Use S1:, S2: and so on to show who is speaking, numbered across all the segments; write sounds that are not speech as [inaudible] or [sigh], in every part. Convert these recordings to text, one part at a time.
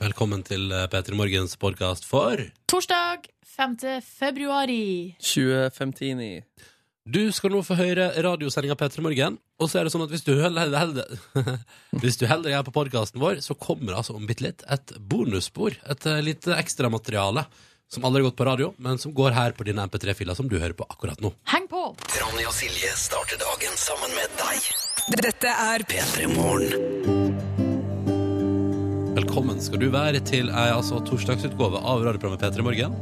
S1: Velkommen til eh, P3 Morgens podkast for
S2: Torsdag 5. februar.
S3: 2059.
S1: Du skal nå få høre radiosendinga P3 Morgen. Og så er det sånn at hvis du heller, heller, [laughs] hvis du heller er på podkasten vår, så kommer det altså om bitte litt et bonusspor. Et eh, lite ekstramateriale som aldri har gått på radio, men som går her på dine MP3-filer som du hører på akkurat nå.
S2: Heng på!
S4: Ronny og Silje starter dagen sammen med deg.
S5: Dette er
S4: P3 Morgen.
S1: Velkommen skal du være til ei altså torsdagsutgave av radioprogrammet P3 Morgen.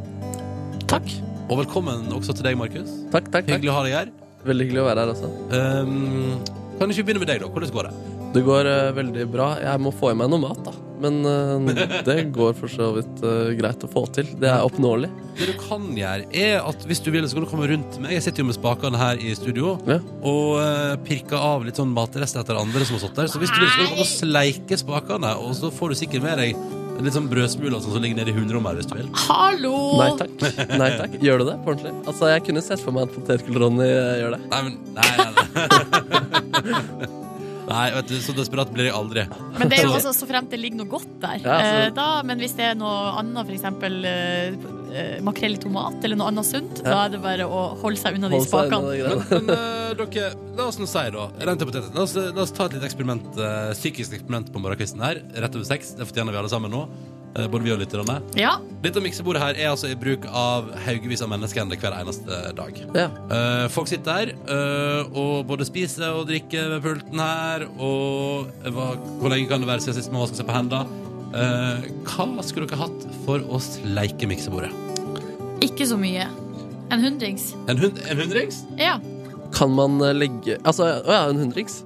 S3: Takk.
S1: Og velkommen også til deg, Markus.
S3: Takk, takk, takk.
S1: Hyggelig å ha deg her.
S3: Veldig hyggelig å være her altså. også.
S1: Um, kan du ikke begynne med deg, da? Hvordan går det?
S3: Det går eh, veldig bra. Jeg må få i meg noe mat, da. Men eh, det går for så vidt eh, greit å få til. Det er oppnåelig.
S1: Det du kan gjøre, er at hvis du vil, så kan du komme rundt meg. Jeg sitter jo med spakene her i studio
S3: Ja.
S1: og uh, pirker av litt sånn matrester etter andre som har stått der. Så hvis du vil, så kan du komme og sleike spakene, og så får du sikkert med deg litt sånn brødsmuler og sånn som ligger nede i hulrommet her, hvis du vil.
S2: Hallo!
S3: Nei takk. Nei takk. Gjør du det på ordentlig? Altså, jeg kunne sett for meg at potetgullronny eh, gjør det.
S1: Nei, men [laughs] Nei, nei, nei. nei [laughs] vet du, så desperat blir jeg aldri.
S2: Men det er jo altså så fremt det ligger noe godt der.
S3: Ja, altså-
S2: Eh, da, men hvis det er noe annet, f.eks. Eh, makrell i tomat eller noe annet sunt, da er det bare å holde seg unna de
S3: Hold seg unna
S2: spakene.
S3: de
S1: Men,
S3: greiene.
S1: men eh, dere, la oss nå si, da rent hypotetisk, la, oss, la oss ta et lite eksperiment, eh, psykisk eksperiment på morgenkvisten her. Rett over seks. Det fortjener vi alle sammen nå. eh, både vi og lytterne.
S2: Ja,
S1: Dette miksebordet her er altså i bruk av haugevis av mennesker hver eneste dag.
S3: Ja.
S1: Eh, folk sitter her eh, og både spiser og drikker ved pulten her, og eh, hva, hvor lenge kan det være siden sist man vasket seg på hendene? Eh, hva skulle dere hatt for å sleike miksebordet?
S2: ikke så mye. En hundrings.
S1: En, hund, en hundrings?
S2: Ja.
S3: Kan man eh, legge Altså, å ja, en hundrings?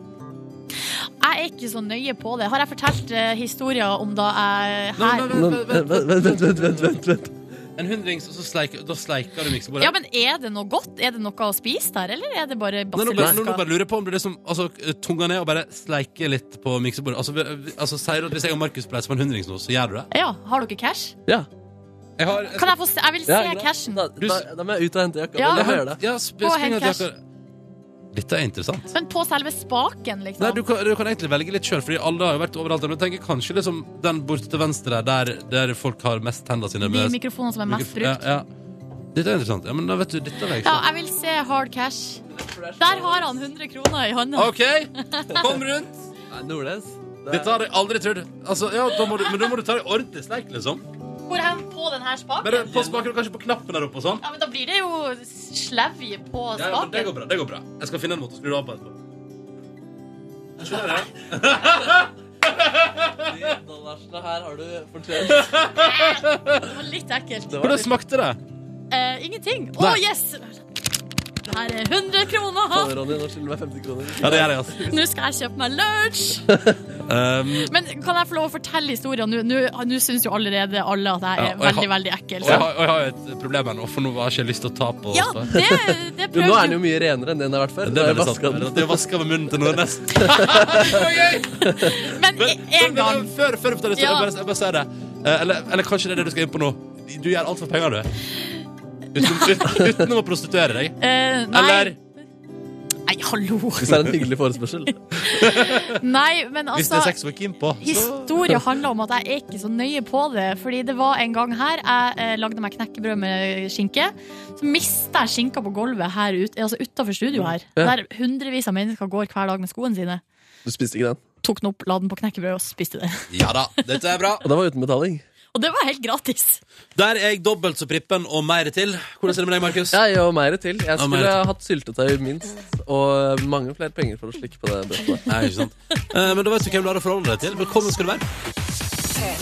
S2: Jeg er ikke så nøye på det. Har jeg fortalt eh, historier om da jeg
S1: Nei,
S2: her
S1: nei,
S3: Men,
S1: vent,
S3: vent,
S1: vent, vent.
S3: vent, vent, vent, vent, vent.
S1: En hundrings, og så sleiker, da sleiker du miksebordet?
S2: Ja, men er det noe godt? Er det noe å spise der, eller er det bare
S1: Nei, nå, bare, nå, nå
S2: basiliska?
S1: bare lurer jeg på om det er liksom, altså, tunga ned og bare sleike litt på miksebordet. Altså, vi- vi- altså, sier du at hvis jeg og Markus pleier på en hundrings nå, så gjør du det?
S2: Ja, har dere cash?
S3: Ja.
S1: Jeg har, jeg
S2: Kan jeg få se? Jeg vil se
S3: ja, greit.
S2: cashen.
S3: Da, da, da må jeg ut og hente jakka.
S2: Ja.
S3: men jeg må
S1: Ja,
S3: gjøre det.
S1: ja, sp-
S2: På
S1: spring
S2: Hand
S1: at dere- Dette er interessant.
S2: Men på selve spaken, liksom.
S1: Nei, du, kan, du kan egentlig velge litt sjøl, Fordi alle har jo vært overalt. Men du tenker kanskje liksom den borte til venstre der, der folk har mest hendene sine.
S2: De mikrofonene som er mest brukt.
S1: Ja,
S2: Ja,
S1: ja. Dette er interessant. Ja, men da vet du, dette er jeg ikke.
S2: jeg vil se hard cash. Der har han 100 kroner i hånda.
S1: OK, kom rundt!
S3: Nei, Nordnes. det er-
S1: Dette hadde jeg aldri trodd. Altså, ja, da må du, men da må du ta det ordentlig sterkt, liksom.
S2: Hvor hen på den her spaken?
S1: Bare på spaken, kanskje på knappen der oppe og sånn.
S2: Ja, men da blir det jo slevje på
S1: Ja, ja, men det
S2: spaken.
S1: går bra. det går bra Jeg skal finne en måte å skru det av på etterpå. Skjønner du?
S3: De dollarsene her har du fortjent.
S2: Det var litt ekkelt.
S3: Det var
S1: Hvordan
S3: litt
S1: smakte det?
S2: Eh, ingenting. Å,
S1: Nei.
S2: yes! Her er 100 kroner.
S3: Ronny, nå skylder du meg 50 kroner.
S1: Ja, det gjør jeg, altså.
S2: Nå skal jeg kjøpe meg lunsj.
S1: Um,
S2: Men kan jeg få lov å fortelle historien? Nå- Nå nå syns jo allerede alle at jeg
S1: Ja, og
S2: er
S1: jeg
S2: veldig,
S1: har-
S2: veldig ekkel.
S1: Og jeg, har, og jeg har jo et problem her nå, for nå har jeg ikke lyst til å ta på
S2: Ja, det,
S1: [laughs]
S2: det
S3: Jo, nå er den
S2: prøver
S3: jo
S2: du.
S3: mye renere enn den har vært før.
S1: Det er
S3: Da har jeg
S1: veldig
S3: vasket
S1: sant.
S3: den.
S1: At jeg vasker med munnen til noe
S2: [laughs]
S1: nesten.
S2: Men
S1: Men,
S2: én
S1: men-
S2: gang.
S1: men Før, før du tar det, så
S2: Ja.
S1: jeg bare, jeg bare sier det. Eh, Eller, eller kanskje det er det du skal inn på nå. Du gjør alt for penger, du. Utenom, ut- utenom å prostituere deg.
S2: Eh, nei.
S1: Eller
S2: Nei, hallo.
S3: Hvis det er en hyggelig forespørsel.
S2: Nei, men
S1: hvis det er
S2: altså
S1: sex du er keen på. Så.
S2: Historia handler om at jeg er ikke så nøye på det. Fordi det var en gang her jeg eh, lagde meg knekkebrød med skinke. Så mista jeg skinka på gulvet her ut, altså utafor studio her.
S3: Ja.
S2: Der hundrevis av mennesker går hver dag med skoene sine.
S3: Du spiste ikke den.
S2: Tok den opp, la den på knekkebrød og spiste den.
S1: Ja da, dette er bra.
S3: Og det var uten betaling.
S2: [laughs] Og det var helt gratis.
S1: Der er jeg dobbelt så prippen og mer til. Hvordan er det med deg, Markus?
S3: Jeg og mer til. Jeg
S1: Og mer
S3: skulle ha hatt syltetøy minst, og mange flere penger for å slikke på det brødet. der.
S1: Nei, ikke sant. Eh, men da vet du hvem du har å forholde deg til. Velkommen skal du være.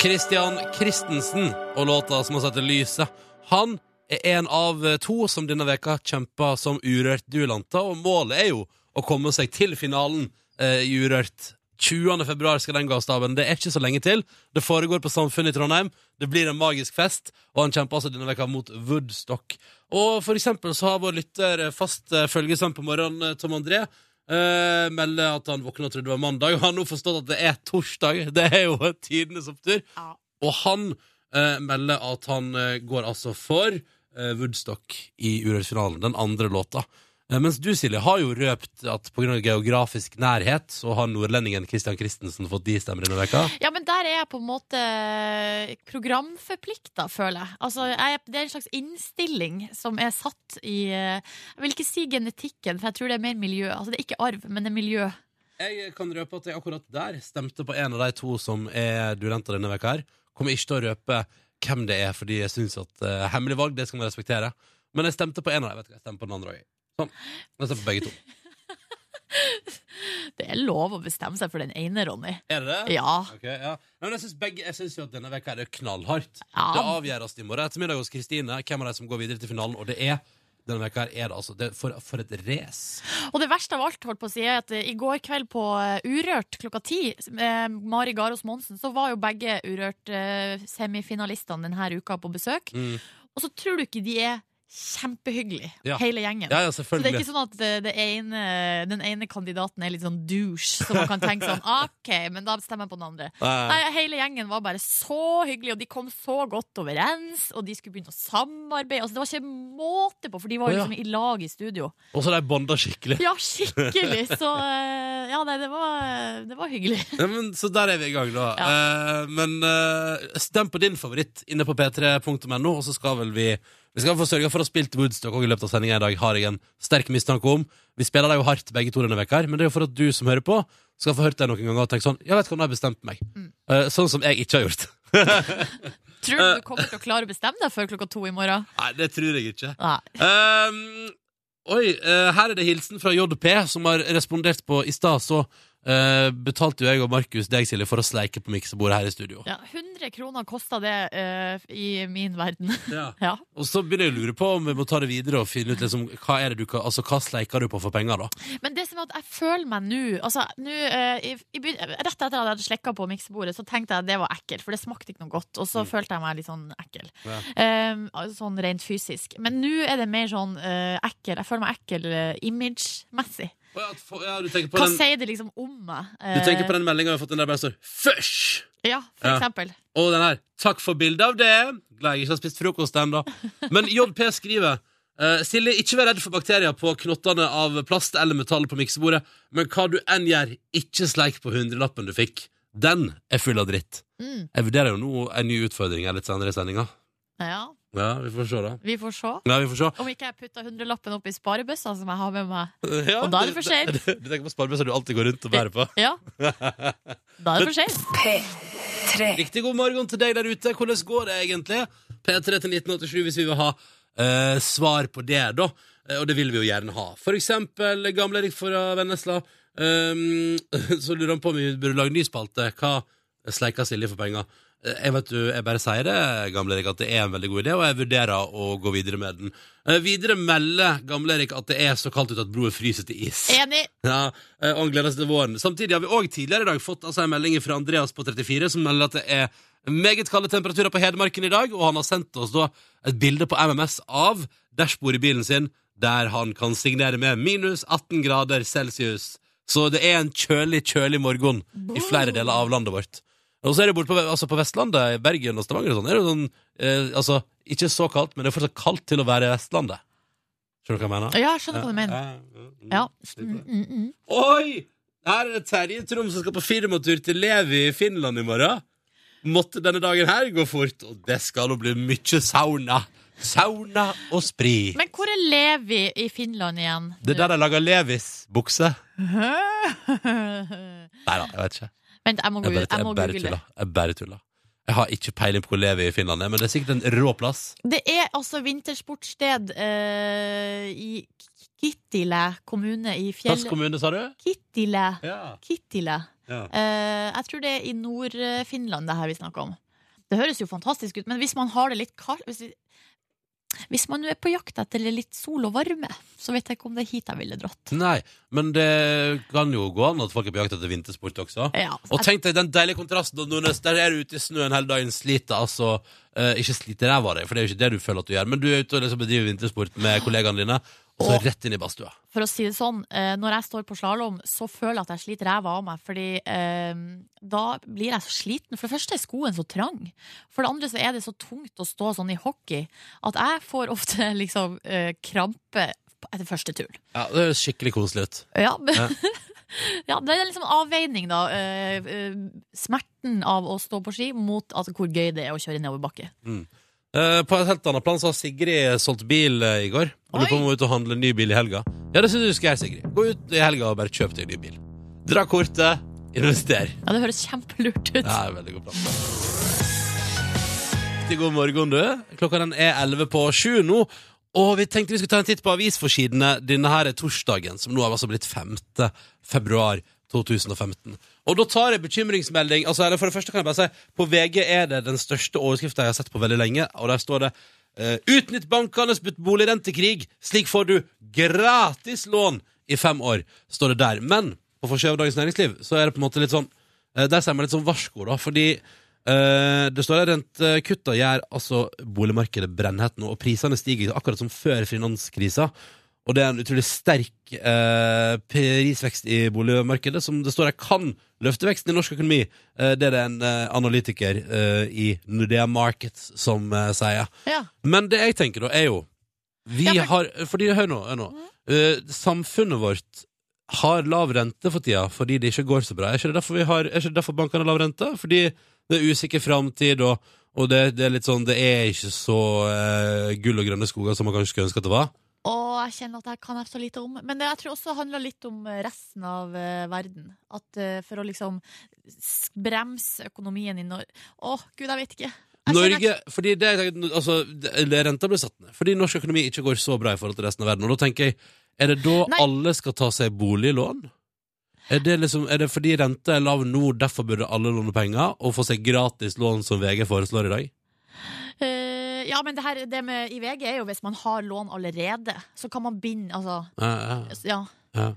S1: Christian Christensen og låta som har satt til lyset. Han er en av to som denne veka kjemper som urørt duelanter, og målet er jo å komme seg til finalen eh, i Urørt. 20. februar skal den gå av staben. Det er ikke så lenge til. Det foregår på Samfunnet i Trondheim. Det blir en magisk fest, og han kjemper altså denne veka mot Woodstock. Og for eksempel så har vår lytter eh, fast eh, følgesvenn på morgenen, eh, Tom André, eh, melder at han våkna og trodde det var mandag, og har nå forstått at det er torsdag. Det er jo tidenes opptur. Og han eh, melder at han eh, går altså for eh, Woodstock i Urørt-finalen, den andre låta. Eh, Mens du, Silje, har jo røpt at pga. geografisk nærhet så har nordlendingen Christian Christensen fått de stemmer denne veka
S2: Ja, men der er jeg på en måte programforplikta, føler jeg. Altså, jeg. Det er en slags innstilling som er satt i eh, Jeg vil ikke si genetikken, for jeg tror det er mer miljø. Altså, det er ikke arv, men det er miljø.
S1: Jeg kan røpe at jeg akkurat der stemte på en av de to som er duellenter denne veka her. Kommer ikke til å røpe hvem det er, fordi jeg syns at eh, hemmelig valg, det skal man respektere. Men jeg stemte på en av dem. Vet du hva, jeg stemmer på den andre òg. Sånn. Jeg stemmer på begge to.
S2: Det er lov å bestemme seg for den ene, Ronny.
S1: Er det det?
S2: Ja.
S1: Ok, ja. Nei, Men jeg syns begge Jeg synes jo at denne veka her er knallhardt.
S2: Ja.
S1: Det avgjøres i morgen ettermiddag hos Kristine hvem av de som går videre til finalen, og det er denne veka her er det altså det, for, for et race.
S2: Og det verste av alt, holdt på å si, er at eh, i går kveld på eh, Urørt klokka ti, eh, Mari Garås Monsen, så var jo begge Urørt-semifinalistene denne uka på besøk.
S1: Mm.
S2: Og så tror du ikke de er kjempehyggelige,
S1: Ja.
S2: hele gjengen.
S1: Ja, ja,
S2: Så det er
S1: selvfølgelig.
S2: ikke sånn at eh, det ene, den ene kandidaten er litt sånn douche, så man kan tenke sånn [laughs] OK, men da stemmer jeg på den andre.
S1: Eh,
S2: Nei, Hele gjengen var bare så hyggelig, og de kom så godt overens. Og de skulle begynne å samarbeide. Altså, det var ikke måte på, for de var jo
S1: Å, ja.
S2: liksom i lag i studio.
S1: Og så har de bonda skikkelig.
S2: Ja, skikkelig! Så eh, ja, nei, det var, det var hyggelig.
S1: Ja, men, så der er vi i gang, da. Eh, men eh, stem på din favoritt inne på p3.no, og så skal vel vi Vi skal få sørge for å ha spilt Woodstock også i løpet av sendinga i dag, har jeg en sterk mistanke om. Vi spiller det jo hardt begge to denne veka her, men det er jo for at du som hører på, skal få hørt det noen ganger og tenke sånn Ja, vet du hva, nå har jeg bestemt meg. Eh, sånn som jeg ikke har gjort.
S2: Tror du du kommer til å klare å bestemme deg før klokka to i morgen?
S1: [laughs] Nei, det tror jeg ikke.
S2: Nei.
S1: Ehm, oi, eh, her er det hilsen fra JP, som har respondert på i stad, så eh, betalte jo jeg og Markus deg, Silje, for å sleike på miksebordet her i studio.
S2: Ja, 100 kroner kosta det eh, i min verden. [laughs]
S1: Ja.
S2: Ja.
S1: Og så begynner jeg å lure på om vi må ta det videre og finne ut liksom, hva er det du kan, altså hva sleiker du på for penger, da?
S2: Men det som er at jeg føler meg nå altså, nå, eh, i, i, begyn- Rett etter at jeg hadde slekka på miksebordet, så tenkte jeg det var ekkelt, for det smakte ikke noe godt. Og så følte jeg meg litt sånn ekkel.
S1: Mm. Ja.
S2: Eh, altså sånn rent fysisk. Men nå er det mer sånn eh, ekkel. Jeg føler meg ekkel eh, image-messig.
S1: du tenker på
S2: Hva
S1: den,
S2: sier det liksom om meg?
S1: du tenker
S2: Eh,
S1: på den meldinga vi har fått, den der bare står 'fush'!
S2: Ja, for
S1: Ja.
S2: eksempel.
S1: Og den her 'takk for bildet av det'. Glad jeg ikke har spist frokost ennå. Men JP skriver eh, Silje, ikke vær redd for bakterier på knottene av plast eller metall på miksebordet, men hva du enn gjør, ikke sleik på hundrelappen du fikk. Den er full av dritt.
S2: Mm.
S1: Jeg vurderer jo nå en ny utfordring her litt senere i sendinga.
S2: Ja,
S1: Ja, vi får se, da.
S2: vi får se.
S1: Ja, vi får se.
S2: Om ikke jeg putta hundrelappen opp i sparebøssa som jeg har med meg.
S1: Ja,
S2: Og da er det for sent.
S1: Du, [laughs] du tenker på sparebøsser du alltid går rundt og bærer på. [laughs]
S2: Ja. Da er det for sent.
S1: Riktig god morgen til deg der ute. Hvordan går det egentlig? P3 til 1987 hvis vi vil ha eh, svar på det, da. Eh, og det vil vi jo gjerne ha. For eksempel gamle Erik fra Vennesla. ehm, [laughs] så lurer han på om vi burde lage ny spalte. Hva sleiker Silje for penger? Eh, Jeg vet du, jeg bare sier det, gamle Erik, at det er en veldig god idé, og jeg vurderer å gå videre med den. Eh, videre melder gamle Erik at det er så kaldt ute at broet fryser til is.
S2: Enig.
S1: Ja, eh, og han gleder seg til våren. Samtidig har vi òg tidligere i dag fått altså, en melding fra Andreas på 34 som melder at det er meget kalde temperaturer på Hedmarken i dag, og han har sendt oss da et bilde på MMS av dashbordet i bilen sin, der han kan signere med minus 18 grader celsius. Så det er en kjølig, kjølig morgen i flere deler av landet vårt. Og så er det borte på, altså på Vestlandet, i Bergen og Stavanger og sånn, er det jo sånn eh, Altså, ikke så kaldt, men det er fortsatt kaldt til å være i Vestlandet. Skjønner du hva jeg mener?
S2: Ja, jeg skjønner hva du mener.
S1: Ja, ja,
S2: Ja. Mm, mm, mm.
S1: Oi! Her er det Terje Trom som skal på firmatur til Levi i Finland i morgen. Måtte denne dagen her gå fort, og det skal jo bli mye sauna. Sauna og sprit.
S2: Men hvor er Levi i Finland igjen?
S1: Det er der de lager Levis-bukse. Nei da, jeg vet ikke.
S2: [laughs] Vent, jeg må,
S1: Jeg
S2: gu-
S1: bare,
S2: jeg
S1: jeg
S2: må
S1: bare
S2: google det.
S1: tuller. Jeg bare tuller. Jeg har ikke peiling på hvor Levi i Finland er, men det er sikkert en rå plass.
S2: Det er altså vintersportssted eh, i K- Kittile kommune i fjell...
S1: Hvilken kommune, sa du?
S2: Kittile.
S1: Ja.
S2: Kittile.
S1: ja.
S2: Eh, jeg tror det er i Nord-Finland det her vi snakker om. Det høres jo fantastisk ut, men hvis man har det litt kaldt hvis, hvis man nå er på jakt etter litt sol og varme, så vet jeg ikke om det er hit jeg ville dratt.
S1: Nei, men det kan jo gå an at folk er på jakt etter vintersport også.
S2: Ja, altså,
S1: Og
S2: jeg,
S1: tenk deg den deilige kontrasten når Nordnes der er du ute i snøen hele dagen, sliter altså eh, Ikke sliter ræva av deg, for det er jo ikke det du føler at du gjør, men du er ute og liksom bedriver vintersport med kollegaene dine, og så
S2: Åh.
S1: rett inn i badstua.
S2: for å si det sånn, eh, når jeg står på slalåm, så føler jeg at jeg sliter ræva av meg, fordi eh, da blir jeg så sliten. For det første er skoen så trang, for det andre så [laughs] er det så tungt å stå sånn i hockey at jeg får ofte liksom eh, krampe etter første turen.
S1: Ja, det høres skikkelig koselig ut.
S2: Ja, [laughs] men,
S1: Ja.
S2: ja Det er en liksom avveining, da. Eh, eh, Smerten av å stå på ski mot altså, hvor gøy det er å kjøre nedoverbakke.
S1: Eh, på et helt annet plan så har Sigrid solgt bil eh, i går. Og du
S2: Oi.
S1: kommer ut og handler ny bil i helga. Ja, det synes du skal gjøre, Sigrid. Gå ut i helga og bare kjøp deg ny bil. Dra kortet, invester.
S2: Ja, Det høres kjempelurt ut.
S1: Det er en veldig god plan. Riktig god morgen, du. Klokka den er 11 på 7 nå. Og vi tenkte vi skulle ta en titt på avisforsidene. Denne her er torsdagen, som nå har altså blitt 5. februar 2015. Og da tar jeg bekymringsmelding. Altså, eller for det første kan jeg bare si, på VG er det den største overskriften jeg har sett på veldig lenge, og der står det eh, Utnytt bankenes boligrentekrig. Slik får du gratis lån i fem år, står det der. Men på forsida av Dagens Næringsliv så er det på en måte litt sånn Eh, Der sier man litt sånn varsko, da, fordi eh, det står her rentekutta gjør altså boligmarkedet brennhett nå, og prisene stiger akkurat som før finanskrisa. Og det er en utrolig sterk eh, prisvekst i boligmarkedet, som det står her kan løfte veksten i norsk økonomi. Eh, det er det en eh, analytiker eh, i Nordea Markets som eh, sier.
S2: Ja.
S1: Men det jeg tenker da, er jo Vi
S2: Ja,
S1: har Fordi, hør nå, hør nå. Eh, Samfunnet vårt har lav rente for tida fordi det ikke går så bra. Er ikke det derfor, vi har, er ikke det derfor bankene har lav rente? Fordi det er usikker framtid, og, og det, det er litt sånn Det er ikke så eh, gull og grønne skoger som man kanskje skulle ønske at det var.
S2: Og jeg kjenner at jeg kan jeg så lite om. Men det jeg tror også handler litt om resten av eh, verden. At eh, for å liksom s- bremse økonomien i Norge Å, gud, jeg vet Altså, ikke. Jeg kjenner-
S1: Norge, fordi det, er- altså, det, eller renta blir satt ned fordi norsk økonomi ikke går så bra i forhold til resten av verden. Og da tenker jeg, er det da
S2: Nei.
S1: alle skal ta seg boliglån? Er det, liksom, er det fordi renta er lav nå, derfor burde alle låne penger og få seg gratis lån, som VG foreslår i dag?
S2: Eh, ja, men det her det med i VG er jo hvis man har lån allerede, så kan man binde Altså,
S1: Ja, ja,
S2: ja.
S1: ja.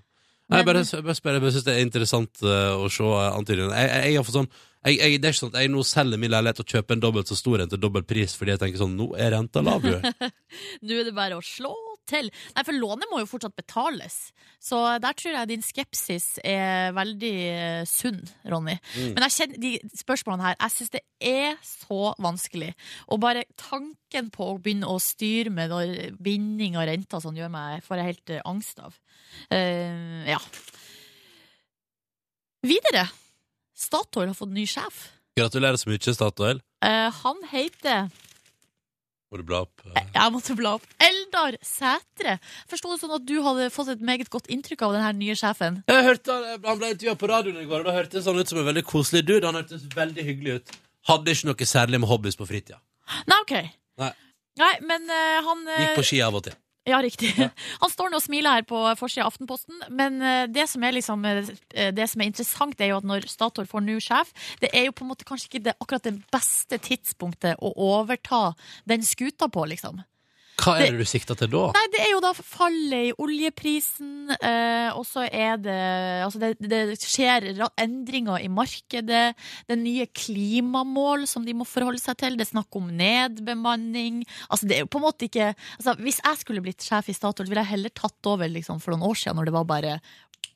S1: Nei, jeg bare,
S2: Men-
S1: jeg bare spør, jeg bare synes det er interessant eh, å se eh, antydningene. Jeg, jeg, jeg har fått sånn jeg, jeg, det er ikke sånn at jeg nå selger min leilighet og kjøper en dobbelt så stor en til dobbelt pris fordi jeg tenker sånn, nå er renta lav,
S2: [laughs]
S1: jo.
S2: Nå er det bare å slå til. Nei, for lånet må jo fortsatt betales. Så der tror jeg din skepsis er veldig eh, sunn, Ronny.
S1: Mm.
S2: Men jeg kjenner de spørsmålene her. Jeg syns det er så vanskelig. Og bare tanken på å begynne å styre med når binding av renta og sånn gjør meg får jeg helt eh, angst av. Eh, ja. Videre. Statoil har fått ny sjef.
S1: Gratulerer så mye, Statoil.
S2: Eh, han heter
S1: Må du bla opp? eh?
S2: Jeg måtte bla opp. Eldar Sætre. Forsto det sånn at du hadde fått et meget godt inntrykk av den her nye sjefen?
S1: Jeg hørte han, han ble intervjua på radioen i går, og da hørtes han ut som en veldig koselig dude. Han hørtes veldig hyggelig ut. Hadde ikke noe særlig med hobbies på fritida.
S2: Nei, OK.
S1: Nei.
S2: Nei, men eh, han eh,
S1: Gikk på ski av og til.
S2: Ja, riktig. [laughs] Han står nå og smiler her på forsida av Aftenposten, men eh, det som er, liksom, eh, det som er interessant, det er jo at når Statoil får ny sjef, det er jo på en måte kanskje ikke det, akkurat det beste tidspunktet å overta den skuta på, liksom.
S1: Hva er det du sikta til da?
S2: Nei, det er jo da fallet i oljeprisen, eh, og så er det Altså, det, det skjer ra- endringer i markedet. Det er nye klimamål som de må forholde seg til. Det er snakk om nedbemanning. Altså, det er jo på en måte ikke altså, Hvis jeg skulle blitt sjef i Statoil, ville jeg heller tatt over liksom, for noen år siden, når det var bare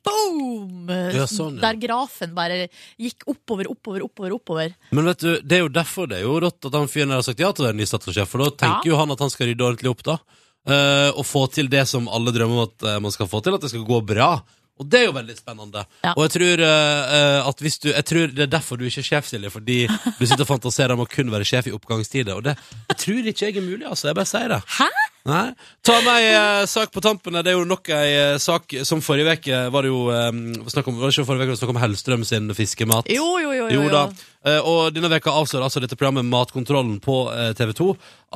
S2: Boom!
S1: Ja, sånn, ja.
S2: Der grafen bare gikk oppover, oppover, oppover. oppover
S1: Men vet du, det er jo derfor det er jo rått at han fyren der har sagt ja til å være ny Statoil-sjef, for da tenker jo han at han skal rydde ordentlig opp, da. Eh, og få til det som alle drømmer om at eh, man skal få til, at det skal gå bra. Og det er jo veldig spennende.
S2: Ja.
S1: Og jeg tror, eh, eh, at hvis du, jeg tror det er derfor du ikke er sjef, Silje, fordi
S2: [laughs]
S1: du sitter og fantaserer om å kun være sjef i oppgangstider. Og det jeg tror ikke jeg er mulig, altså. Jeg bare sier det.
S2: Hæ?
S1: Nei. Ta meg eh, sak på tampen. Det er jo nok ei eh, sak som forrige uke var det jo eh, snakk om, var det ikke forrige uke, det var snakk om Hellstrøm sin fiskemat.
S2: Jo, jo, jo. jo,
S1: Jo
S2: jo.
S1: da. Eh, Og denne veka avslører altså dette programmet Matkontrollen på eh, TV 2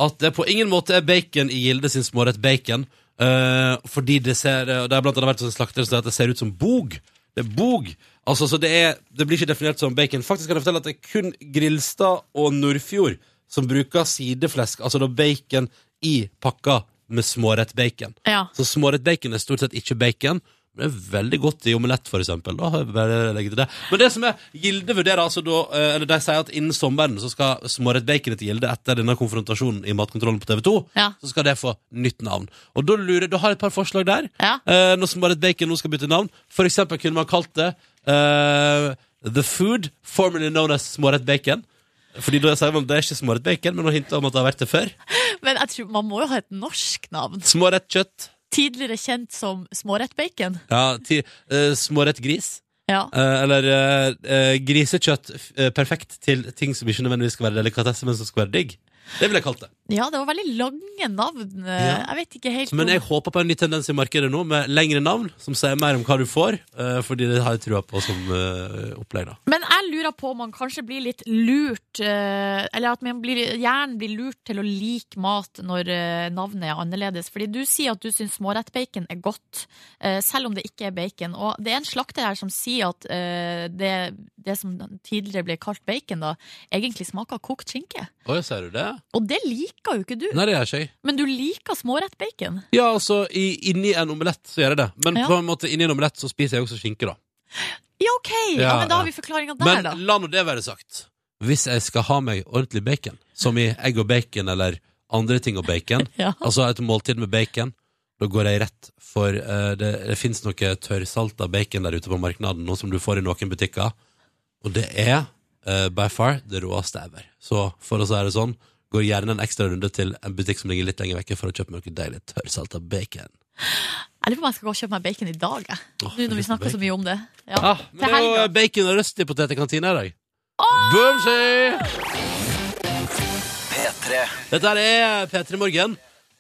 S1: at det på ingen måte er bacon i Gilde sin smårett bacon. eh, fordi det ser eh, Det har blant annet vært en slakter som sier at det ser ut som bog. Det er bog. Altså, så det, er, det blir ikke definert som bacon. Faktisk kan jeg fortelle at det er kun Grilstad og Nordfjord som bruker sideflesk, altså da bacon i pakka med smårett bacon.
S2: Ja.
S1: Så smårett bacon er stort sett ikke bacon. Men det er veldig godt i omelett, for eksempel. Da. Jeg Bare legger til det. Men det som er, Gilde vurderer altså da eh, Eller de sier at innen sommeren så skal smårett baconet til Gilde, etter denne konfrontasjonen i Matkontrollen på TV 2,
S2: Ja.
S1: så skal det få nytt navn. Og da lurer jeg, da har jeg et par forslag der.
S2: Ja.
S1: Eh, når smårett bacon nå skal bytte navn. For eksempel kunne man kalt det eh, The Food, formerly known as smårett bacon. Fordi da sier man det er ikke smårett bacon, men man hinter om at det har vært det før.
S2: Men jeg tror man må jo ha et norsk navn.
S1: Smårett kjøtt,
S2: Tidligere kjent som smårettbacon.
S1: Ja, ti, eh, smårett gris.
S2: Ja.
S1: Eh, eller eh, eh, grisekjøtt f- eh, perfekt til ting som ikke nødvendigvis skal være delikatesse, men som skal være digg. Det ville jeg kalt det.
S2: ja, det var veldig lange navn. eh,
S1: Ja.
S2: Jeg vet ikke helt
S1: Men
S2: om-
S1: jeg håper på en ny tendens i markedet nå, med lengre navn, som sier mer om hva du får, eh, fordi det har jeg trua på som eh, opplegg, da.
S2: Men jeg lurer på om man kanskje blir litt lurt eh, Eller at man blir, hjernen blir lurt til å like mat når eh, navnet er annerledes. Fordi du sier at du syns smårettbacon er godt, eh, selv om det ikke er bacon. Og det er en slakter her som sier at eh, det, det som tidligere ble kalt bacon, da, egentlig smaker kokt skinke.
S1: Oi, ser du det?
S2: Og det liker jo ikke du.
S1: Nei, det gjør ikke jeg.
S2: Men du liker smårettbacon.
S1: Ja, altså, i, inni en omelett så gjør jeg det. Men
S2: Ja.
S1: på en måte, inni en omelett så spiser jeg også skinke, da.
S2: Ja, OK! Ja,
S1: Ja,
S2: men da
S1: ja.
S2: har vi forklaringa der,
S1: Men
S2: da.
S1: la nå det være sagt. Hvis jeg skal ha meg ordentlig bacon, som i egg og bacon eller andre ting og bacon,
S2: [laughs] Ja.
S1: altså et måltid med bacon, da går jeg rett for eh, det, det finnes noe tørrsalta bacon der ute på markedet nå som du får i noen butikker. Og det er eh, by far det råeste ever. Så for å si det sånn, går gjerne en ekstra runde til en butikk som ligger litt lenger vekke for å kjøpe noe deilig tørrsalta bacon.
S2: Jeg lurer på om jeg skal gå og kjøpe meg bacon i dag, jeg.
S1: Åh,
S2: Nå når vi
S1: litt
S2: snakker så
S1: bacon.
S2: mye om det.
S1: Ja,
S2: Ja.
S1: Ah, men
S2: Til
S1: det er jo
S2: helga.
S1: bacon og røstipotet i kantina i dag. Boomsy!
S4: P3
S1: Dette her er P3 Morgen.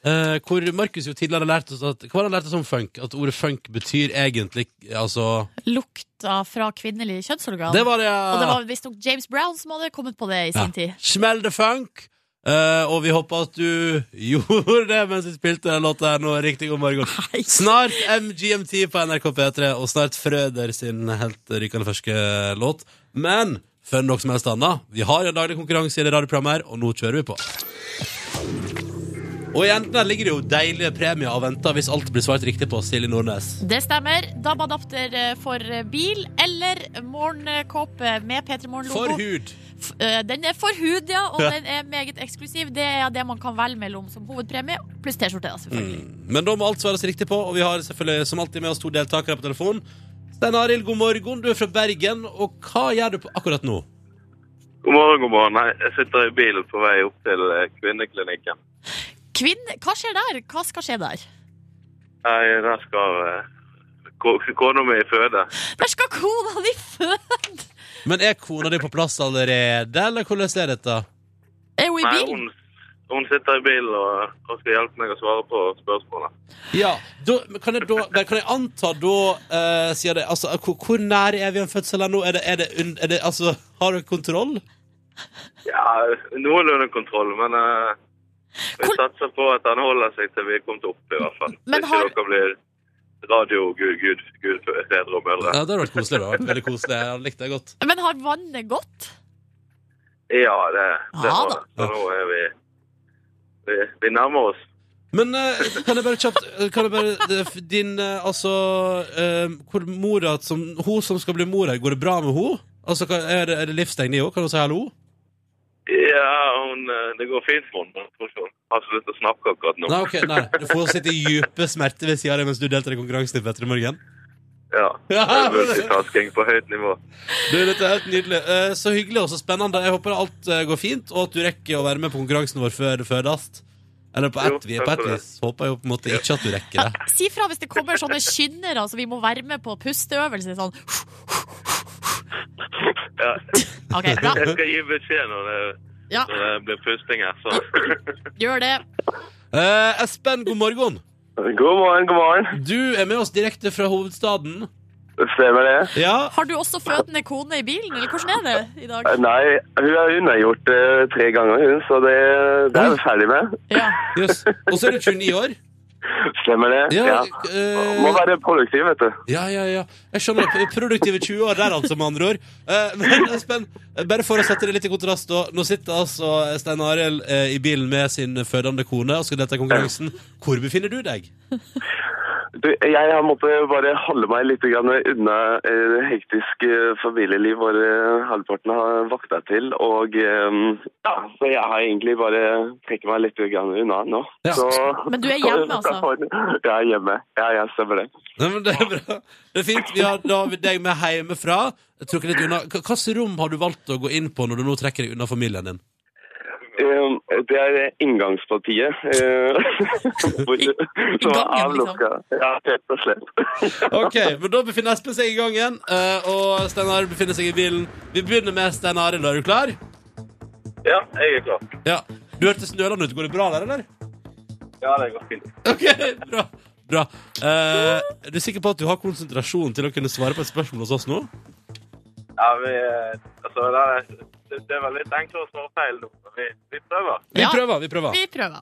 S1: eh, hvor Markus jo tidligere har lært oss at Hva var det han lærte oss om funk? At ordet funk betyr egentlig Altså
S2: lukta fra kvinnelig kjønnsorgan.
S1: Det var det,
S2: Og det
S1: ja!
S2: var visstnok James Brown som hadde kommet på det i sin tid.
S1: Smell the funk! Eh, og vi håper at du [laughs] gjorde det mens vi spilte den låta her nå. Riktig god morgen.
S2: Nei.
S1: Snart MGMT på NRK P3, og snart Frøder sin helt rykende ferske låt. Men før noe som helst annet, vi har jo en daglig konkurranse i det radioprogrammet her, og nå kjører vi på. Og i enden her ligger det jo deilige premier og venter hvis alt blir svart riktig på Silje Nordnes.
S2: Det stemmer. DAB-adapter eh, for eh, bil eller morgenkåpe med P3
S1: For
S2: Morgen-logo.
S1: hud.
S2: F- eh, Den er for hud, ja, og
S1: Ja.
S2: den er meget eksklusiv. Det er det man kan velge mellom som hovedpremie, pluss T-skjorte, da, selvfølgelig.
S1: Men da må alt svares riktig på, og vi har selvfølgelig som alltid med oss to deltakere på telefon. Stein Arild, god morgen. Du er fra Bergen, og hva gjør du på akkurat nå?
S5: God morgen, god morgen. Nei, jeg sitter i bilen på vei opp til eh, kvinneklinikken.
S2: Kvinn, hva skjer der? Hva skal skje der?
S5: Nei, der skal eh, ko- kona mi føde.
S2: Der skal kona di føde!
S1: Men er kona di på plass allerede, eller hvordan er dette?
S2: Er hun i
S5: Nei,
S2: bilen?
S5: hun, hun sitter i bilen og, og skal hjelpe meg å svare på spørsmålene.
S1: Ja, da, men kan, jeg da, men kan jeg anta da eh, sier det, altså, hvor, hvor nær er vi en fødsel her nå? Er det, er det, un- er det, altså, har du kontroll?
S5: Ja, noenlunde kontroll, men eh, vi
S2: Hvor-
S5: satser på at han holder seg til vi er kommet opp, i hvert fall.
S2: Men
S5: Hvis
S2: har-
S5: ikke dere blir radio-gud-fedre og mødre.
S1: Ja, det har vært koselig. Det har vært veldig koselig. Jeg likte det godt.
S2: Men har vannet gått?
S5: Ja, det, det
S2: Ja,
S5: har
S2: da.
S5: det. Så nå er vi, vi, vi nærmer oss.
S1: Men eh, kan jeg bare kjapt eh, kan jeg bare, det- Din, eh, altså eh, Hvor mora som, Hun som skal bli mor her, går det bra med hun? Altså, hva- er det, er det livstegn i henne? Kan hun si hallo?
S5: Ja, hun, eh, det går fint for henne. men Jeg tror ikke hun har så lyst til å snakke akkurat nå.
S1: Nei, ok, nei, du får sitte i djupe smerter ved siden av deg mens du deltar i konkurransen i Petter i morgen.
S5: Ja.
S1: Ja,
S5: Det er multitasking på høyt nivå.
S1: Du, dette er helt nydelig. Eh, Så hyggelig og så spennende. Jeg håper alt eh, går fint, og at du rekker å være med på konkurransen vår før det fødes. Eller på
S5: Jo,
S1: ett vi-
S5: takk
S1: på ett
S5: for det.
S1: vis. Håper jeg jo på en måte ikke at du rekker det.
S2: Si fra hvis det kommer sånne skyndere, så vi må være med på pusteøvelse. Sånn.
S5: Ja.
S2: OK, bra.
S5: Jeg skal gi beskjed når det,
S2: Ja,
S5: når det blir pusting her. [laughs] Så.
S2: gjør det.
S1: Eh, Espen, god morgen.
S5: God morgen, god morgen.
S1: Du er med oss direkte fra hovedstaden.
S5: Stemmer det?
S1: Ja,
S2: Har du også fødende kone i bilen, eller hvordan er det i dag?
S6: Eh,
S5: Nei, hun er unnagjort tre ganger, hun, så det,
S1: det er vi
S5: ferdig med.
S2: Ja.
S1: jøss. Og så er du 29 år.
S5: Stemmer det?
S1: Ja, eh,
S5: være produktiv, vet du.
S1: ja, ja, ja. Jeg skjønner. det. Produktive 20 år der, altså, med andre ord. Eh, Men Espen, bare for å sette det litt i kontrast, da. Nå sitter altså Stein Arild eh, i bilen med sin fødende kone og skal delta i konkurransen. Hvor befinner du deg?
S6: Du, jeg har måttet bare holde meg litt grann unna eh, hektisk eh, familieliv hvor eh, halvparten har vakta til. Og eh, ja, så jeg har egentlig bare trukket meg litt grann unna nå.
S1: Ja.
S6: Så,
S2: Men du er
S6: [laughs]
S2: hjemme, altså?
S6: Jeg er hjemme. Ja, jeg stemmer det.
S1: Nei, men det er bra. Det er fint. Vi har, da har vi deg med hjemmefra. Jeg tror ikke litt unna. Hva- Hvilket rom har du valgt å gå inn på når du nå trekker deg unna familien din?
S6: Ehm, Det er inngangspartiet. eh, [laughs] hvor- Som er
S2: gangen,
S6: avlukka. Ja, rett og slett. [laughs]
S1: Ok, men Da befinner Espen seg i gang igjen, eh, og Steinar befinner seg i bilen. Vi begynner med Steinar. Er du klar?
S5: Ja, jeg er klar.
S1: Ja. Du hørtes nølende ut. Går det bra der, eller?
S5: Ja, det går fint.
S1: Ok, bra. bra. Eh, er du sikker på at du har konsentrasjon til å kunne svare på et spørsmål hos oss nå?
S5: Ja, vi, eh, altså, det, er, det, det er vel litt enklere å svare feil nå. men Vi, vi prøver.
S1: Vi
S2: Ja.
S1: prøver. vi prøver.
S2: Vi prøver.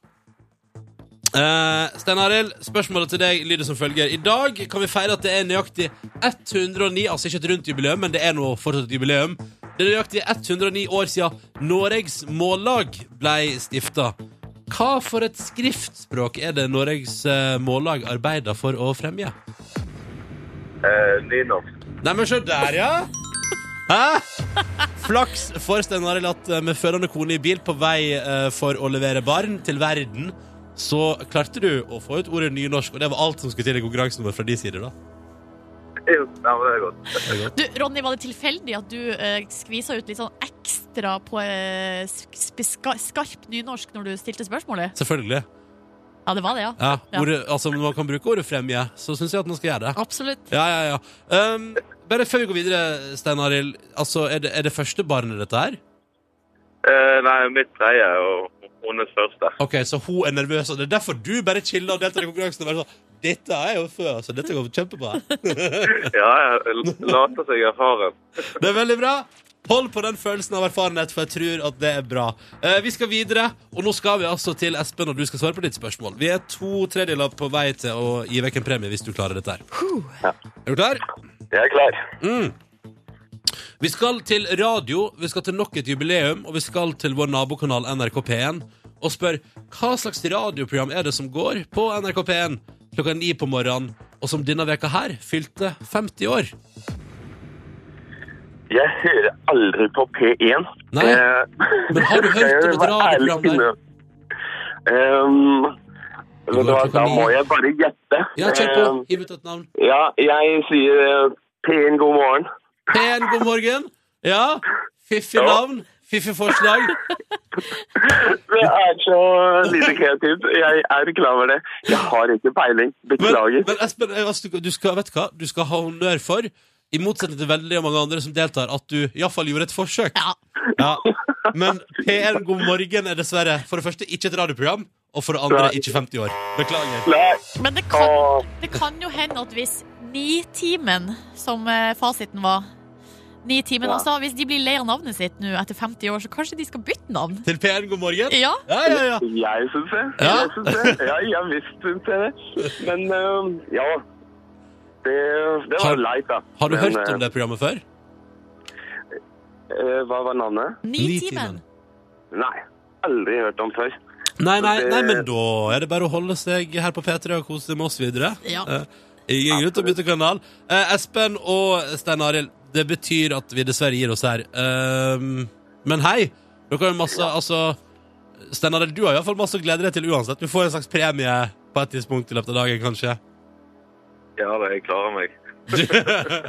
S1: Eh, Stein Arild, spørsmålet til deg lyder som følger. I dag kan vi feire at det er nøyaktig 109 Altså ikke et rundt jubileum, men det er nå fortsatt et jubileum. Det er nøyaktig 109 år siden Noregs Mållag ble stifta. Hva for et skriftspråk er det Noregs eh, Mållag arbeider for å fremje?
S5: Eh, Nynorsk.
S1: Neimen, se der, ja! Hæ? Flaks for Stein Arild at eh, med fødende kone i bil på vei eh, for å levere barn til verden, så klarte du å få ut ordet nynorsk, og det var alt som skulle til i konkurransen vår fra de sider, da.
S5: [laughs] Jo, ja, men det er godt.
S2: Du, Ronny, var det tilfeldig at du uh, skvisa ut litt sånn ekstra på eh, sp- ska- skarp nynorsk når du stilte spørsmålet?
S1: Selvfølgelig.
S2: Ja, det var det, ja.
S1: Ja,
S2: Ja.
S1: ordet, altså Når man kan bruke ordet fremje, så syns jeg at man skal gjøre det.
S2: Absolutt.
S1: Ja, ja, ja. Um, bare før vi går videre, Stein Arild. Altså, er det, er det første barnet dette her?
S5: Eh, nei, mitt tredje og hennes [laughs] første.
S1: Ok, Så hun er nervøs, og det er derfor du bare chiller og deltar i konkurransen? og bare sånn, dette er jo før, så dette går kjempebra.
S5: Ja, jeg later seg erfaren.
S1: Det er veldig bra. Hold på den følelsen av erfarenhet, for jeg tror at det er bra. Eh, vi skal videre, og nå skal vi altså til Espen, og du skal svare på ditt spørsmål. Vi er to tredjedeler på vei til å gi vekk en premie hvis du klarer dette her. Er du klar?
S6: Jeg er klar.
S1: Mm. Vi skal til radio, vi skal til nok et jubileum, og vi skal til vår nabokanal NRK P1 og spør hva slags radioprogram er det som går på NRK P1 klokka ni på morgenen, og som denne veka her fylte 50 år.
S6: Jeg hører aldri på P1.
S1: Nei.
S6: Eh,
S1: Men har du
S6: [laughs]
S1: hørt om et
S6: jeg må være ærlig
S1: radioprogram der?
S6: innrømme. Ehm,
S1: går
S6: vet du hva,
S1: klokka
S6: da
S1: ni.
S6: må jeg bare gjette.
S1: Ja, kjør på.
S5: Eh,
S6: Ehm,
S1: Hiv ut et navn.
S6: ja, jeg sier eh, P1 god morgen.
S1: Pen, god morgen. Ja. Fiffig
S6: Ja.
S1: navn. Fiffig forslag.
S6: Det er så lite kreativt. Jeg er klar over det. Jeg har ikke peiling.
S1: Men,
S6: Beklager.
S1: men Espen, eh, altså, du skal, vet du hva? Du skal ha honnør for, i motsetning til veldig mange andre som deltar, at du iallfall gjorde et forsøk.
S2: Ja.
S1: Ja. Men P1 God morgen er dessverre for det første ikke et radioprogram, og for det andre ikke 50 år. Beklager.
S6: Nei.
S2: Men det kan,
S6: Åh,
S2: det kan jo hende at hvis Nitimen, som eh, fasiten var Nitimen,
S6: Ja.
S2: altså. Hvis de blir lei av navnet sitt nå etter 50 år, så kanskje de skal bytte navn?
S1: Til P1 God morgen.
S2: Ja.
S1: Ja, ja, ja.
S6: jeg syns det.
S1: Ja.
S6: Jeg syns det. Ja, ja visst syns jeg det. Men ehm, ja. Det, det
S1: Har-
S6: var leit, da.
S1: Har du
S6: Men,
S1: hørt om det programmet før?
S6: eh, Hva var navnet?
S2: Nitimen.
S6: Nei. Aldri hørt om før.
S1: Nei, nei,
S6: Det-
S1: nei, men da er det bare å holde seg her på P3 og kose seg med oss videre.
S2: Ja.
S1: Eh, ingen grunn til å bytte kanal. Eh, Espen og Stein Arild, det betyr at vi dessverre gir oss her. Ehm, men hei, dere har jo masse Altså, Stein Arild, du har iallfall masse å glede deg til uansett. Du får en slags premie på et tidspunkt i løpet av dagen, kanskje.
S5: Ja, da, jeg klarer meg.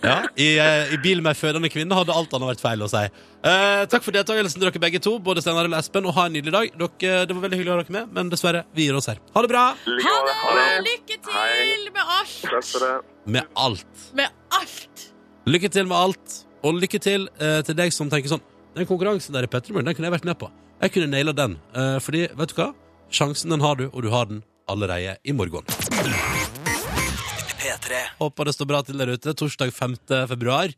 S1: Ja, I, eh, I bil med fødende kvinne hadde alt annet vært feil å si. Eh, takk for deltakelsen, dere begge to. Både Stein Arild og Espen, og ha en nydelig dag. Dere, det var veldig hyggelig å ha dere med, men dessverre, vi gir oss her. Ha det bra!
S2: Ha det!
S6: Ha det.
S2: Lykke til
S6: Hei.
S2: med alt!
S6: Takk for det.
S1: Med alt.
S2: Med alt!
S1: Lykke til med alt, og lykke til eh, til deg som tenker sånn Den konkurransen der i Petremorgen, den kunne jeg vært med på. Jeg kunne naila den. Eh, fordi, vet du hva? Sjansen den har du, og du har den allerede i morgen.
S4: P3
S1: Håper det står bra til der ute. Torsdag 5. februar.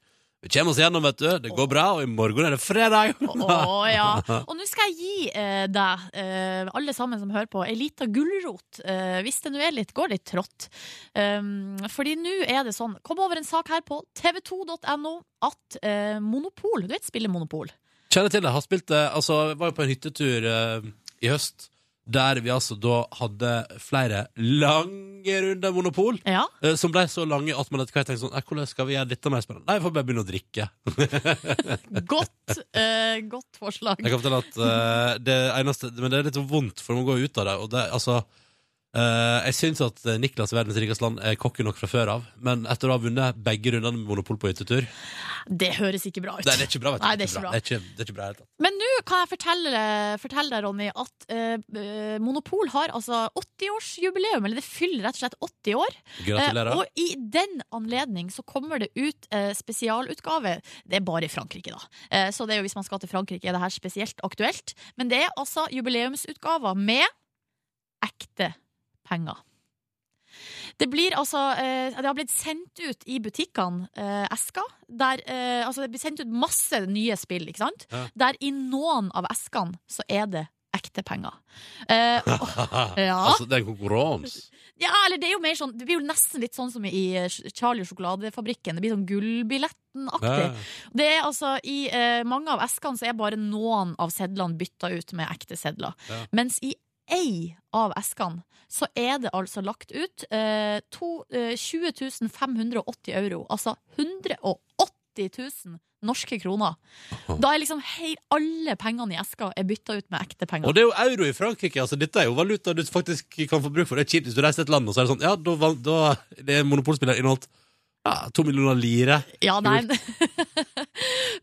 S1: Vi kommer oss gjennom, vet du. Det går bra, og i morgen er det fredag.
S2: Å ja. Og nå skal jeg gi eh, deg, eh, alle sammen som hører på, ei lita gulrot, eh, hvis det nå er litt, går litt trått. Um, fordi nå er det sånn, kom over en sak her på tv2.no at eh, Monopol, du vet spillet Monopol?
S1: Kjenner til det. Har spilt det Altså, jeg var jo på en hyttetur eh, i høst. Der vi altså da hadde flere lange runder monopol.
S2: Ja.
S1: Eh, Som ble så lange at man etter hvert tenkte sånn «Nei, Hvordan skal vi gjøre dette mer spennende? Nei, vi får bare begynne å drikke.
S2: Godt, eh, godt forslag.
S1: Jeg kan fortelle at eh, det eneste Men det er litt vondt, for man går ut av det. Og det altså eh, Jeg syns at Niklas i Verdens rikeste land er kokke nok fra før av, men etter å ha vunnet begge rundene med Monopol på hyttetur
S2: Det høres ikke bra ut.
S1: Nei, det er ikke bra, vet du.
S2: Nei, det er ikke bra.
S1: Det er ikke, det er ikke bra i det hele tatt.
S2: Men nå kan jeg fortelle, fortelle deg, Ronny, at eh, eh, Monopol har altså 80-årsjubileum. Eller det fyller rett og slett 80 år. Eh,
S1: Gratulerer. [laughs]
S2: og i den anledning så kommer det ut eh, spesialutgave. Det er bare i Frankrike, da. Eh, så det er jo hvis man skal til Frankrike, er det her spesielt aktuelt. Men det er altså jubileumsutgaver med ekte penger. Det, blir altså, eh, det har blitt sendt ut i butikkene eh, esker. Der, eh, altså det blir sendt ut masse nye spill, ikke sant?
S1: Ja.
S2: Der i noen av eskene så er det ekte penger.
S1: [laughs]
S2: Eh, og- ja.
S1: Altså, det er en konkurranse.
S2: Ja, eller det er jo mer sånn Det blir jo nesten litt sånn som i eh, Charlie og sjokoladefabrikken. Det blir sånn Gullbilletten-aktig.
S1: Ja.
S2: Det er altså I eh, mange av eskene så er bare noen av sedlene bytta ut med ekte sedler.
S1: Ja.
S2: Mens i ei av eskene så er det altså lagt ut eh, to, eh, 20 580 euro. Altså 180 000 norske
S1: [laughs]
S2: kroner. Da er liksom hei, alle pengene i eska er bytta ut med ekte penger.
S1: Og det er jo euro i Frankrike. altså Dette er jo valuta du faktisk kan få bruk for. Det er kjipt hvis du reiser til et land og så er det sånn Ja, da, vant- da det er monopolspiller inneholdt ja, to millioner lire.
S2: Ja, nei [laughs]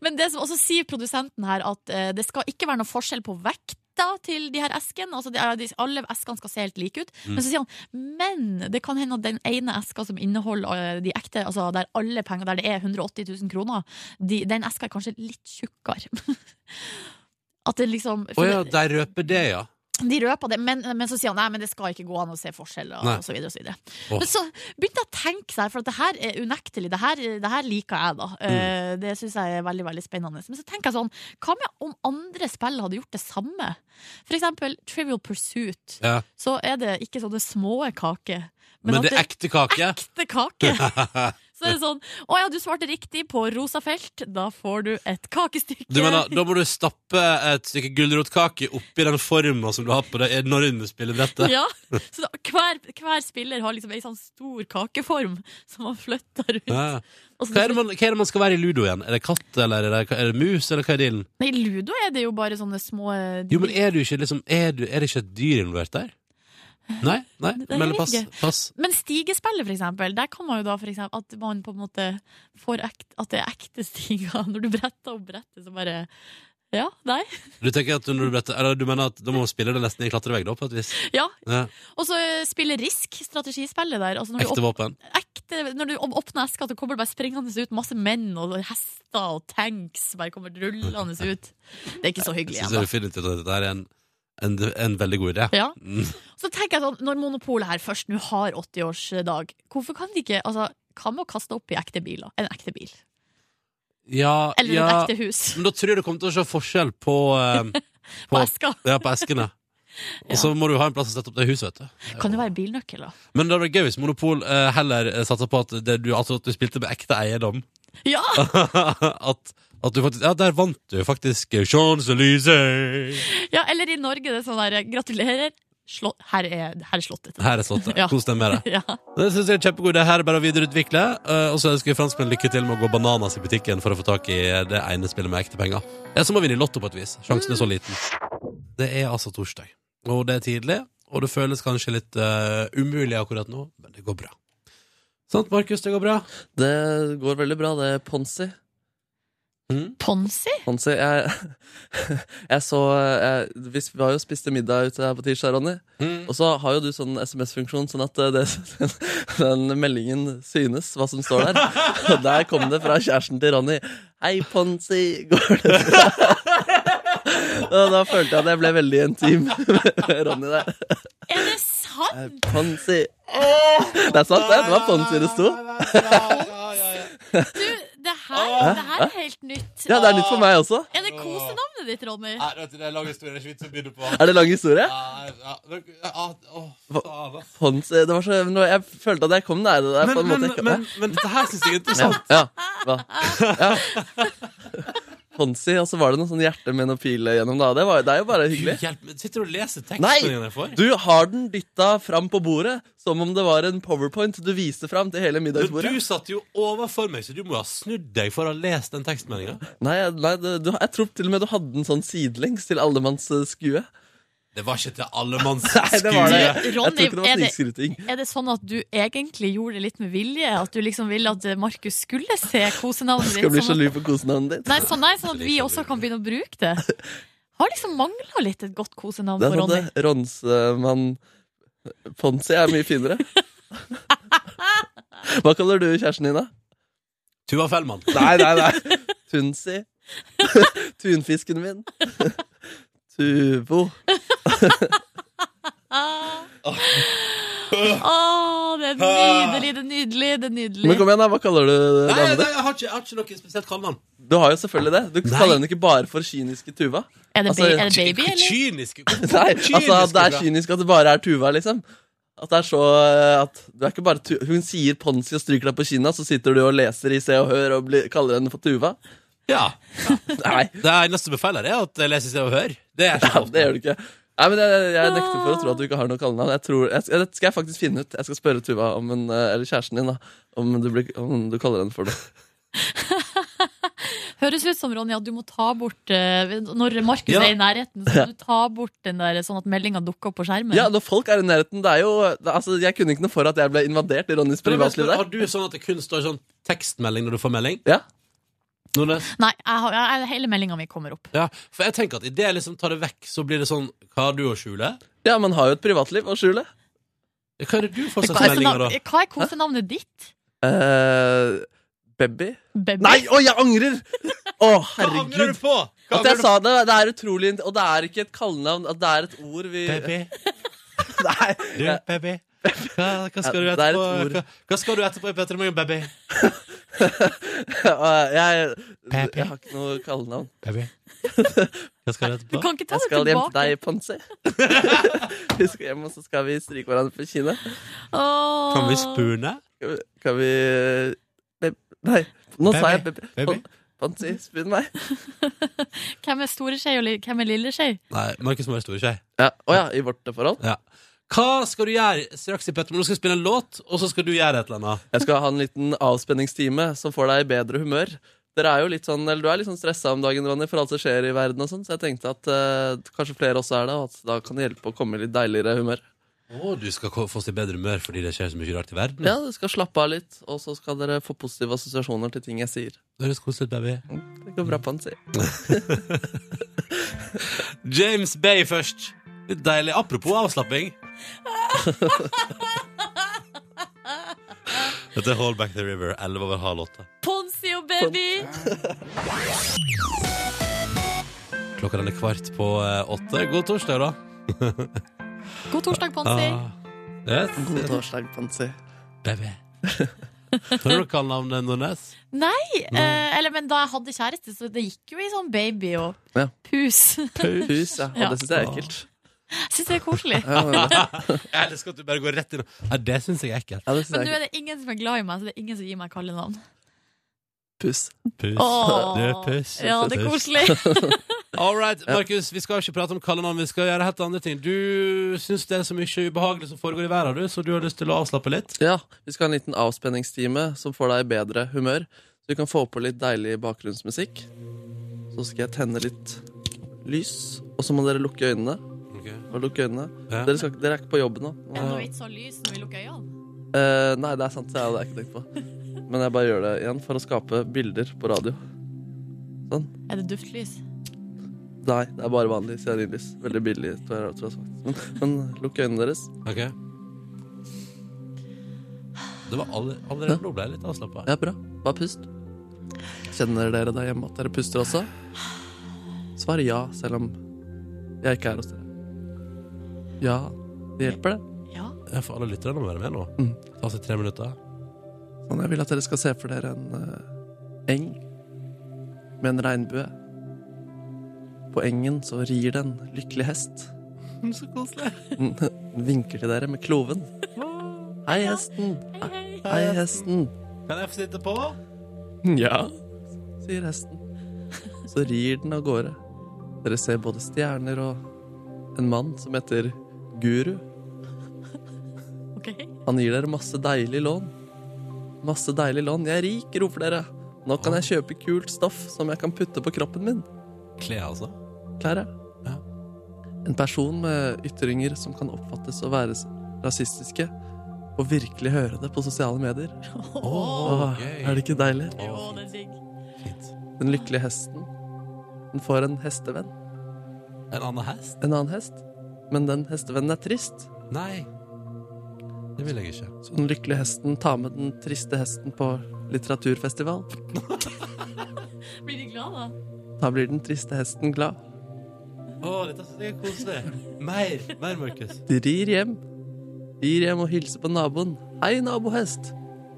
S2: Men det som også sier produsenten her At eh, det skal ikke være noe forskjell på vekta Til de her esken altså, de, er- de, Alle eskene skal se helt like
S1: Mm.
S2: ut Men så sier han, men det kan hende at den ene eska Som inneholder eh, de ekte altså, Der alle penger, der det er 180 000 kroner de, Den eska er kanskje litt tjukkere [laughs] At det liksom
S1: Å ja, der røper det, ja.
S2: de røpa det, men, men så sier han nei, men det skal ikke gå an å se forskjeller.
S1: Nei.
S2: Og så videre, og så videre.
S1: Åh.
S2: Men så begynte jeg å tenke seg, for at det her er unektelig. Det her, det her liker jeg, da.
S1: Mm.
S2: Eh, Det syns jeg er veldig veldig spennende. Men så tenker jeg sånn, hva med om andre spill hadde gjort det samme? For eksempel Trivial Pursuit.
S1: ja.
S2: Så er det ikke sånne små kaker,
S1: Men,
S2: at
S1: det er ekte kake.
S2: ekte kake.
S1: [laughs]
S2: Så er det sånn Å ja, du svarte riktig på rosa felt. Da får du et kakestykke.
S1: Du mener, Da må du stappe et stykke gulrotkake oppi den forma som du har på det enorme spillebrettet.
S2: Ja, så da, hver, hver spiller har liksom ei sånn stor kakeform som man flytter rundt.
S1: Ja.
S2: Og så
S1: Hva, er det man, hva er det man skal være i ludo igjen? Er det katt, eller er det, er det mus, eller hva er dealen?
S2: Nei, I Ludo er det jo bare sånne små eh,
S1: Jo, men er, du ikke, liksom, er, du, er det ikke et dyr involvert der? Nei? nei,
S2: Det- det
S1: Melder
S2: vet
S1: pass.
S2: jeg ikke.
S1: pass.
S2: Men stigespillet, for eksempel, der kan man jo da for eksempel at man på en måte får ekt, at det er ekte stiger. [laughs] Når du bretter opp brettet, så bare Ja, nei.
S1: Du tenker at når du, bretter, eller du mener at da må man spille det nesten i klatrevegg, da, på et vis?
S2: Ja.
S1: Ja.
S2: Og så spille Risk, strategispillet der. Altså når, du
S1: Ekte
S2: åp
S1: våpen.
S2: ekte, når du åp- åpner eska, så kommer det bare springende ut masse menn og hester og tanks bare kommer rullende ut. Det er ikke så hyggelig.
S1: Jeg
S2: ennå.
S1: synes definitivt at dette er en, en, en veldig god idé.
S2: Ja.
S1: Mm.
S2: Så tenker jeg sånn, når monopolet her først nå har 80-årsdag, hvorfor kan de ikke altså, Hva med å kaste opp i ekte biler? En ekte bil.
S1: Ja,
S2: Eller
S1: ja.
S2: et ekte hus.
S1: Men da tror jeg du kommer til å se forskjell på, eh,
S2: [laughs] På
S1: på,
S2: eska.
S1: ja, på eskene.
S2: [laughs]
S1: Og så må du ha en plass å sette opp det huset, vet du.
S2: Kan det være bilnøkkel, da?
S1: Men det hadde vært gøy hvis Monopol eh, heller eh, satsa på at, det du, altså at du spilte med ekte eiendom. [laughs]
S2: Ja!
S1: at, at du faktisk Ja, der vant du faktisk Champs-Élysées!
S2: ja eller i Norge, det er sånn der Gratulerer, slå, her, er, her er slottet.
S1: Her er slottet.
S2: Ja.
S1: Kos deg med det.
S2: Ja.
S1: Det synes jeg er en kjempegod idé. Her er bare å videreutvikle. eh, Og så ønsker vi franskmenn lykke til med å gå bananas i butikken for å få tak i eh, det ene spillet med ekte penger. Ja, så må vi vinne i Lotto på et vis. Sjansen er så liten. Det er altså torsdag, og det er tidlig. Og det føles kanskje litt eh, umulig akkurat nå, men det går bra. Sant, Markus? Det går bra?
S3: Det går veldig bra, det er Ponsi.
S2: Ponsi?
S3: Ponsi, jeg, [laughs] jeg så jeg, hvis Vi har jo spist middag ute her på tirsdag, Ronny.
S1: Mm.
S3: Og så har jo du sånn SMS-funksjon, sånn at det, [laughs] den, den meldingen synes hva som står der. Og der kom det fra kjæresten til Ronny. Hei, Ponsi, går det bra? [laughs] Og da følte jeg at jeg ble veldig intim [laughs] med Ronny der.
S2: Er det sant?!
S3: Hei, Ponsi. Det er sant, det. Det var Ponsi det sto.
S1: [laughs]
S2: Du, det her, det her er helt nytt.
S3: Ja, det er nytt for meg også.
S2: Er det kosenavnet ditt, Ronny?
S1: Det er lang historie. Det er ikke vits å begynne på.
S3: Er det lang historie?
S1: Ja,
S3: Ponsi Det var så nå- Jeg følte at jeg kom nær det der.
S1: men,
S3: på en
S1: men,
S3: måte ikke.
S1: men, men dette her syns jeg er interessant.
S2: Sånn.
S3: Ja. Hva? ja. Ponsi, og så var det noe sånn hjerte med noe pil gjennom. da det, var, det er jo bare hyggelig.
S1: Hjelp, meg. sitter du og leser
S3: Nei!
S1: teksten jeg får?
S3: Du har den dytta fram på bordet som om det var en powerpoint du viste fram til hele
S1: Men
S3: middagsbordet.
S1: du satt jo overfor meg, så du må ha snudd deg for å ha lest den tekstmeldinga.
S3: Nei, nei du, du, jeg tror til og med du hadde den sånn sidelengs til allemanns eh, skue.
S1: Det var ikke til allemannsskue.
S3: [laughs] Nei, det var det. Jeg tror
S2: Ronny,
S3: ikke det var
S2: er det-
S3: snikskryting.
S2: Er det sånn at du egentlig gjorde det litt med vilje? At du liksom ville at Markus skulle se kosenavnet
S3: Skal
S2: ditt?
S3: bli
S2: sånn at-
S3: sjalu på kosenavnet ditt.
S2: Nei, sånn, nei, sånn at vi også kan begynne å bruke det. Har liksom mangla litt et godt kosenavn
S3: Det
S2: for
S3: er sant,
S2: Ronny.
S3: det. Ronsemann Ponsi er mye
S2: [laughs]
S3: finere. Hva kaller du kjæresten din, da?
S1: Tuva Fellmann.
S3: Nei, nei, nei. Tunsi. [laughs] Tunfisken min. [laughs] Tuvo.
S2: Ah. Ah, det er nydelig, det er nydelig, det er
S3: Men
S2: nydelig.
S3: kom igjen, da. Hva kaller du
S1: Nei, nei,
S3: damene?
S1: jeg har ikke, jeg har ikke noe spesielt kallenavn.
S3: Du har jo selvfølgelig det. Du
S1: Nei.
S3: kaller henne ikke bare for kyniske
S1: [laughs]
S3: Tuva.
S2: Er det, ba
S3: altså,
S2: er det baby,
S1: Hvor
S2: eller?
S1: Kynisk.
S3: [laughs] Nei, altså at Det er kynisk at det bare er Tuva, liksom. At det er så eh, at du er ikke bare tu Hun sier Ponsi og stryker deg på kinna, så sitter du og leser i Se og Hør og blir, kaller henne for Tuva.
S1: Ja.
S3: [laughs] Nei,
S1: Det eneste befeilet er at jeg leser Se og Hør. Det er
S3: ja,
S1: ikke
S3: det gjør du ikke. Nei, men jeg, jeg nekter for å tro at du ikke har noe kallenavn. Jeg tror, jeg, det skal jeg faktisk finne ut. Jeg skal spørre Tuva, om hun, eh, eller kjæresten din, da, om du, blir, om du kaller henne for det.
S2: Høres ut som Ronny at du må ta bort eh, Når Markus
S1: Ja.
S2: er i nærheten, så må du ta bort den der sånn at meldinga dukker opp på skjermen.
S3: Ja, når folk er i nærheten, det er jo det, Altså, jeg kunne ikke noe for at jeg ble invadert i Ronnys
S1: Men jeg
S3: privatliv
S1: spør,
S3: der.
S1: Har du sånn at det kun står sånn tekstmelding når du får melding?
S3: Ja.
S1: Nordnes?
S2: Nei, jeg, har- jeg, hele meldinga mi kommer opp.
S1: Ja, for jeg tenker at idet jeg liksom tar det vekk, så blir det sånn Hva har du å skjule?
S3: ja, man har jo et privatliv å skjule.
S1: Ja, Hva er det du får
S2: Hva
S1: slags
S2: er,
S1: meldinger, da?
S2: kosenav- hva er kosenavnet ditt?
S3: eh baby?
S2: Baby?
S3: Nei, å, jeg angrer!
S1: Hva
S3: Å,
S1: angrer
S3: herregud.
S1: du på? Hva
S3: At jeg
S1: angrer du
S3: sa det, det er utrolig Og det er ikke et kallenavn, at det er et ord vi
S1: på? Baby,
S3: [laughs] Nei.
S1: du, baby. Hva, hva skal du
S3: Ja, det er et
S1: etterpå?
S3: ord.
S1: Hva, hva skal du etterpå i Petter Morgen, baby?
S3: Jeg, jeg,
S1: Pepe.
S3: jeg har ikke noe kallenavn.
S1: Baby. [laughs] Hva skal du
S2: Du
S1: etterpå?
S2: kan ikke ta
S3: Jeg
S2: det
S3: skal hjem til
S2: tilbake.
S3: deg, Ponsi.
S1: [laughs]
S3: Vi skal hjem, og så skal vi stryke hverandre på kinnet.
S2: Åh.
S1: Kan vi spune?
S3: Skal vi, skal vi Baby. Nei, nå sa jeg
S1: Baby.
S3: baby.
S1: Baby.
S3: Ponsi, spinn meg.
S2: Hvem er store skje og li- hvem er lille skje?
S1: Nei, Markus må være stor skje.
S3: Ja, å ja, i vårt forhold.
S1: Ja. Hva skal du gjøre straks i Petter Morgen? Du skal spille en låt, og så skal du gjøre et eller annet.
S3: Jeg skal ha en liten avspenningstime som får deg i bedre humør. Dere er jo litt sånn, eller Du er litt sånn stressa om dagen, Ronny, for alt som skjer i verden. og sånn, Så jeg tenkte at eh, kanskje flere også er det, og at da kan det hjelpe å komme i litt deiligere humør.
S1: Å, du skal ko- få oss i bedre humør fordi det skjer så mye rart i
S2: Mm.
S1: verden.
S3: Ja, Du skal slappe av litt, og så skal dere få positive assosiasjoner til ting jeg sier.
S1: Det høres koselig ut, baby.
S3: Det går bra på en side.
S1: James Bay først. Litt deilig. Apropos
S3: [laughs]
S1: avslapping. Dette er Hold Back The River, 11 over halv åtte.
S2: Ponsi og baby!
S1: Klokka den er kvart på eh, åtte. God torsdag, da.
S2: God torsdag, Ponsi.
S1: Ah. Yes.
S3: God torsdag, Pansi.
S1: Baby. Har du kallenavnet
S2: [laughs]
S1: Nordnes?
S2: Eh, eller, men da jeg hadde kjæreste, så det gikk jo i sånn baby og
S3: Ja.
S2: pus. [laughs] Jeg
S3: Pus, ja. Og
S2: Ja.
S3: det syns jeg er ekkelt.
S2: Syns det er koselig.
S3: Ja, men, det-
S1: Jeg elsker at du bare går rett inn. Nei, det syns jeg er ekkelt.
S3: ja, det synes
S2: Men nå
S3: jeg er ekkelt.
S2: er det ingen som er glad i meg, så det er ingen som gir meg kallenavn.
S3: Pus.
S1: Pus.
S2: Åh.
S1: Du er pus.
S2: Ja, det er
S1: Pus. [laughs]
S2: koselig.
S1: All right, Markus, vi skal ikke prate om kallenavn. Vi skal gjøre helt andre ting. Du syns det er så mye ubehagelig som foregår i verden, du, så du har lyst til å avslappe litt?
S3: Ja, vi skal ha en liten avspenningstime som får deg i bedre humør. Så du kan få på litt deilig bakgrunnsmusikk. Så skal jeg tenne litt lys, og så må dere lukke øynene. Og lukke øynene.
S1: Ja.
S3: Dere, skal, dere er ikke på jobb nå.
S2: Er det noe vits å lyse sånn når vi lukker øynene?
S3: Eh, nei, det er sant, det har jeg ikke tenkt på. Men jeg bare gjør det igjen for å skape bilder på radio.
S2: Er det duftlys?
S3: Nei, det er bare vanlig stearinlys. Veldig billig. Tror jeg, tror jeg, har sagt. men, men lukk øynene deres.
S1: Ok Det var alle, allerede nå ble jeg litt avslappa.
S3: Ja, bra. Bare pust. Kjenner dere der hjemme at dere puster også? Svar ja, selv om jeg ikke er hos dere. Ja, det hjelper, det.
S2: Ja.
S1: Jeg får alle lytterne å være med nå.
S2: Mm.
S1: Ta seg tre minutter.
S3: Sånn, jeg vil at dere skal se for dere en eh, eng med en regnbue. På engen så rir det en lykkelig hest.
S1: Så koselig.
S3: Den vinker til dere med kloven. Hei, hesten.
S2: Hei, hei.
S3: Hei, hesten.
S1: Kan jeg få sitte på?
S3: Ja, sier hesten. Så rir den av gårde. Dere ser både stjerner og en mann som heter Guru.
S2: Ok.
S3: Han gir dere masse deilig lån. Masse deilig lån. Jeg er rik, roper dere. Nå kan jeg kjøpe kult stoff som jeg kan putte på kroppen min.
S1: Kle, altså.
S3: Klær, jeg.
S1: Ja.
S3: En person med ytringer som kan oppfattes å være s- rasistiske, og virkelig høre det på sosiale medier. Åh,
S1: gøy.
S3: er det ikke deilig?
S2: Jo, det er digg.
S3: Den lykkelige hesten. Den får en hestevenn.
S1: En annen hest?
S3: En annen hest. Men den hestevennen er trist,
S1: Nei. Det vil jeg ikke.
S3: så den lykkelige hesten tar med den triste hesten på litteraturfestival.
S2: Blir de glad, da?
S3: Da blir den triste hesten glad.
S1: Å, dette synes jeg er koselig. [laughs] Mer, mer, Markus.
S3: De rir hjem. Rir hjem og hilser på naboen. Hei, nabohest.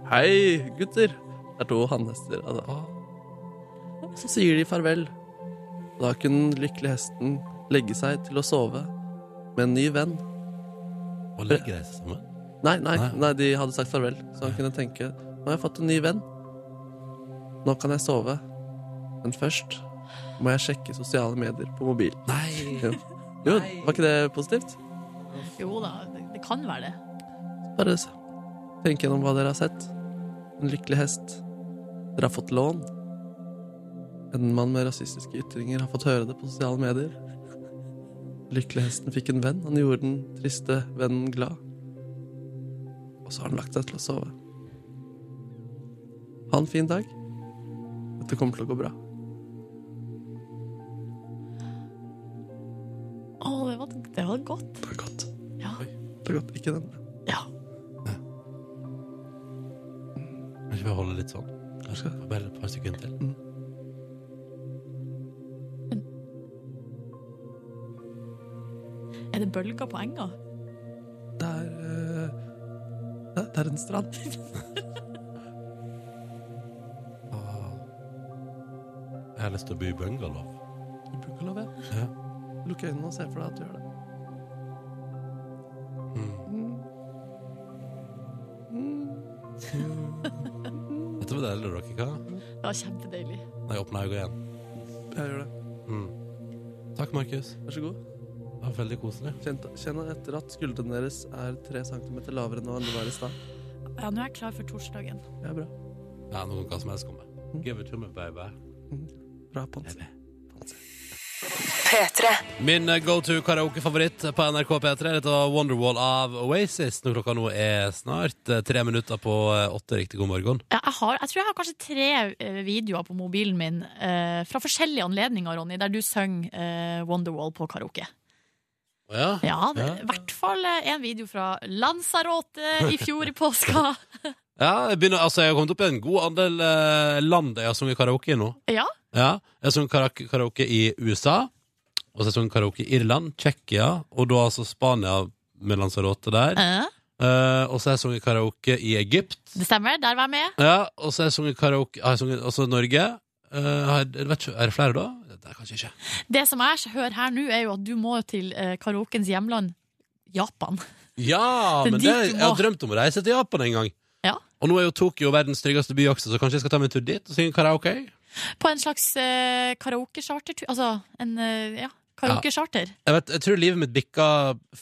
S3: Hei, gutter. Det er to hannhester. Altså. Så sier de farvel. Da kunne den lykkelige hesten legge seg til å sove med en ny venn.
S1: Og legger deg sammen.
S3: Nei, nei,
S1: Nei.
S3: nei, de hadde sagt farvel, så han kunne tenke Nå har jeg fått en ny venn. Nå kan jeg sove. Men først må jeg sjekke sosiale medier på mobil.
S1: [laughs] Nei.
S3: Jo, jo var ikke det positivt?
S2: Jo da, det, det kan være det.
S3: Bare s- tenk gjennom hva dere har sett. En lykkelig hest. Dere har fått lån. En mann med rasistiske ytringer har fått høre det på sosiale medier. Lykkelig hesten fikk en venn. Han gjorde den triste vennen glad. Og så har han lagt seg til å sove. Ha en fin dag. Dette kommer til å gå bra.
S2: Å, det var, det var godt.
S3: Det er godt.
S2: Ja.
S3: Det er godt. Ikke den.
S2: ja.
S1: Kan ikke vi holde litt sånn? Kanskje bare et par sekunder til.
S2: Er det bølger på enga?
S3: Det er eh, det- Det er en strand. [laughs]
S1: Jeg har lyst til å bo i bungalow.
S3: I Bungalow, ja.
S1: Ja.
S3: Lukk øynene og se for deg at du gjør det.
S1: Dette var deilig, dere, hva?
S2: Det var kjempedeilig.
S1: Nei, åpna øynene igjen.
S3: Jeg gjør det.
S1: Takk, Markus.
S3: Vær så god.
S1: Det var veldig koselig.
S3: Kjenn kjenn etter at skuldrene deres er 3 cm lavere nå enn det var i stad.
S2: Ja, nå er jeg klar for torsdagen.
S3: Det er bra.
S1: Ja, noen hva som helst komme. Give it to me, baby.
S3: Bra, Pons.
S1: Min go to karaokefavoritt på NRK P3 Dette var Wonderwall av Oasis Når klokka nå er snart eh, tre minutter på eh, åtte Riktig god morgen
S2: Ja, Jeg, har, jeg tror jeg har kanskje tre eh, videoer på mobilen min eh, fra forskjellige anledninger, Ronny, der du synger eh, Wonderwall på karaoke.
S1: ja.
S2: Ja, det,
S1: Ja.
S2: i hvert fall eh, en video fra Lanzarote i fjor i påska.
S1: jeg, begynner, altså, jeg har kommet opp i en god andel eh, land Jeg har sunget karaoke i nå
S2: Ja,
S1: ja, Jeg har sunget karaoke, karaoke i USA Og så har jeg sunget karaoke i Irland, Tjekkia Og da altså Spania med Lanzarote der
S2: eh,
S1: Eh, Og så har jeg sunget karaoke i Egypt
S2: det stemmer. Der var jeg med.
S1: Ja, og så har jeg sunget karaoke Har jeg sunget også Norge Eh, har jeg, jeg vet ikke, Er det flere da? Det er kanskje ikke
S2: Det som jeg hører her nå, er jo at du må til eh, karaokens hjemland, Japan.
S1: Ja,
S2: Det er
S1: men det,
S2: dit
S1: jeg
S2: du må.
S1: har drømt om å reise til Japan en gang.
S2: Ja.
S1: Og nå er jo Tokyo verdens tryggeste by også, så kanskje jeg skal ta meg en tur dit og synge karaoke?
S2: På en slags eh, karaokecharter. Altså en eh, ja, karaokecharter.
S1: Jeg, vet, jeg tror livet mitt bikka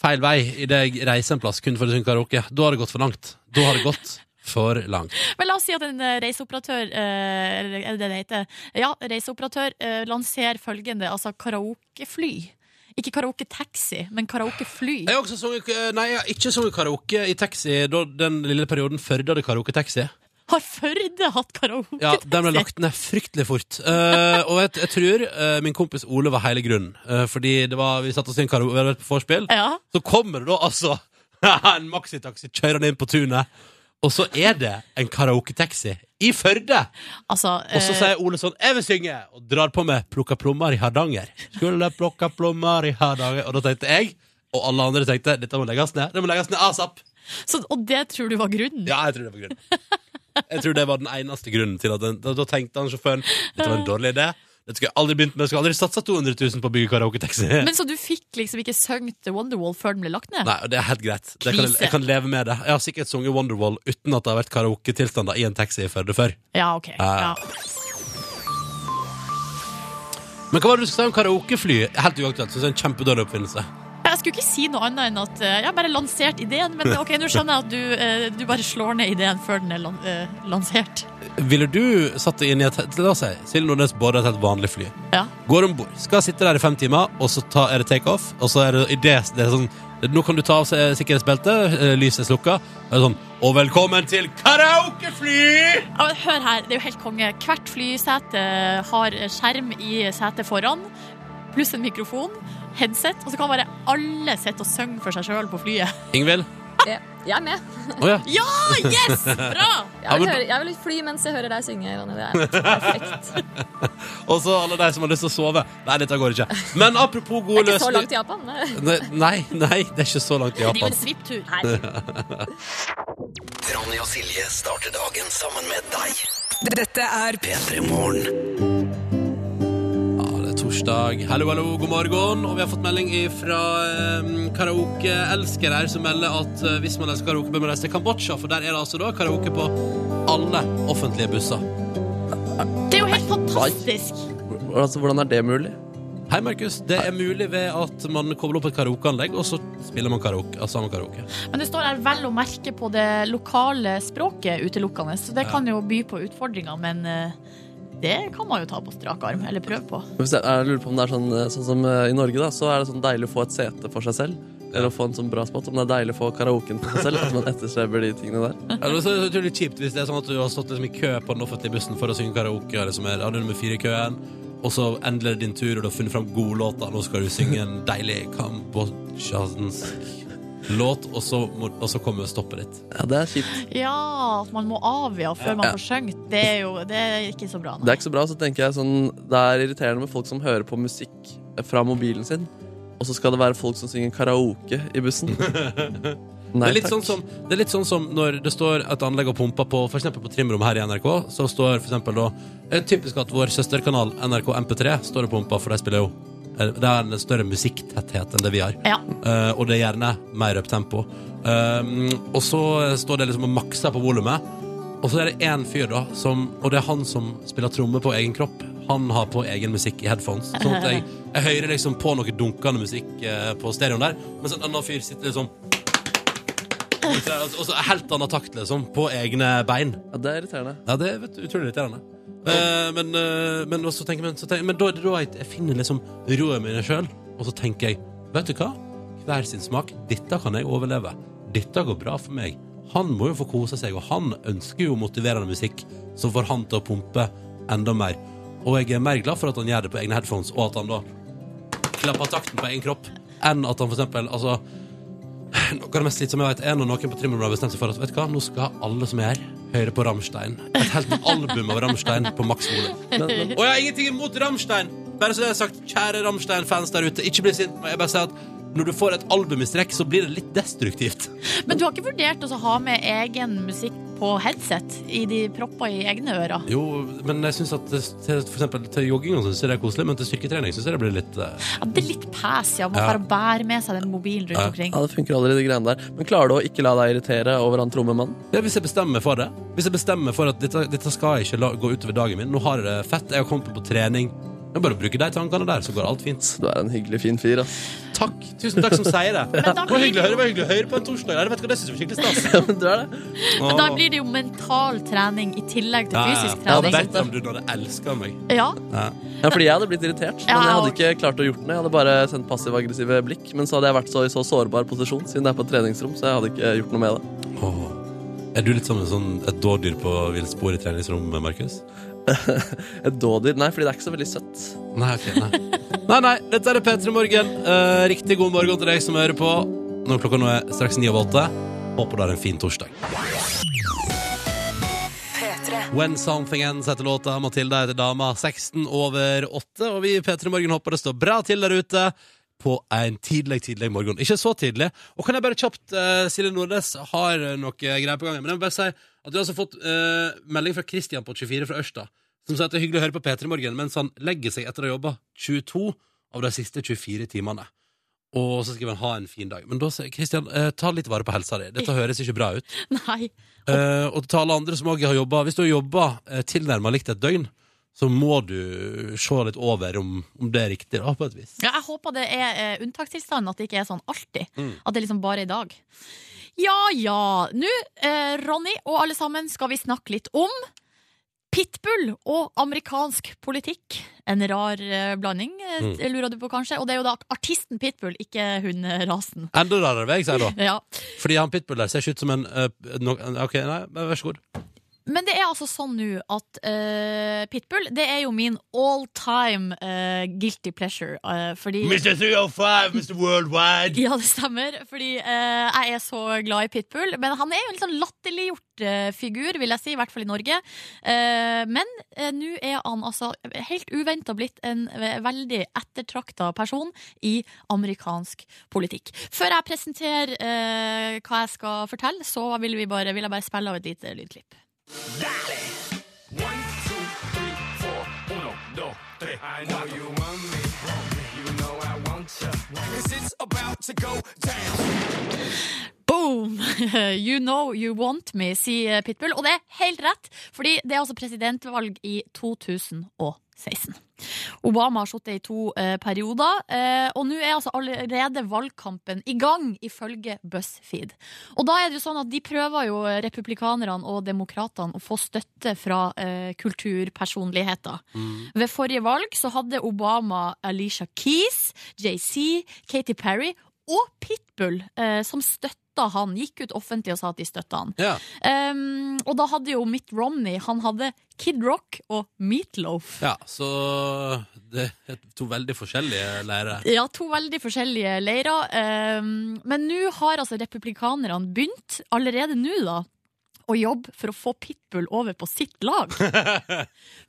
S1: feil vei idet jeg reiser en plass kun for å synge karaoke. Da har det gått for langt. Da har det gått for langt.
S2: Men la oss si at en eh, reiseoperatør eh, Eller er det det det heter? Ja, reiseoperatør eh, lanserer følgende, altså karaokefly. Ikke karaoketaxi, men karaokefly.
S1: Jeg har også sunget eh, Nei, jeg har ikke sunget karaoke i taxi da den lille perioden Førde hadde karaoketaxi.
S2: Har Førde hatt karaoke?
S1: Ja, den ble lagt ned fryktelig fort. Eh, og jeg, jeg tror eh, min kompis Ole var hele grunnen. Eh, fordi det var, vi satt oss i en karaoke, vi hadde vært på vorspiel.
S2: Ja.
S1: Så kommer det da altså [laughs] en maxitaxi kjørende inn på tunet, og så er det en karaoketaxi i Førde!
S2: Altså,
S1: Og så
S2: eh,
S1: sier Ole sånn 'Jeg vil synge!' og drar på med 'Plukka plommer i Hardanger'. Skulle plukka plommer i Hardanger Og da tenkte jeg, og alle andre tenkte, dette må legges ned. Det må legges ned asap!
S2: så, og det tror du var grunnen?
S1: Ja, jeg tror det var grunnen. Jeg tror det var den eneste grunnen til at den, da, da tenkte han sjåføren dette var en dårlig idé. Dette skulle jeg aldri begynt med. Jeg skulle aldri satsa 200 000 på å bygge karaoketaxi.
S2: Men så du fikk liksom ikke sunget Wonderwall før den ble lagt ned?
S1: Nei, og det er helt greit. Det kan,
S2: Krise.
S1: jeg kan leve med det. Jeg har sikkert sunget Wonderwall uten at det har vært karaoketilstander i en taxi i Førde før.
S2: Ja, ok. Ja.
S1: Men hva var det du skulle si om karaokefly? Helt uaktuelt. Synes jeg er en kjempedårlig oppfinnelse.
S2: Jeg skulle ikke si noe annet enn at eh, jeg har bare lansert ideen, men eh, ok, nå skjønner jeg at du, eh, du bare slår ned ideen før den er lan eh, lansert.
S1: Ville du satt deg inn i et La oss si Silje Nordnes border et helt vanlig fly.
S2: Ja.
S1: Går om bord, skal sitte der i fem timer, og så ta, er det takeoff. Og så er det, i det, det er sånn Nå kan du ta av seg sikkerhetsbeltet, eh, lyset er slukka. Og, sånn, og velkommen til karaokefly!
S2: Ja, men hør her, det er jo helt konge. Hvert flysete har skjerm i setet foran, pluss en mikrofon, headset, og så kan bare alle sitte og synge for seg sjøl på flyet. [laughs]
S1: Ingvild?
S7: Jeg jeg er med.
S1: Å ja.
S2: Ja, yes! Bra!
S1: Ja,
S7: Jeg vil,
S1: men-
S7: høre, jeg vil fly mens jeg hører deg synge, Ronny.
S1: [laughs]
S7: Det er perfekt. Det
S1: Og så alle de som har lyst til å sove. Nei, dette går ikke. Men apropos gode
S7: er ikke så
S1: løsninger
S7: langt til Japan. det.
S1: Nei, nei, nei, det er ikke så langt i
S2: Det er jo
S1: Japan.
S2: en svipptur.
S7: Nei.
S4: Ronny og Silje starter dagen sammen med deg.
S8: Dette er
S4: P3 Morgen.
S1: Ja, det er torsdag. Hallo, hallo, god morgen. Og vi har fått melding fra karaokeelskere her som melder at eh, hvis man elsker karaoke, bør man reise til Kambodsja, for der er det altså da karaoke på alle offentlige busser.
S2: Det er jo helt fantastisk.
S3: Altså, Hvordan er det mulig?
S1: Hei, Markus. Det er mulig ved at man kobler opp et karaokeanlegg, og så spiller man karaoke. Altså, sammen karaoke.
S2: Men det står her vel å merke på det lokale språket utelukkende, så det kan jo by på utfordringer, men eh, det kan man jo ta på strak arm, eller prøve på.
S3: Hvis jeg, jeg lurer på om det er sånn, eh, sånn som eh, I Norge da, så er det sånn deilig å få et sete for seg selv. Eller å få en sånn bra spot. Om det er deilig å få karaoken for seg selv. At man etterstreber de tingene
S1: [laughs]
S3: der.
S1: Ja, det er så utrolig kjipt hvis det er sånn at du har stått liksom i kø på den offentlige bussen for å synge karaoke, eller som er ja, du er nummer fire i køen, og så endelig er det din tur, og du har funnet fram gode låter. Nå skal du synge en deilig kambodsjansk låt, og så, må, og så kommer stoppet ditt.
S3: Ja, Det er kjipt.
S2: Ja, at man må avgjøre før man får sunget, det er jo det er ikke så bra. Nei.
S3: Det er ikke så bra. Så tenker jeg sånn, det er irriterende med folk som hører på musikk fra mobilen sin, og så skal det være folk som synger karaoke i
S1: [laughs]
S3: bussen. Nei,
S1: det, er litt
S3: takk.
S1: sånn som, det er litt sånn som når det står et anlegg og pumper på For eksempel på trimrom her i NRK Så står for eksempel da eh, Typisk at vår søsterkanal NRK MP3 Står og pumper, for de spiller jo eh, Det er en større musikktetthet enn det vi har
S2: Ja.
S1: Eh, Og det er gjerne mer opptempo um, Og så står det liksom og makser på volumet Og så er det en fyr da som, Og det er han som spiller tromme på egen kropp Han har på egen musikk i headphones Sånn at jeg, jeg hører liksom på noe dunkende musikk eh, På stereoen der Mens en annen fyr sitter liksom og så- Og så helt annen takt, liksom. På egne bein.
S3: Ja, det er irriterende.
S1: Ja, det er vet du, utrolig irriterende. Eh, men eh, men, også tenker, men, så tenker, men da er det da jeg, jeg finner liksom roa mi i meg sjøl, og så tenker jeg Vet du hva? Hver sin smak. Dette kan jeg overleve. Dette går bra for meg. Han må jo få kose seg, og han ønsker jo motiverende musikk som får han til å pumpe enda mer. Og jeg er mer glad for at han gjør det på egne headphones, og at han da klapper takten på egen kropp, enn at han for eksempel altså, noe av det mest slitsomme jeg vet, er når noen på trimmen har bestemt seg for at vet du hva, nå skal alle som er her, høre på Rammstein. Et helt album av Rammstein på maksvolum.
S3: Men, men
S1: Og jeg har ingenting imot Rammstein! Bare så det er sagt, kjære Rammstein-fans der ute, ikke bli sint på meg. Jeg bare sier at når du får et album i strekk, så blir det litt destruktivt.
S2: Men du har ikke vurdert å ha med egen musikk på headset i de propper i egne ører?
S1: Jo, men jeg synes at det- til, for eksempel til jogging og sånn, synes jeg det er koselig, men til styrketrening synes jeg det blir litt eh,
S2: Ja, det er litt pes, ja. Man
S1: Ja.
S2: bare bærer med seg den mobilen rundt
S1: Ja.
S2: omkring.
S3: Ja, det funker allerede, de greiene der. Men klarer du å ikke la deg irritere over han trommemannen?
S1: Ja, hvis jeg bestemmer meg for det. Hvis jeg bestemmer meg for at dette, dette skal jeg ikke la, gå utover dagen min. Nå har jeg det fett, jeg har kommet på trening. Det er bare å bruke de tankene der, så går alt fint.
S3: Du er en hyggelig, fin fyr, ass. [laughs]
S1: Takk. Tusen takk som sier det.
S2: Men da
S1: Det var
S2: blir
S1: hyggelig å
S2: det
S1: høre, det
S2: jo,
S1: var hyggelig å høre på en torsdag. Nei, vet du hva, det synes jeg var
S2: [laughs]
S1: skikkelig stas.
S3: Ja, men du er det.
S2: men da blir det jo mental trening i tillegg til
S1: Ja, ja, ja.
S2: fysisk
S1: Ja,
S2: trening.
S1: Vet om du når du elsker meg.
S2: Ja, [laughs]
S3: Ja, fordi jeg hadde blitt irritert, men
S2: Ja,
S3: jeg hadde
S2: ok.
S3: ikke klart å gjort det. Jeg hadde bare sendt passiv-aggressive blikk, men så hadde jeg vært så i så sårbar posisjon, siden det er på et treningsrom, så jeg hadde ikke gjort noe med det.
S1: Åh. Er du litt som en sånn, et dårdyr på villspor i treningsrom, Markus?
S3: Et dådyr? Nei, fordi det er ikke så veldig søtt.
S1: Nei, ok, nei. nei, nei, dette er P3 Morgen. Eh, riktig god morgen til deg som hører på. Når klokka nå er straks ni over åtte. Håper du har en fin torsdag. When Something Ends heter låta. Matilda heter dama. 16 over 8. Og vi i P3 Morgen håper det står bra til der ute på en tidlig, tidlig morgen. Ikke så tidlig. Og kan jeg bare kjapt eh, Silje Nordnes har eh, noe greier på gang. Men jeg må bare si at du har altså fått eh, melding fra Christian på 24 fra Ørsta, som sier at det er hyggelig å høre på P3 Morgen mens han legger seg etter å ha jobba 22 av de siste 24 timene. Og så skriver han 'ha en fin dag'. Men da sier Christian, eh, ta litt vare på helsa di. Dette høres ikke bra ut.
S2: nei.
S1: Eh, og til alle andre som også har jobba Hvis du har jobba eh, tilnærma likt et døgn, så må du se litt over om, om det er riktig, da, på et vis.
S2: Ja, jeg håper det er eh, unntakstilstand, at det ikke er sånn alltid.
S1: Mm.
S2: At det liksom bare er i dag. Ja ja. Nå, eh, Ronny og alle sammen, skal vi snakke litt om Pitbull og amerikansk politikk. En rar eh, blanding, eh,
S1: Mm.
S2: lurer du på kanskje. Og det er jo da artisten Pitbull, ikke hunderasen.
S1: Enda rarere, vil jeg si, da.
S2: Ja.
S1: Fordi han Pitbull der ser ikke ut som en eh, no, Ok, nei, men vær så god.
S2: Men det er altså sånn nå at eh, Pitbull det er jo min all time eh, guilty pleasure. eh, fordi
S1: Mr. 305, Mr. Worldwide.
S2: Ja, det stemmer. Fordi eh, jeg er så glad i Pitbull. Men han er jo en litt sånn latterliggjort eh, figur, vil jeg si. I hvert fall i Norge. Eh, men eh, nå er han altså helt uventa blitt en ve- veldig ettertrakta person i amerikansk politikk. Før jeg presenterer eh, hva jeg skal fortelle, så vil, vi bare, vil jeg bare spille av et lite lydklipp. Boom! [laughs] You know you want me, sier Pitbull. Og det er helt rett, fordi det er altså presidentvalg i 2016. Obama har sittet i to eh, perioder, eh, og nå er altså allerede valgkampen i gang, ifølge BuzzFeed. Og da er det jo sånn at de prøver jo eh, republikanerne og demokratene å få støtte fra eh, kulturpersonligheter. Ved forrige valg så hadde Obama Alicia Keys, JC, Katy Perry og Pitbull eh, som støtta han, gikk ut offentlig og sa at de støtta han.
S1: Ja.
S2: Um, og da hadde jo Mitt Romney Han hadde Kid Rock og Meatloaf.
S1: ja, så det er to veldig forskjellige leirer.
S2: Ja, to veldig forskjellige leirer. Um, men nå har altså republikanerne begynt, allerede nå da, å jobbe for å få Pitbull over på sitt lag.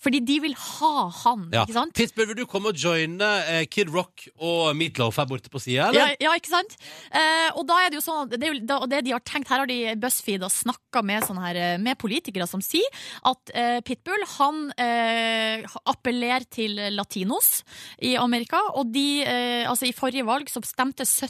S2: Fordi de vil ha han,
S1: Ja.
S2: ikke sant?
S1: Pitbull, vil du komme og joine eh, Kid Rock og Meatloaf her borte på sida,
S2: Ja,
S1: eller?
S2: ja, ikke sant? Eh, og da er det jo sånn at det, er jo, da, og det de har tenkt, Her har de BuzzFeed snakka med, sånne her, eh, med politikere som sier at eh, Pitbull han eh, appellerer til latinos i Amerika. Og de, eh, altså i forrige valg så stemte 70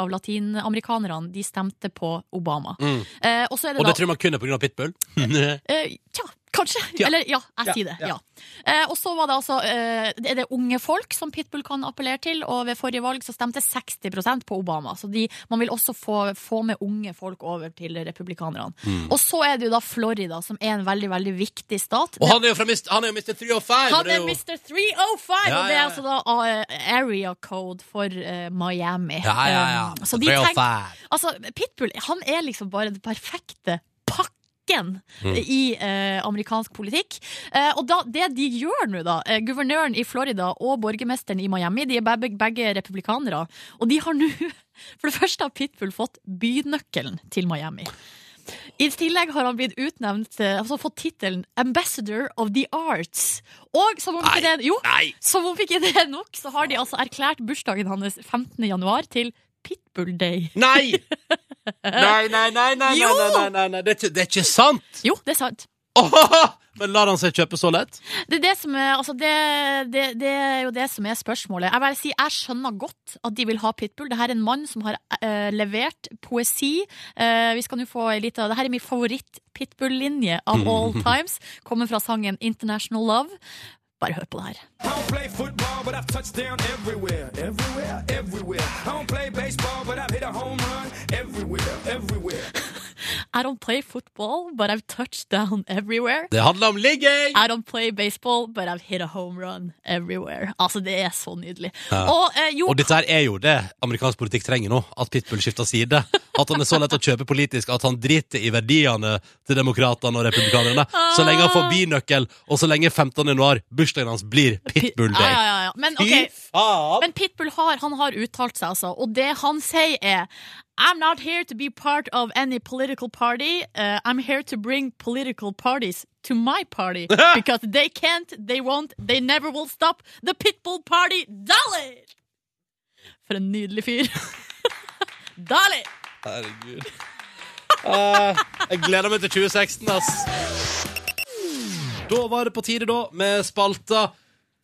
S2: av latinamerikanerne de stemte på Obama.
S1: Mm.
S2: Eh, og så er det
S1: Og det
S2: da
S1: tror jeg man kun er pga.
S2: [laughs]
S1: Pitbull. ja,
S2: Eh, Tja, kanskje.
S1: Ja.
S2: Eller ja, jeg
S1: Ja,
S2: sier det.
S1: ja.
S2: Ja. Eh, og så var det altså eh, det Er det unge folk som Pitbull kan appellere til? Og ved forrige valg så stemte 60 på Obama. Så de, man vil også få, få med unge folk over til republikanerne.
S1: Mm.
S2: Og så er det jo da Florida, som er en veldig, veldig viktig stat.
S1: Og han er jo fra Mr. Han er jo Mr. 305! og
S2: Han
S1: det
S2: er
S1: jo-
S2: Mr. 305,
S1: Ja,
S2: og det er
S1: ja, ja.
S2: altså da eh, area code for eh, Miami.
S1: Ja, ja, ja.
S2: Um, så de
S1: 305.
S2: tenker Altså, Pitbull han er liksom bare den perfekte pakken i eh, amerikansk politikk. Eh, og da, det de gjør nå, da eh, Guvernøren i Florida og borgermesteren i Miami De er begge, begge republikanere. Og de har nå [laughs] For det første har Pitbull fått bynøkkelen til Miami. I tillegg har han blitt utnevnt eh, Altså fått tittelen Ambassador of the Arts. Og som om ikke det er- Jo,
S1: Nei!
S2: som om ikke det er nok, så har de altså erklært bursdagen hans 15. januar til Pitbull Day.
S1: Nei! Nei, nei, nei, nei, nei,
S2: Jo!
S1: nei, nei, nei, nei. Det, er ikke, det er ikke sant!
S2: Jo, det er sant.
S1: Åh! Men lar han seg kjøpe så lett?
S2: Det er, det, som er, altså det, det, det er jo det som er spørsmålet. Jeg bare sier, jeg skjønner godt at de vil ha Pitbull. Dette er en mann som har eh, levert poesi. Eh, vi skal nå få en liten Dette er min favoritt-Pitbull-linje av all times. Kommer fra sangen International Love. Bare hør på det her.
S8: I don't play football, but I've touched down everywhere, everywhere, everywhere. I don't play baseball, but I've hit a home run everywhere, everywhere.
S2: [laughs] I don't play football, but I've touched down everywhere.
S1: Det handler om ligging!
S2: [laughs] I don't play baseball, but I've hit a home run everywhere. Altså, det er så nydelig. Og eh, jo,
S1: Og dette her er jo det amerikansk politikk trenger nå. At Pitbull skifter side. At han er så lett å kjøpe politisk at han driter i verdiene til demokratene og republikanerne. Så lenge han får binøkkel, og så lenge 15. januar, bursdagen hans, blir Pitbull
S2: Ah, Ja,
S1: Day.
S2: ja, ja, ja. Men,
S1: Fy
S2: ok,
S1: faen!
S2: men Pitbull har, han har uttalt seg, altså. Og det han sier, er I'm not here to be part of any political party. Uh, I'm here to bring political parties to my
S1: [laughs]
S2: party. Because they can't, they won't, they never will stop the Pitbull party. Dolly! For en nydelig fyr. [laughs] Dolly!
S1: Herregud. Eh, jeg gleder meg til 2016, ass. Da var det på tide, da, med spalta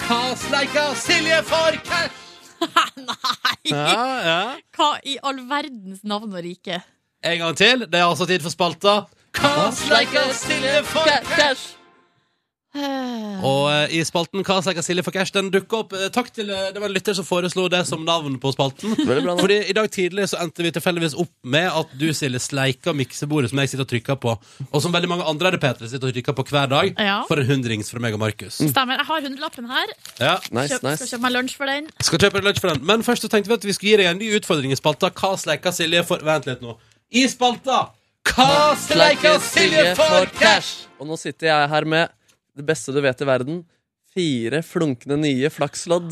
S1: Hva sleika Silje for cash?
S2: Nei!
S1: Ja, ja.
S2: Hva i all verdens navn og rike?
S1: En gang til. Det er altså tid for spalta Hva sleika Silje for cash? Og eh, i spalten Hva slekker Silje for cash? Den dukker opp. Eh, Takk til eh, det var en lytter som foreslo det som navn på spalten.
S3: Veldig bra.
S1: Fordi I dag tidlig så endte vi tilfeldigvis opp med at du, Silje, sleika miksebordet som jeg sitter og trykker på, og som veldig mange andre repetere sitter og trykker på hver dag,
S2: Ja.
S1: for en hundrings fra meg og Markus.
S2: Stemmer. Jeg har hundrelappen her.
S1: Ja.
S3: Nice,
S2: Kjøp, skal
S3: nice.
S2: kjøpe meg lunsj for den.
S1: Skal kjøpe lunsj for den. Men først så tenkte vi at vi skulle gi deg en ny utfordring i spalta. Hva sleika Silje for Vent litt nå. I spalta Hva sleika Silje for cash?
S3: Og nå sitter jeg her med det beste du vet i verden. Fire flunkende nye flakslodd.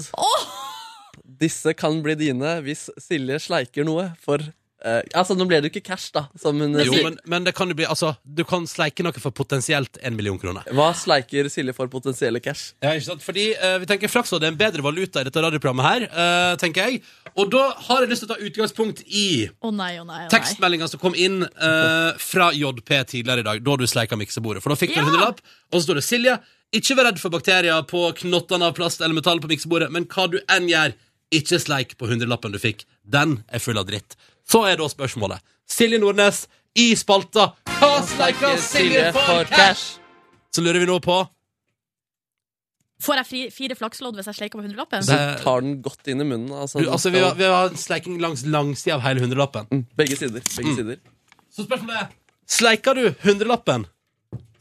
S3: Disse kan bli dine hvis Silje sleiker noe for eh, Altså, nå ble det jo ikke cash, da, som hun
S1: Jo,
S3: sier.
S1: men, men det kan jo bli Altså, du kan sleike noe for potensielt en million kroner.
S3: Hva sleiker Silje for potensielle cash?
S1: Ja, ikke sant? Fordi eh, vi tenker Flakslodd er en bedre valuta i dette radioprogrammet her, eh, tenker jeg. Og da har jeg lyst til å ta utgangspunkt i
S2: Å nei, å nei. å nei.
S1: tekstmeldinga som kom inn eh, fra JP tidligere i dag, da du sleika miksebordet. For da fikk du en
S2: Ja.
S1: hundrelapp, og så står det 'Silje, ikke vær redd for bakterier på knottene av plast eller metall på miksebordet', men hva du enn gjør, ikke sleik på hundrelappen du fikk. Den er full av dritt. Så er da spørsmålet. Silje Nordnes, i spalta Hva sleika Silje for cash? Så lurer vi nå på
S2: Får jeg fri, fire flakslodd hvis jeg sleiker på hundrelappen?
S3: Du
S1: Det-
S3: tar den godt inn i munnen. Altså,
S1: Du, altså, vi, har, vi har en sleiking langs langsida av hele hundrelappen.
S3: Mm, Begge sider.
S1: Mm.
S3: Begge sider.
S1: Så spørsmålet er Sleiker du hundrelappen?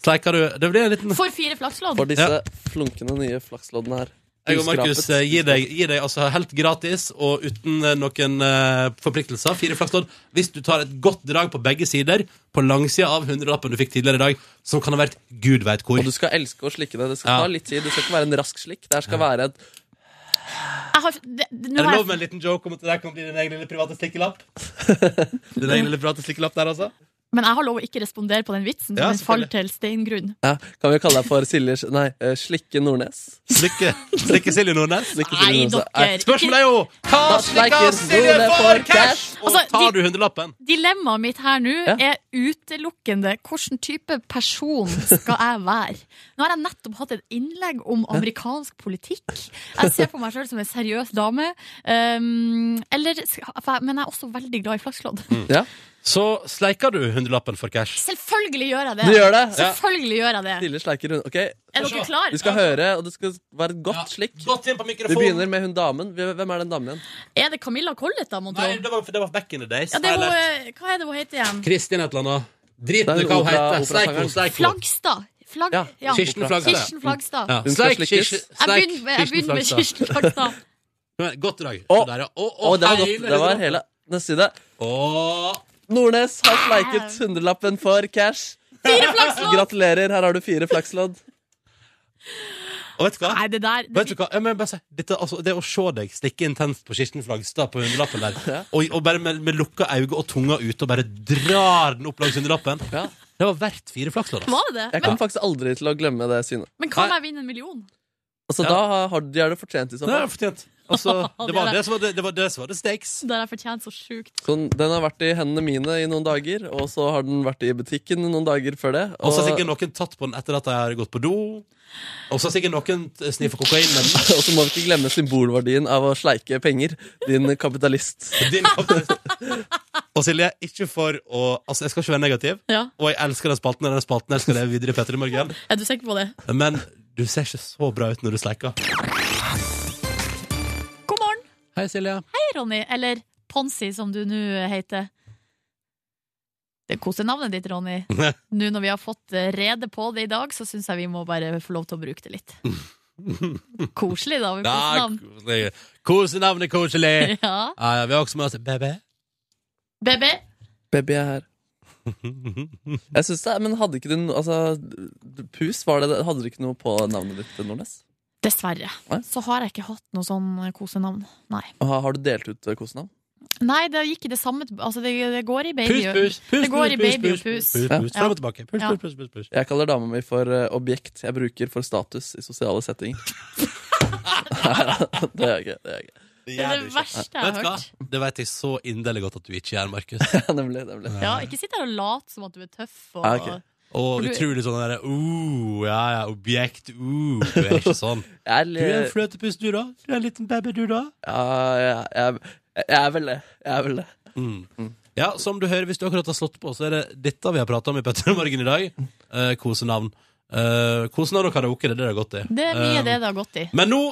S1: Sleiker du Det blir en liten
S2: For fire flakslodd?
S3: For disse flunkende nye flaksloddene her.
S1: Jeg og Markus eh, gir deg, gir deg altså helt gratis og uten eh, noen eh, forpliktelser fire flakslodd hvis du tar et godt drag på begge sider på langsida av hundrelappen du fikk tidligere i dag, som kan ha vært gud veit hvor.
S3: Og du skal elske å slikke det. Det skal
S1: Ja.
S3: ta litt tid. Det skal ikke være en rask slikk. Det her skal være et
S2: Jeg har, det, det, nå
S1: Er det
S2: har
S1: lov
S2: jeg,
S1: med en liten joke om at det der kan bli din egen lille private [laughs] stikkelapp? din egen lille private stikkelapp der, altså?
S2: men jeg har lov å ikke respondere på den vitsen.
S1: Ja,
S2: så den faller til steingrunn.
S3: ja, Kan vi kalle deg for Silje Nei, eh, Slikke Nordnes?
S1: Slikke, slikke Silje Nordnes.
S3: Slikke
S2: Nei,
S3: Silje Nordnes.
S2: dere.
S3: Nei.
S1: Spørsmålet er jo Hva
S3: Hva
S1: slikker
S3: slikker
S1: Silje
S3: Nordnes
S1: for
S3: for
S1: cash?
S3: cash?
S1: Og
S2: Altså,
S1: tar
S2: de-
S1: du hundrelappen?
S2: Dilemmaet mitt her nå
S3: Ja.
S2: er utelukkende hvilken type person skal jeg være. Nå har jeg nettopp hatt et innlegg om amerikansk politikk. Jeg ser på meg sjøl som en seriøs dame. Um, eller, for jeg- men jeg er også veldig glad i flakslodd.
S3: Ja,
S1: Så sleiker du hundrelappen for cash.
S2: Selvfølgelig gjør jeg det!
S3: du gjør det!
S2: Selvfølgelig gjør jeg det.
S3: Silje sleiker hun. Ok,
S2: Er dere klare?
S3: vi skal høre, og det skal være et godt slikk.
S1: Godt inn på
S3: Vi
S1: mikrofonen.
S3: begynner med hun damen. Vi- Hvem er den damen igjen?
S2: Er det Camilla Collett, da, mon tro?
S1: Nei, det var, det var back in the days.
S2: Ja, det er hun, eh, hva er det hun heter igjen?
S1: Kristin et eller annet. Drit
S3: Det er
S1: i hva hun
S3: opera-
S1: heter. Sleik
S3: operasangeren.
S1: henne, sleik henne.
S2: Flagstad. Flagg,
S3: Ja,
S2: ja.
S1: Kirsten Flagstad.
S2: Kirsten Flagstad.
S1: Ja.
S3: Hun skal
S1: Sleik,
S3: slikkes.
S1: kirsten,
S2: Jeg
S1: sleik,
S2: begynner med, jeg
S1: Kirsten
S2: begynner med
S1: Flagstad.
S2: Kirsten Flagstad.
S1: Godt drag.
S3: Å,
S1: Så der, ja. Å, å,
S3: Å, det var godt.
S1: hele
S3: Det var hele neste side.
S1: Å,
S3: Nordnes har sleiket hundrelappen for cash.
S2: Fire flakslodd!
S3: Gratulerer, her har du fire flakslodd.
S1: Og vet du hva?
S2: Nei, det der det
S1: Vet du hva? Jeg må bare si, dette, altså, det å se deg stikke intenst på Kirsten Flagstad på hundrelappen
S3: [laughs]
S1: der, og, og bare med, med lukka øyne og tunga ute og bare drar den opp langs hundrelappen
S3: Ja.
S1: Det var verdt fire flakslodd. altså.
S2: Var det det?
S3: Jeg kommer faktisk aldri til å glemme det synet.
S2: Men kan jeg vinne en million?
S3: Altså,
S1: Ja.
S3: da har de er det fortjent i så
S1: Det er
S3: fall.
S1: fortjent.
S2: [laughs]
S1: Altså, det, var
S2: det.
S1: det, som var det, det var det som var det stakes.
S2: Det har jeg fortjent så sjukt.
S3: Sånn, den har vært i hendene mine i noen dager, og så har den vært i butikken noen dager før det.
S1: Og så har sikkert noen tatt på den etter at de har gått på do. Og så har sikkert noen t- sniffet kokain med den.
S3: [laughs] og så må vi ikke glemme symbolverdien av å sleike penger, din kapitalist.
S1: Din kapitalist. [laughs] og Silje, ikke for å Altså, jeg skal ikke være negativ,
S2: Ja,
S1: og jeg elsker den spalten, og den spalten elsker jeg videre i Petter i morgen,
S2: Er du sikker på det?
S1: men du ser ikke så bra ut når du sleiker.
S2: God morgen,
S1: Hei, Silje.
S2: hei, Ronny. Eller Ponsi, som du nå heter. Det er kosenavnet ditt, Ronny. Nå når vi har fått eh, rede på det i dag, så syns jeg vi må bare få lov til å bruke det
S1: [laughs]
S2: litt. Koselig, da. med kosenavn.
S1: Kosenavnet koselig.
S2: [laughs] Ja.
S1: Ja, ja, vi har også med oss BB.
S2: BB.
S3: Baby er her. [laughs] Jeg synes det, er- Men hadde ikke du noe altså, Pus, var det, det- hadde du ikke noe på navnet ditt, Nordnes?
S2: Dessverre.
S3: Nei.
S2: Så har jeg ikke hatt noe sånn kosenavn. Nei.
S3: Og Har, har du delt ut eh, kosenavn?
S2: Nei, det gikk i det samme Altså, det, det går i baby.
S1: Pus, pus, pus,
S2: Det går i
S1: pus,
S2: baby
S1: pus,
S2: og pus.
S1: pus, pus.
S3: Ja.
S1: Fram og tilbake. Pus,
S2: Ja.
S1: pus, pus, pus, pus.
S3: Jeg kaller dama mi for eh, objekt jeg bruker for status i sosiale settinger. [laughs] det er gøy. det er gøy.
S2: Det er det verste jeg
S1: Vet du
S2: har
S1: hva?
S2: hørt.
S1: Det vet jeg så inderlig godt at du ikke gjør, Markus.
S3: [laughs] Nemlig. nemlig.
S2: Ja, ikke sitt her og lat som at du er tøff. Og...
S3: Ja, ok.
S1: Og
S2: For du-
S1: utrolig sånn derre uh, ja, ja, objekt, uh, du er ikke
S2: [laughs]
S1: sånn.
S3: Jeg, er
S1: Du er en
S3: litt-
S1: fløtepuss, du, da. Du er en liten baby, du, da.
S3: ja, jeg, jeg, jeg er vel det. Jeg er vel det.
S1: Ja, som du hører, hvis du akkurat har slått på, så er det dette vi har prata om i Petter og Morgen i dag. Eh, kosenavn. Eh, Kosen har og karaoke, det er det det har gått i.
S2: Det er mye
S1: Eh,
S2: det det har gått i.
S1: Men nå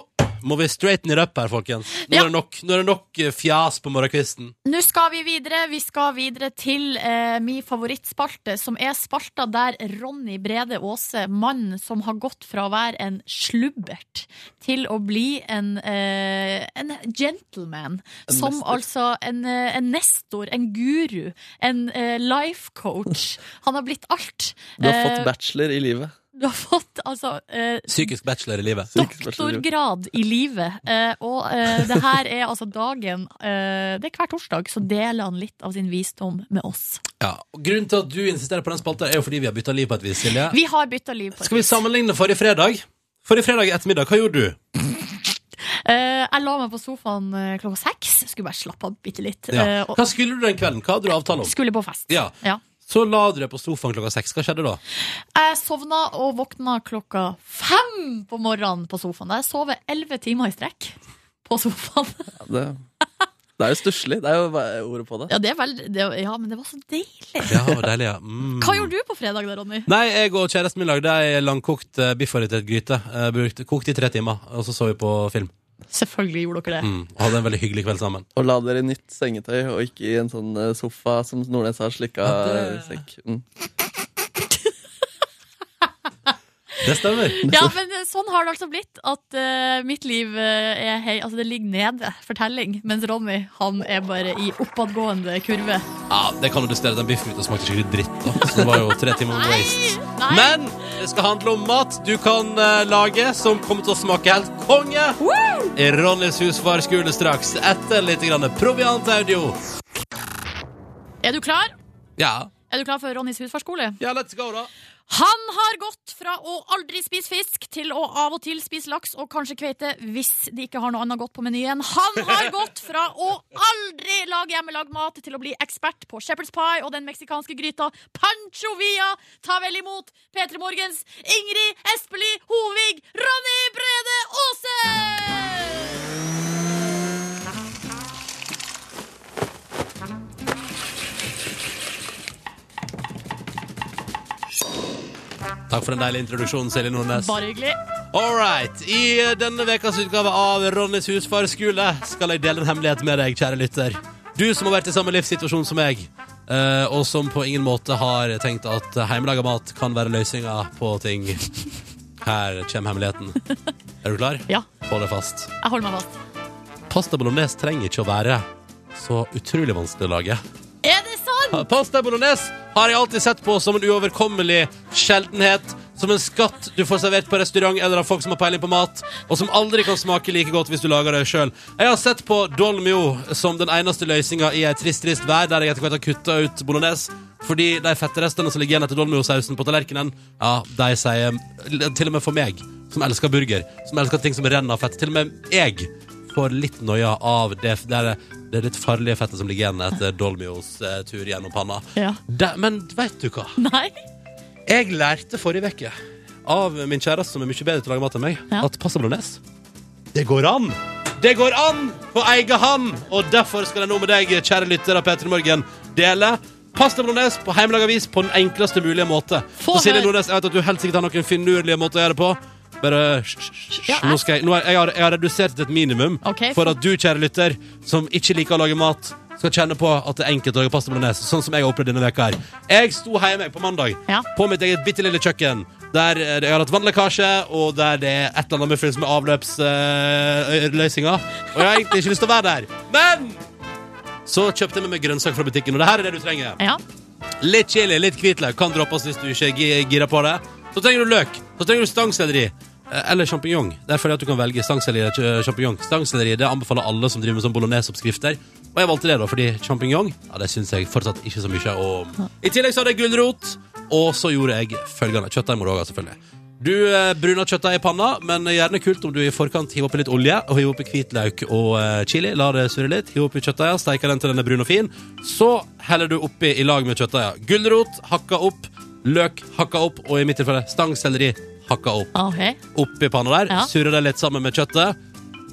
S1: må vi straighten it up her, folkens. Nå,
S2: Ja.
S1: er, det nok, nå er det nok eh, fjas på morgenkvisten.
S2: Nå skal vi videre. Vi skal videre til eh, min favorittspalte, som er spalta der Ronny Brede Aase, mannen som har gått fra å være en slubbert til å bli en, eh, en gentleman.
S3: En
S2: som
S3: nestor.
S2: altså en, eh, en nestor, en guru, en eh, life coach. Han har blitt alt.
S3: Du har
S2: Eh,
S3: fått bachelor i livet.
S2: Du har fått altså eh,
S1: Psykisk bachelor i livet.
S3: Sykt bachelor i livet.
S2: doktorgrad i livet. Eh, og eh, det her er altså dagen eh, Det er hver torsdag, så deler han litt av sin visdom med oss.
S1: Ja. og Grunnen til at du insisterer på den spalta, er jo fordi vi har bytta liv på et vis, Silje.
S2: Vi har bytta liv på
S1: Skal vi sammenligne forrige fredag? Forrige fredag ettermiddag, hva gjorde du?
S2: Eh, jeg la meg på sofaen eh, klokka seks. Skulle bare slappe av bitte litt. eh,
S1: Ja.
S2: og
S1: Hva skulle du den kvelden? Hva hadde du avtale om?
S2: skulle på fest.
S1: Ja. Så la du deg på sofaen klokka seks. Hva skjedde da?
S2: Jeg sovna og våkna klokka fem på morgenen på sofaen. Jeg sover elleve timer i strekk på sofaen.
S3: Ja, det, det er jo stusslig. Det er jo hva- ordet på det.
S2: [laughs] Ja, det er veldig, det, ja men det var så deilig.
S1: Ja, det var deilig, ja. Mm.
S2: Hva gjorde du på fredag, da, Ronny?
S1: Nei, jeg og kjæresten min lagde ei langkokt eh, biffar i et gryte. Eh, brukte- Kokte i tre timer, og så så vi på film.
S2: Selvfølgelig gjorde dere det.
S1: Mm. Og hadde en veldig hyggelig kveld sammen.
S3: Og la dere i nytt sengetøy, og ikke i en sånn eh, sofa som Nordnes har slikka
S1: Ja, det-
S3: eh, sekk. Mm.
S1: Det stemmer.
S2: Ja, men eh, sånn har det altså blitt at eh, mitt liv eh, er hei, altså det ligger nede for telling, mens Ronny han er bare i oppadgående kurve.
S1: Ja, det kan jo justere den biffen ut og smakte skikkelig dritt. Da. Så det var jo tre timer med waste.
S2: Nei!
S1: Men det skal handle om mat du kan eh, lage, som kommer til å smake helt konge. I Ronnys husfarskule straks, etter litt grann proviantaudio.
S2: Er du klar?
S1: Ja.
S2: Er du klar for Ronnys husfarskole?
S1: ja, let's go, da.
S2: Han har gått fra å aldri spise fisk til å av og til spise laks og kanskje kveite hvis de ikke har noe annet godt på menyen. Han har gått fra å aldri lage hjemmelagd mat til å bli ekspert på shepherd's pie og den meksikanske gryta Pancho Villa. Ta vel imot P3 Morgens Ingrid Espelid Hovig Ronny Brede Aase!
S1: Takk for den deilige introduksjonen, Silje Nordnes.
S2: Bare hyggelig.
S1: All right. I eh, denne ukas utgave av Ronnys husfarskule skal jeg dele en hemmelighet med deg, kjære lytter. Du som har vært i samme livssituasjon som meg, eh, og som på ingen måte har tenkt at hjemmelaga mat kan være løsninga på ting. Her kommer hemmeligheten. Er du klar?
S2: Ja,
S1: Hold deg fast.
S2: jeg holder meg fast.
S1: Pasta bolognese trenger ikke å være så utrolig vanskelig å lage.
S2: Er det sant?
S1: Pasta bolognese har jeg alltid sett på som en uoverkommelig sjeldenhet. Som en skatt du får servert på restaurant eller av folk som har peiling på mat, og som aldri kan smake like godt hvis du lager det sjøl. Jeg har sett på Dolmio som den eneste løsninga i ei trist, trist vær, der jeg etter hvert har kutta ut bolognese. Fordi de fettrestene som ligger igjen etter dolmiosausen på tallerkenen, ja, de sier Til og med for meg, som elsker burger, som elsker ting som renner av fett. Til og med jeg får litt noia av det, det, er, det litt farlige fettet som ligger igjen etter Dolmios eh, tur gjennom panna.
S2: Ja.
S1: Da- men vet du hva?
S2: Nei.
S1: Jeg lærte forrige uke av min kjæreste, som er mye bedre til å lage mat enn meg,
S2: Ja.
S1: at pasta bolognese Det går an! Det går an på egen hand! Og derfor skal jeg nå med deg, kjære lytter av P3 Morgen, dele pasta bolognese på hjemmelaga vis på den enkleste mulige måte.
S2: Få
S1: Så Silje
S2: høre.
S1: Nordnes, jeg vet at du helt sikkert har noen finurlige måter å gjøre det på. Bare hysj, hysj, hysj.
S2: Ja, jeg-
S1: Nå skal jeg, nå har, jeg, har, jeg har redusert til et minimum
S2: Ok,
S1: for
S2: for-
S1: at du, kjære lytter, som ikke liker å lage mat, skal kjenne på at det er enkelt å lage pasta bolognese, sånn som jeg har opplevd denne veka her. Jeg sto hjemme på mandag
S2: Ja.
S1: på mitt eget bitte lille kjøkken. Der eh, jeg har hatt vannlekkasje, og der det er et eller annet muffins med avløpsløsninger. og jeg har egentlig ikke lyst til å være der. Men så kjøpte jeg med meg grønnsaker fra butikken, og det her er det du trenger.
S2: Ja.
S1: Litt chili, litt hvitløk kan droppes hvis du ikke er gi- gira på det. Så trenger du løk. Så trenger du stangselleri. eh, Eller sjampinjong. Der føler jeg at du kan velge stangselleri eller kj- sjampinjong. Stangselleri det anbefaler alle som driver med sånn bolognese-oppskrifter. Og jeg valgte det, da, fordi sjampinjong ja, det syns jeg fortsatt ikke så mye om. I tillegg så hadde jeg gulrot, og så gjorde jeg følgende. Kjøttdeig må du òg ha, selvfølgelig. Du eh, bruner kjøttdeig i panna, men gjerne kult om du i forkant hiver oppi litt olje. Og hiver oppi hvitløk og eh, chili. La det surre litt. Hiver oppi kjøttdeigen, steiker den til den er brun og fin. Så heller du oppi i lag med kjøttdeigen. Gulrot hakka opp. Løk hakka opp. Og i mitt tilfelle stangselleri hakka opp.
S2: Ok.
S1: Oppi panna der.
S2: Ja.
S1: Surrer det litt sammen med kjøttet.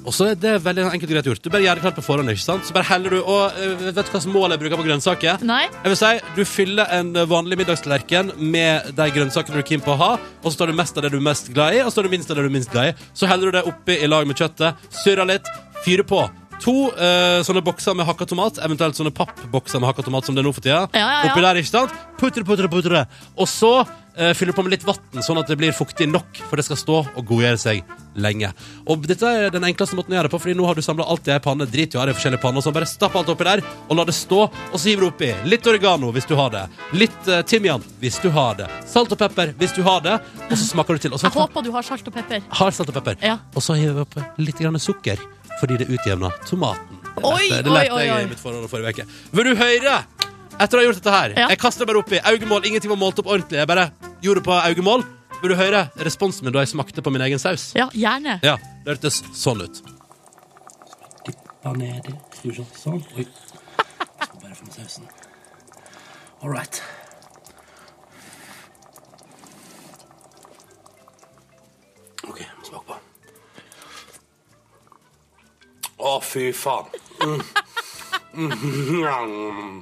S1: Og så er det veldig enkelt og greit gjort. Du bare gjør det klart på forhånd. ikke sant? Så bare heller du, og eh, Vet du hva slags mål jeg bruker på grønnsaker?
S2: Nei?
S1: Jeg vil si, Du fyller en vanlig middagstallerken med de grønnsakene du er keen på å ha, og så tar du mest av det du er mest glad i, og så tar du minst av det du er minst glad i. Så heller du det oppi i lag med kjøttet, surrer litt, fyrer på. To eh, sånne bokser med hakka tomat, eventuelt sånne pappbokser med hakka tomat som det er nå for tida.
S2: Ja, ja, ja.
S1: Oppi der, ikke sant? Putre, putre, putre. Og så eh, fyller du på med litt vann, sånn at det blir fuktig nok, for det skal stå og godgjøre seg lenge. Og dette er den enkleste måten å gjøre det på, Fordi nå har du samla alt i ei panne. Drit i å ha det i forskjellige panner. og Sånn. Bare stapp alt oppi der, og la det stå, og så hiver du oppi litt oregano hvis du har det. Litt eh, timian hvis du har det. Salt og pepper hvis du har det. Og så smaker du til. Og så
S2: Jeg håper du har salt og pepper.
S1: har salt og pepper.
S2: Ja.
S1: Og så hiver vi oppi litt grann sukker, fordi det utjevner tomaten. Det
S2: Oi,
S1: lærte-
S2: oi,
S1: det lærte
S2: oi,
S1: jeg
S2: oi.
S1: i mitt forhold forrige uke. Vil du høre? Etter å ha gjort dette her,
S2: Ja.
S1: jeg kaster det bare oppi. Augemål, ingenting var målt opp ordentlig. Jeg bare gjorde det på augemål. Vil du høre responsen min da jeg smakte på min egen saus?
S2: Ja, gjerne.
S1: Ja, det hørtes sånn ut.
S4: Dyppa nedi. Skal vi se. Sånn. Oi. Skal bare få med sausen. All right. OK, smak på. Å, fy faen. Mm. Mm.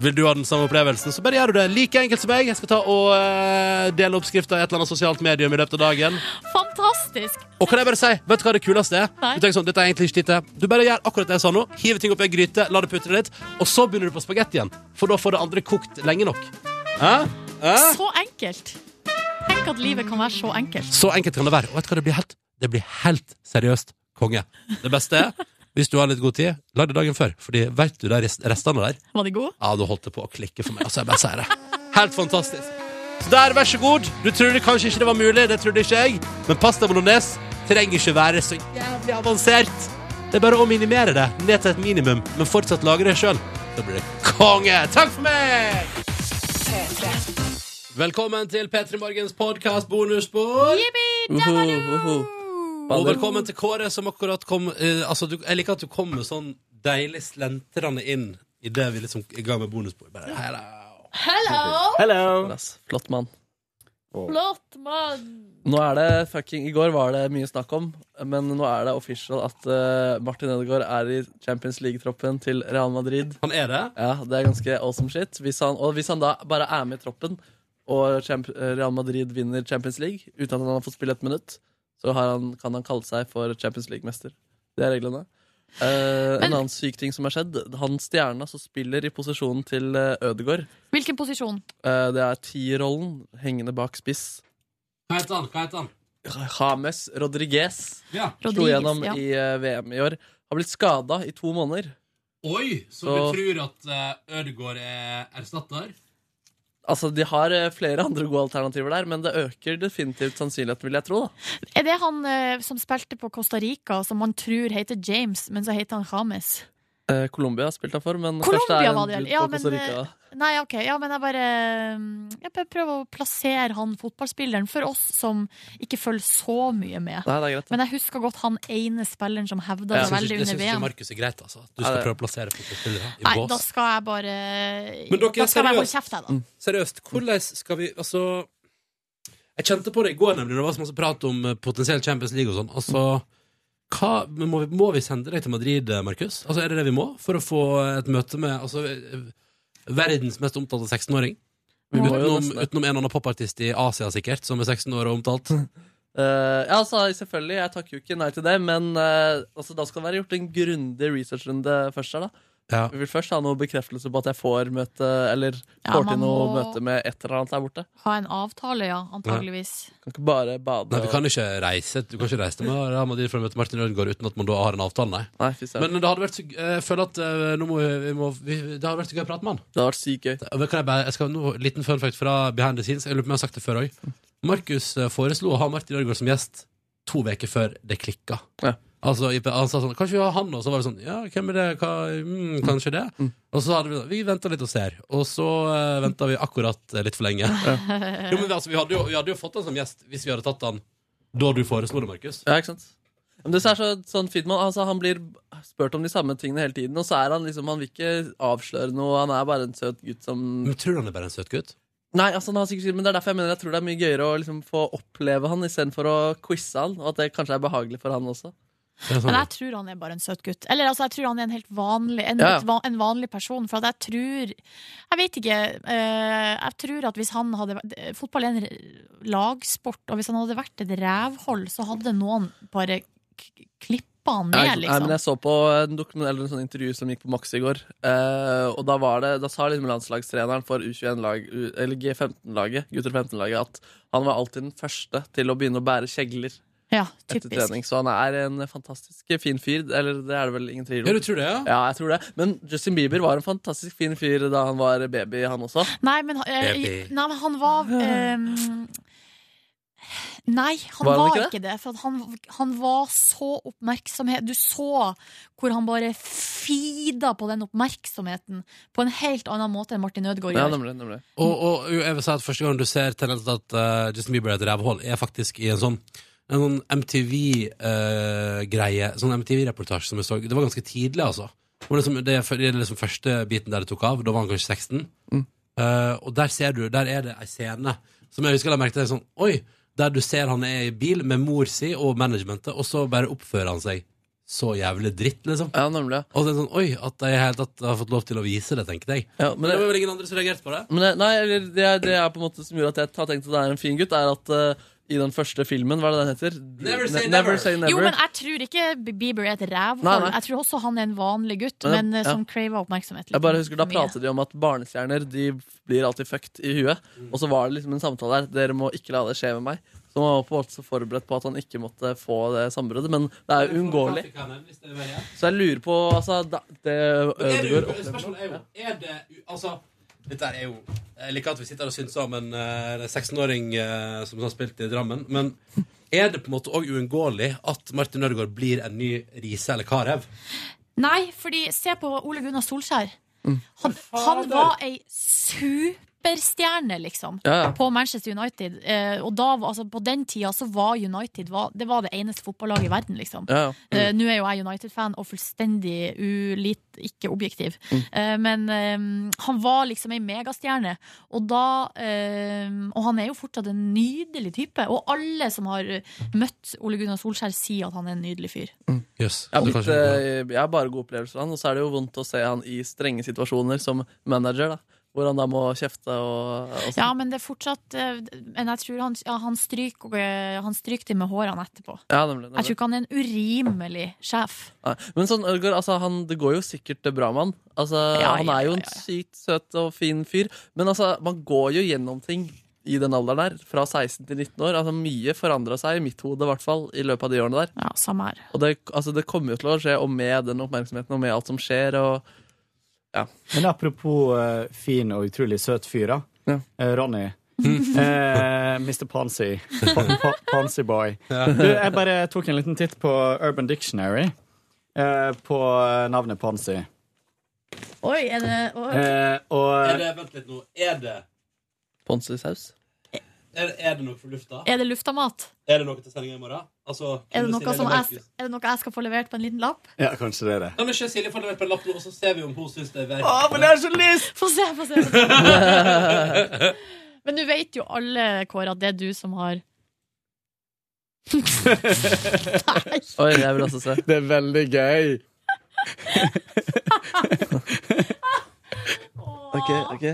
S1: Vil du ha den samme opplevelsen, så bare gjør du det. Like enkelt som meg. Jeg skal ta og eh, dele oppskrifta i et eller annet sosialt medium i løpet av dagen.
S2: Fantastisk.
S1: Og kan jeg bare si, vet du hva det kuleste er?
S2: Nei.
S1: Du tenker sånn, dette er egentlig ikke dette. Du bare gjør akkurat det jeg sa nå. Hiver ting opp i en gryte, la det putre litt, og så begynner du på spagetti igjen. For da får det andre kokt lenge nok. Hæ? Hæ?
S2: Så enkelt. Tenk at livet kan være så enkelt.
S1: Så enkelt kan det være. Og vet du hva det blir helt? Det blir helt seriøst konge. Det beste er, hvis du har litt god tid, lag det dagen før. Fordi vet du de rest- restene der?
S2: Var de gode?
S1: Ja, du holdt det på å klikke for meg. Altså, jeg bare sier det. Helt fantastisk. Så der, vær så god. Du trodde kanskje ikke det var mulig, det trodde ikke jeg. Men pasta bolognese trenger ikke være så jævlig avansert. Det er bare å minimere det ned til et minimum, men fortsatt lage det sjøl. Da blir det konge. Takk for meg! Velkommen til P3 Morgens podkast bonusbord.
S3: Uhu, uhu.
S1: Og velkommen til Kåre, som akkurat kom eh, altså, du, Jeg liker at du kom med sånn deilig slentrende inn idet vi liksom er i gang med bonusbord. Bare, hello.
S3: Fader, ass. Flott mann.
S2: Flott mann.
S3: Nå er det fucking, I går var det mye snakk om, men nå er det official at eh, Martin Edegaard er i Champions League-troppen til Real Madrid.
S1: Han er det?
S3: Ja, Det er ganske awesome shit. Hvis han, og hvis han da bare er med i troppen, og Champ eh, Real Madrid vinner Champions League uten at han har fått spille et minutt, så har han, kan han kalle seg for Champions League-mester. Det er reglene. Eh,
S2: Men-
S3: en annen syk ting som har skjedd, han stjerna som spiller i posisjonen til eh, Ødegaard,
S2: Hvilken posisjon?
S3: eh, det er tierrollen hengende bak spiss.
S1: Hva heter han? Hva heter han?
S3: James Rodriguez
S1: Ja.
S3: slo
S2: Rodriguez,
S3: gjennom
S2: ja.
S3: i eh, VM i år. Har blitt skada i to måneder.
S1: Oi, så,
S3: Så-
S1: du tror at eh, Ødegaard er erstatter?
S3: Altså, De har eh, flere andre gode alternativer der, men det øker definitivt sannsynligheten, vil jeg tro. da
S2: Er det han eh, som spilte på Costa Rica, som man tror heter James, men så heter han James?
S3: Eh, Colombia har spilt han for, men
S2: Colombia
S3: først er det
S2: var det,
S3: en dude
S2: ja,
S3: på Costa
S2: men, eh,
S3: Rica.
S2: Nei, ok, ja, men jeg bare mm, Jeg bare prøver å plassere han fotballspilleren for oss som ikke følger så mye med.
S3: Nei, det er greit.
S2: Men jeg husker godt han ene spilleren som hevda
S3: Ja.
S2: det veldig
S1: jeg
S2: under
S1: syns ikke
S2: VM.
S1: Markus er greit, altså. At Du
S3: Nei,
S1: skal
S3: det-
S1: prøve å plassere fotballspillere i
S2: Nei, da
S1: bås.
S2: skal jeg bare
S1: Men dere er
S2: Da skal jeg bare holde
S1: seriøse.
S2: kjeft, jeg, da.
S1: Seriøst, hvordan skal vi Altså Jeg kjente på det i går, nemlig. Det var så masse prat om eh, potensiell Champions League og sånn. Altså hva, men må, vi, må vi sende deg til Madrid, eh, Markus? Altså, er det det vi må for å få et møte med altså, eh, verdens mest omtalte 16-åring?
S3: Vi må jo
S1: Utenom,
S3: nesten det.
S1: utenom en eller annen popartist i Asia, sikkert, som er 16 år og omtalt.
S3: Eh, ja, altså, selvfølgelig, jeg takker jo ikke nei til det, men eh, altså, da skal det være gjort en grundig researchrunde først her, da.
S1: Ja.
S3: Vi vil først ha noe bekreftelse på at jeg får møte, eller
S2: Ja,
S3: får
S2: man
S3: til noe
S2: må-
S3: møte med et eller annet der borte.
S2: Ha en avtale, ja, antageligvis.
S3: Kan ikke bare bade
S1: Nei, vi kan ikke reise Du kan ikke reise til Real Madrid for å møte Martin Ødegaard uten at man da har en avtale, nei.
S3: og Nei, fy søren.
S1: Men det hadde vært så, jeg føler at eh, nå må vi, vi må vi, Det hadde vært så gøy å prate med han.
S3: Det har vært sykt gøy.
S1: Men Kan jeg bare, jeg skal, nå, liten fun fact fra behind the scenes. Jeg lurer på om jeg har sagt det før òg. Markus eh, foreslo å ha Martin Ødegaard som gjest to uker før det klikka.
S3: Ja.
S1: Altså, i- han sa sånn Kanskje vi har han, og så var det sånn Ja, hvem er det? Hva, mm, kanskje det? Og så hadde vi sånn, Vi venter litt og ser. Og så uh, venta vi akkurat eh, litt for lenge. Jo, men vi, altså, vi, hadde jo, vi hadde jo fått han som gjest hvis vi hadde tatt han da du foreslo det, Markus.
S3: Ja, ikke sant? Men det er så, sånn fint, man, altså, Han blir spurt om de samme tingene hele tiden, og så er han liksom, han vil ikke avsløre noe. Han er bare en søt gutt som
S1: Men tror du han er bare en søt gutt?
S3: Nei, altså han har sikkert, men det er derfor jeg mener jeg tror det er mye gøyere å liksom få oppleve han istedenfor å quize han, og at det kanskje er behagelig for han også.
S1: Det er
S2: Men
S1: sånn.
S2: jeg tror han er bare en søt gutt. Eller altså, jeg tror han er en helt vanlig En,
S3: Ja.
S2: et va- en vanlig person. For at jeg tror Jeg vet ikke. eh, jeg tror at hvis han hadde vært eh, Fotball er en r- lagsport, og hvis han hadde vært et rævhold, så hadde noen bare k- klippa han
S3: Nei,
S2: ned,
S3: nei, men
S2: liksom.
S3: jeg så på en, dokumen- eller en sånn intervju som gikk på Max i går, eh, og da, var det, da sa liksom landslagstreneren for U21-lag, U- eller G15-laget, gutter 15-laget, at han var alltid den første til å begynne å bære kjegler
S2: Ja,
S3: etter
S2: typisk.
S3: trening. Så han er en fantastisk fin fyr, eller det er det vel ingen tvil
S1: Ja,
S3: om.
S1: du tror det, ja?
S3: Ja, jeg tror det. Men Justin Bieber var en fantastisk fin fyr da han var baby, han også.
S2: Nei, men, eh,
S1: Baby.
S2: nei, men han var eh, Nei, han
S3: Var
S2: var,
S3: han ikke
S2: ikke, det. For at han, han var så oppmerksomhet Du så hvor han bare feeda på den oppmerksomheten på en helt annen måte enn Martin Ødegaard
S3: Ja,
S2: gjør.
S3: nemlig, nemlig.
S1: Og, og jo, jeg vil si at første gang du ser tendensen til at eh, Justin Bieber er et rævhull, er faktisk i en sånn en sånn MTV-greie, sånn MTV-reportasje som jeg så. Det var ganske tidlig, altså. Og liksom, det, er for- det er liksom første biten der det tok av. Da var han kanskje 16. Eh, og der ser du, der er det ei scene som jeg husker jeg la merke til. Sånn, Oi! Der du ser han er i bil med mor si og managementet, og så bare oppfører han seg så jævlig dritt, liksom.
S3: Ja, nemlig. ja.
S1: Og det er sånn, oi, at jeg i det hele tatt har fått lov til å vise det, tenkte jeg.
S3: Ja, men
S1: Men det
S3: det,
S1: var vel ingen andre som reagerte på det?
S3: men det, nei, eller det, er- det er på en måte som gjorde at jeg har tenkt at det er en fin gutt, er at eh, i den første filmen, hva er det den heter?
S1: Never Say
S3: Ne-
S1: Never.
S3: Say Never.
S2: Jo, men jeg tror ikke Bieber er et
S3: Nei,
S2: rævhold.
S3: nei.
S2: Jeg tror også han er en vanlig gutt,
S3: Men-
S2: men eh,
S3: ja.
S2: som craver oppmerksomhet. litt
S3: Jeg bare husker Da
S2: mye.
S3: pratet de om at barnestjerner de blir alltid fucked i huet. Og så var det liksom en samtale der. Dere må ikke la det skje med meg. Så man var på en måte så forberedt på at han ikke måtte få det sambruddet. Men det er jo uunngåelig. Så jeg lurer på altså, da, Eh, det
S1: Er det,
S3: Ødegaard
S1: u- spørsmålet er jo er det, u- Altså, dette her er jo Jeg liker at vi sitter her og syns om en eh, 16-åring eh, som har spilt i Drammen, men er det på en måte òg uunngåelig at Martin Ødegaard blir en ny Riise eller Carew?
S2: Nei, fordi se på Ole Gunnar Solskjær.
S3: Mm.
S2: Han, han var ei superstjerne, liksom,
S3: Ja, ja.
S2: på Manchester United. Eh, og da, var- altså, på den tida så var United var, det, var det eneste fotballaget i verden, liksom.
S3: ja, Mm. ja.
S2: Eh, Nå er jo jeg United-fan og fullstendig ulit, ikke objektiv.
S3: Mm.
S2: Eh, men eh, han var liksom ei megastjerne, og da eh, Og han er jo fortsatt en nydelig type. Og alle som har møtt Ole Gunnar Solskjær, sier at han er en nydelig fyr.
S1: Yes.
S3: Jeg har, blitt, eh, jeg har bare gode opplevelser av han, og så er det jo vondt å se han i strenge situasjoner som manager, da. Hvor han da må kjefte og, og sånn.
S2: Ja, men det er fortsatt eh, Men jeg tror han, ja, han stryker eh, Han stryker det med hårene etterpå.
S3: Ja, nemlig,
S2: Jeg
S3: nemlig.
S2: tror ikke han er en urimelig sjef.
S3: Nei. Men sånn, Ødegaard, altså, han, det går jo sikkert bra med han. Altså,
S2: Ja,
S3: han
S2: ja,
S3: er jo
S2: ja,
S3: en
S2: ja.
S3: sykt søt og fin fyr. Men altså, man går jo gjennom ting i den alderen der. Fra 16 til 19 år. Altså, mye forandra seg, i mitt hode i hvert fall, i løpet av de årene der.
S2: Ja, samme her.
S3: Og det, altså, det kommer jo til å skje, og med den oppmerksomheten og med alt som skjer. Og,
S9: Men apropos eh, fin og utrolig søt fyr, da.
S3: Ja.
S9: Eh, Ronny. Eh, Mr. Pansy. Pa pa Pansy Boy. Du, jeg bare tok en liten titt på Urban Dictionary eh, på navnet Pansy.
S2: Oi, er det oi.
S9: Eh,
S1: Er
S9: og
S1: det, vent litt nå. Er det,
S3: Ponsisaus.
S1: er, er det noe for lufta?
S2: Er det luftamat?
S1: Er det noe til sendinga i morgen? Altså,
S2: Er det,
S1: kunne
S2: noe
S1: Silje
S2: som
S1: eller
S2: jeg,
S1: Markus-
S2: er det noe jeg skal få levert på en liten lapp?
S9: Ja, kanskje det er det.
S1: Kan ikke Silje få levert på en lapp nå, og så ser vi om hun syns det er verdt
S9: Å, men jeg har så lyst!
S2: [laughs] Få se, få se. få se. Men du vet jo alle, Kåre, at det er du som har Nei.
S3: Oi, jeg
S2: [laughs]
S3: vil også se.
S9: Det er veldig gøy.
S3: Ok, ok.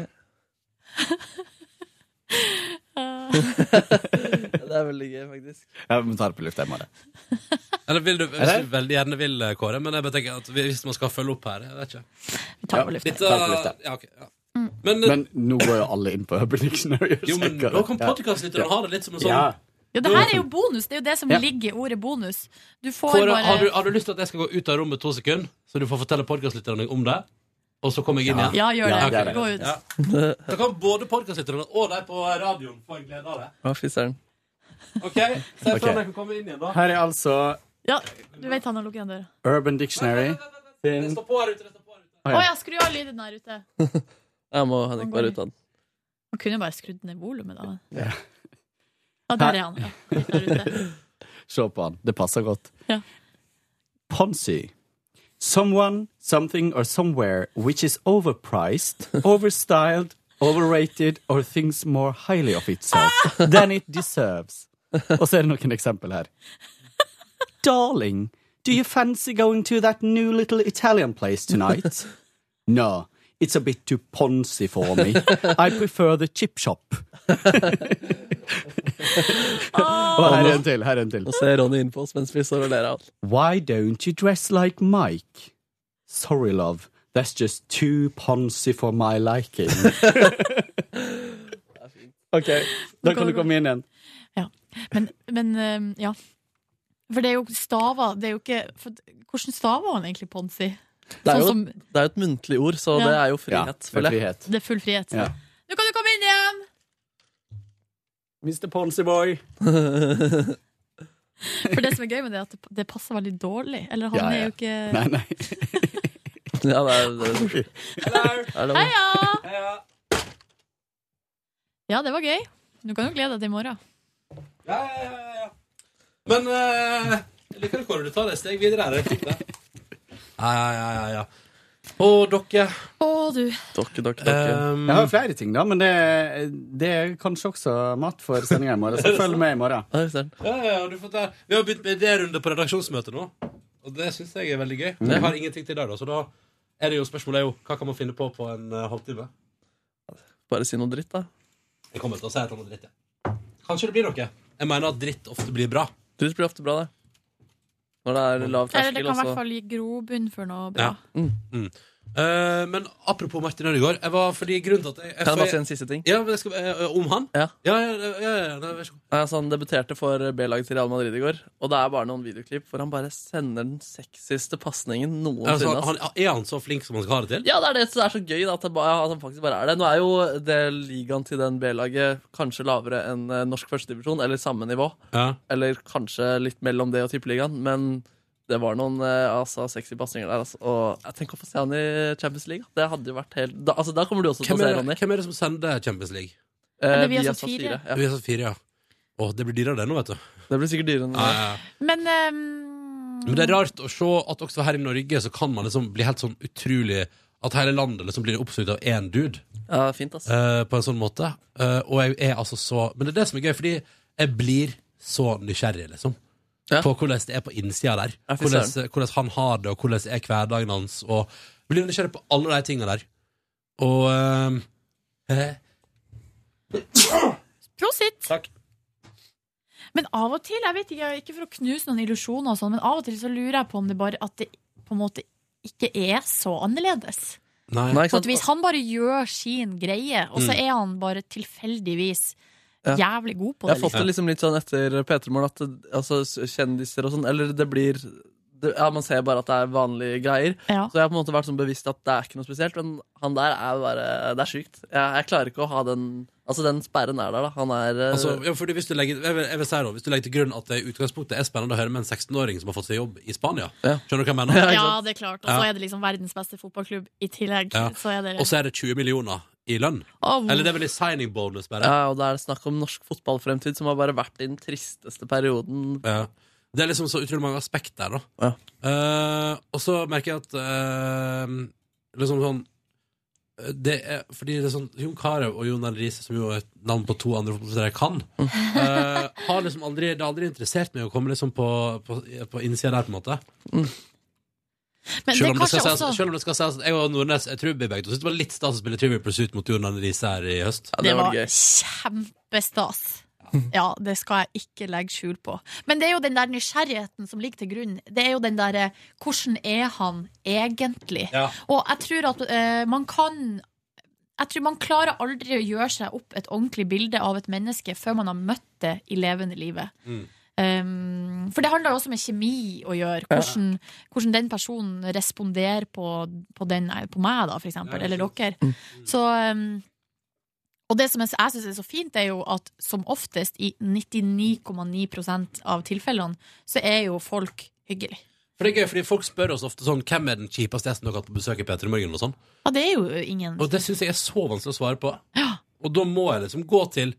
S3: det er veldig gøy, faktisk.
S9: Jeg må ta det på lufta, jeg må det.
S1: Eller vil du, hvis
S9: Eller?
S1: du veldig gjerne vil, eh, Kåre, men jeg bare tenker at hvis man skal følge opp her, jeg vet ikke.
S2: Vi tar det på lufta.
S1: Litt, eh,
S9: Takk for lufta.
S1: ja, ok, ja.
S2: Mm.
S1: Men, eh,
S9: Men nå går jo alle inn på Urban Dictionary. og
S1: jo, men
S9: søker
S1: nå
S9: det.
S1: kan podkastlytterne ha det litt som en sånn
S9: Ja.
S2: Ja, det her er jo bonus. Det er jo det som
S9: Ja.
S2: ligger i ordet bonus. Du får
S1: Kåre,
S2: bare
S1: har du, har du lyst til at jeg skal gå ut av rommet to sekunder, så du får fortelle podkastlytterne om det? Og så kommer jeg inn igjen?
S2: Ja, gjør
S9: Ja,
S2: det.
S9: gjør det.
S2: Gå ut.
S1: Da kan både podkastlytterne og de på radioen få en glede av det.
S3: Å, fy søren.
S1: Ok, Se for
S9: Ok.
S1: deg kan komme inn igjen, da.
S9: Her er altså
S2: Ja, du vet han har lukket igjen døra.
S9: Urban Dictionary.
S1: Det står på her ute. det står på her ute.
S2: Å ja, skru av lyden her ute.
S3: Jeg må Henrik bare ut av den.
S2: Man kunne jo bare skrudd ned volumet, da.
S9: Ja.
S2: Ja, der er han. Ja. Litt der ute.
S9: Se på han. Det passer godt.
S2: Ja.
S9: Ponzi. Someone, something or somewhere which is overpriced, overstyled, Overrated or thinks more highly of itself than it deserves. Og så er det noen eksempel her. Darling, do you fancy going to that new little Italian place tonight? No, it's a bit too poncy for me. I prefer the chip shop. [laughs] Og her er en til, her er en til.
S3: Nå ser Ronny inn på oss mens vi står og ler av han.
S9: Why don't you dress like Mike? Sorry, love. That's just too poncy for my liking. ok, da kan du komme inn igjen.
S2: Men, men um, ja. For det er jo staver det er jo ikke, for, Hvordan staver han egentlig Ponsi?
S3: Det er
S2: Sånn
S3: jo,
S2: som-
S3: det er jo et muntlig ord, så
S2: Ja.
S3: det er jo frihet.
S9: med
S3: føler jeg.
S9: frihet.
S2: Det er full frihet.
S9: Ja.
S2: Nå kan du komme inn igjen!
S9: Mr. Poncy Boy.
S2: For det som er gøy med det, er at det, det passer veldig dårlig. Eller han
S9: Ja, ja.
S2: er jo ikke
S9: Nei, nei.
S3: Ja, det er, det er, er det,
S2: Heia! Ja, det var gøy. Du kan jo glede deg til i morgen.
S1: Ja, ja, ja, ja. Men eh, jeg liker det hvordan du tar det et steg videre. her, jeg liker det. Ja, ja, ja, ja, ja. Og dere
S2: Å, du.
S3: dokke, dokke, dokke.
S1: ehm,
S9: Jeg har flere ting, da, men det, det er kanskje også mat for sendinga i morgen. Så følg med i morgen.
S3: Oi, ser den.
S1: ja, ja, du får ta- Vi har begynt med idérunde på redaksjonsmøtet nå, og det syns jeg er veldig gøy.
S3: Mm.
S1: Men Jeg har ingenting til i dag, da, så da er det jo spørsmålet er jo hva kan man finne på på en eh, halvtime.
S3: Bare si noe dritt, da.
S1: Jeg kommer til å si et eller annet dritt, ja. Kanskje det blir noe. Jeg mener at dritt ofte blir bra.
S3: Dritt blir ofte bra, det. Når det er lav
S2: Eller det
S3: terskel
S2: kan
S3: altså.
S2: i
S3: også.
S2: hvert fall gi grobunn for noe bra.
S1: Ja. Eh, men apropos Martin Ødegaard. Jeg var fordi grunnen til at jeg, jeg,
S3: Kan jeg bare si
S1: jeg,
S3: en siste ting?
S1: ja, men jeg skal, eh, Om han?
S3: Ja.
S1: Ja, ja, ja, ja, ja, ja, vær så god.
S3: Nei, Altså, han debuterte for B-laget til Real Madrid i går, og det er bare noen videoklipp hvor han bare sender den sexiste pasningen
S1: Altså,
S3: noensinne. ass.
S1: han, er han så flink som han skal ha det til?
S3: Ja, det er det som er så gøy, da, at, det bare, at han faktisk bare er det. Nå er jo det ligaen til den B-laget kanskje lavere enn eh, norsk førstedivisjon, eller samme nivå.
S1: Ja.
S3: Eller kanskje litt mellom det og tippeligaen, men det var noen eh, altså, sexy pasninger der. Altså. Og jeg tenker å få se han i Champions League. Det hadde jo vært helt da, altså, da kommer du også til å
S1: Hvem
S3: se
S1: er, det,
S3: Ronny.
S1: hvem er det som sender Champions League?
S3: Eh,
S2: Eller vi er
S3: via
S2: sånn
S3: SAS4,
S2: fire.
S3: Ja.
S1: Vi har satt fire, ja. Å, det blir dyrere det nå, vet du.
S3: Det blir sikkert dyrere enn det.
S2: Men ehm,
S1: Men det er rart å se at også her i Norge så kan man liksom bli helt sånn utrolig At hele landet liksom blir oppslukt av én dude,
S3: Ja, fint, ass.
S1: eh, på en sånn måte. Eh, og jeg er altså så Men det er det som er gøy, fordi jeg blir så nysgjerrig, liksom.
S3: Ja.
S1: På hvordan det er på innsida der.
S3: Ja, fy
S1: Hvordan, eh,
S3: søren.
S1: hvordan han har det, og hvordan er hverdagen hans. Og jeg blir nysgjerrig på alle de tinga der. Og eh,
S2: Prosit!
S1: Takk.
S2: Men av og til, jeg vet ikke, jeg- ikke for å knuse noen illusjoner og sånn, men av og til så lurer jeg på om det bare at det på en måte ikke er så annerledes.
S1: Nei.
S3: Nei,
S2: På
S3: ikke
S2: at hvis han
S3: sant?
S2: bare gjør sin greie, og så
S1: Mm.
S2: er han bare tilfeldigvis
S3: Ja.
S2: jævlig god på
S3: Jeg
S2: det.
S3: har
S1: [laughs]
S3: fått
S2: Liksom.
S3: det liksom litt sånn etter P3-morgen at det- altså, s- kjendiser og sånn Eller det blir det, Ja, man ser bare at det er vanlige greier.
S2: Ja.
S3: Så jeg har på en måte vært sånn bevisst at det er ikke noe spesielt. Men han der er bare Det er sjukt. Jeg, jeg klarer ikke å ha den Altså, den sperren er der, da. Han er eh,
S1: Altså, ja, fordi hvis du legger, jeg, vil, jeg vil si da, hvis du legger til grunn at det i utgangspunktet er spennende å høre med en 16-åring som har fått seg jobb i Spania.
S3: Ja.
S1: Skjønner du hva jeg mener?
S3: ikke
S2: Ja,
S3: sant?
S2: det er klart. Og så
S1: Ja.
S2: er det liksom verdens beste fotballklubb i tillegg.
S1: Ja.
S2: Så er det
S1: Og så er det 20 millioner i lønn.
S2: Åh,
S1: Eller det er vel i signing bonus, bare.
S3: Ja, og da er det snakk om norsk fotballfremtid, som har bare vært i den tristeste perioden.
S1: Ja. Det er liksom så utrolig mange aspekt der, da.
S3: Ja.
S1: Eh, og så merker jeg at eh, liksom sånn eh, det er, fordi det er sånn Jon Carew og Jon Arne Riise, som jo er et navn på to andre fotballspillere jeg kan,
S3: Mm.
S1: eh, har liksom aldri, det har aldri interessert meg å komme liksom på, på, på innsida der, på en måte.
S2: Men det
S1: Selv
S2: er
S1: om, det skal
S2: kanskje
S1: sies,
S2: også
S1: selv om det skal sies at jeg og Nordnes jeg tror vi begge to syntes det var litt stas å spille Trivial Pursuit mot Jon Arne Riise her i høst.
S3: Ja,
S2: Det
S3: det var
S2: var
S3: gøy.
S2: kjempestas. Ja, det skal jeg ikke legge skjul på. Men det er jo den der nysgjerrigheten som ligger til grunn. Det er jo den derre Hvordan er han egentlig?
S1: Ja.
S2: Og jeg tror at eh, man kan Jeg tror man klarer aldri å gjøre seg opp et ordentlig bilde av et menneske før man har møtt det i levende livet.
S1: Mm.
S2: Um, for det handler jo også med kjemi å gjøre. Hvordan, hvordan den personen responderer på, på, den, eh, på meg, da, for eksempel.
S1: Ja,
S2: eller dere.
S3: Mm.
S2: Så um, og det som jeg, jeg syns er så fint, er jo at som oftest i 99,9 av tilfellene, så er jo folk hyggelig.
S1: For det er gøy, fordi Folk spør oss ofte sånn hvem er den kjipeste gjesten dere har hatt på besøk i P3 Morgen. Og sånn
S2: Ja, det er jo ingen
S1: Og det syns jeg er så vanskelig å svare på. Og da må jeg liksom gå til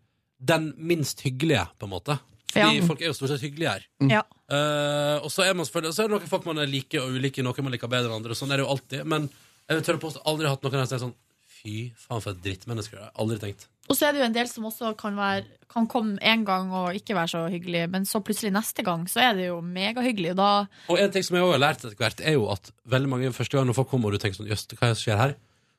S1: den minst hyggelige, på en måte. Fordi
S2: Ja.
S1: folk er jo stort sett hyggelige her.
S2: ja.
S1: Eh, og så er man selvfølgelig Så er det noen folk man liker og ulike, noen man liker bedre enn andre. Sånn er det jo alltid. Men jeg vil tørre på at jeg aldri har hatt noen her som er sånn Fy Fy faen, for et drittmenneske. Det har jeg aldri tenkt.
S2: Og så er det jo en del som også kan, være, kan komme en gang og ikke være så hyggelig, men så plutselig neste gang så er det jo megahyggelig. og Da
S1: Og en ting som jeg også har lært etter hvert, er jo at veldig mange første gang når folk kommer og du tenker sånn, jøss, hva skjer her?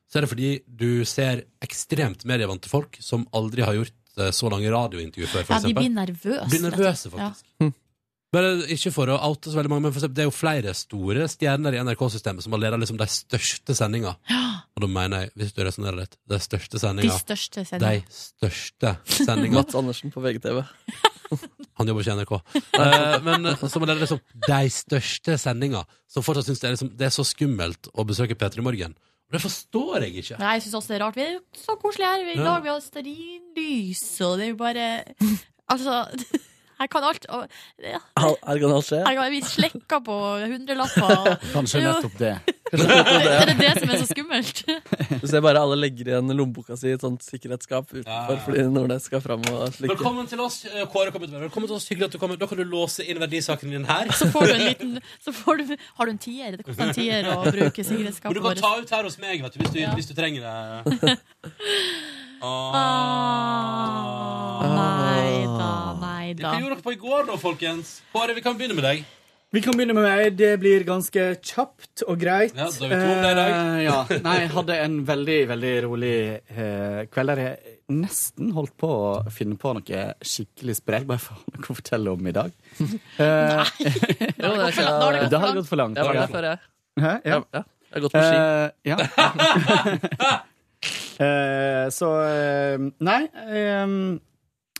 S1: Så er det fordi du ser ekstremt medievante folk som aldri har gjort eh, så lange radiointervju før, for
S2: ja, de
S1: eksempel.
S2: blir nervøse.
S1: Blir
S2: rett og
S1: nervøse,
S2: slett. Ja.
S1: faktisk. Bare ikke for å oute så veldig mange, men for eksempel, det er jo flere store stjerner i NRK-systemet som har ledet liksom de største sendinga. Og da mener jeg, hvis du resonnerer litt, de største
S2: De
S1: sendinga. De
S2: største sendingene.
S1: største sendinga.
S3: Mats Andersen på VGTV.
S1: Han jobber ikke i NRK. [laughs] Eh, men som leder liksom de største sendinga, som fortsatt syns det, er liksom, det er så skummelt å besøke P3 Morgen. Og det forstår jeg ikke.
S2: Nei, jeg syns også det er rart. Vi er jo så koselige her. I
S1: Ja.
S2: dag vi har stearinlys, og det er jo bare
S1: [laughs]
S2: Altså, [laughs] her kan alt. Og, ja,
S3: Her her kan alt skje.
S2: her kan vi slekker på hundrelapper.
S1: [laughs]
S2: og-
S9: Kanskje
S2: Jo.
S9: nettopp det.
S2: Er [laughs] det det som er så skummelt?
S3: Du ser bare alle legger igjen lommeboka si i et sånt sikkerhetsskap utenfor fordi Nordnes skal fram og slikke.
S1: Velkommen til oss, eh, Kåre. Kommer til å være. Velkommen til oss, Hyggelig at du kommer. Da kan du låse inn verdisakene dine her.
S2: [laughs]
S9: [laughs]
S2: Så får du en liten så får du, Har du en tier? Det koster en tier å
S1: Og
S2: bruke
S1: du
S2: sikkerhetsskapet
S1: kan
S2: vårt.
S1: ta ut her hos meg vet du, hvis, du,
S2: Ja.
S1: hvis du trenger det.
S9: [laughs]
S2: Ah, nei da, nei da.
S1: Hva gjorde dere på i går, da, folkens? Kåre, vi kan begynne med deg.
S9: Vi kan begynne med meg. Det blir ganske kjapt og greit.
S1: Ja, da er vi to om det i dag.
S9: Eh, ja. Nei, jeg hadde en veldig, veldig rolig eh, kveld der jeg nesten holdt på å finne på noe skikkelig sprell. Bare for noe å fortelle om i dag. Eh,
S3: Jo, det
S2: for langt. Da har det gått.
S3: er
S9: det har gått for langt.
S3: Jeg var der før, jeg.
S9: Hæ? Ja.
S3: Ja, jeg har gått på ski.
S9: Eh, ja. Eh, så eh, Nei. eh,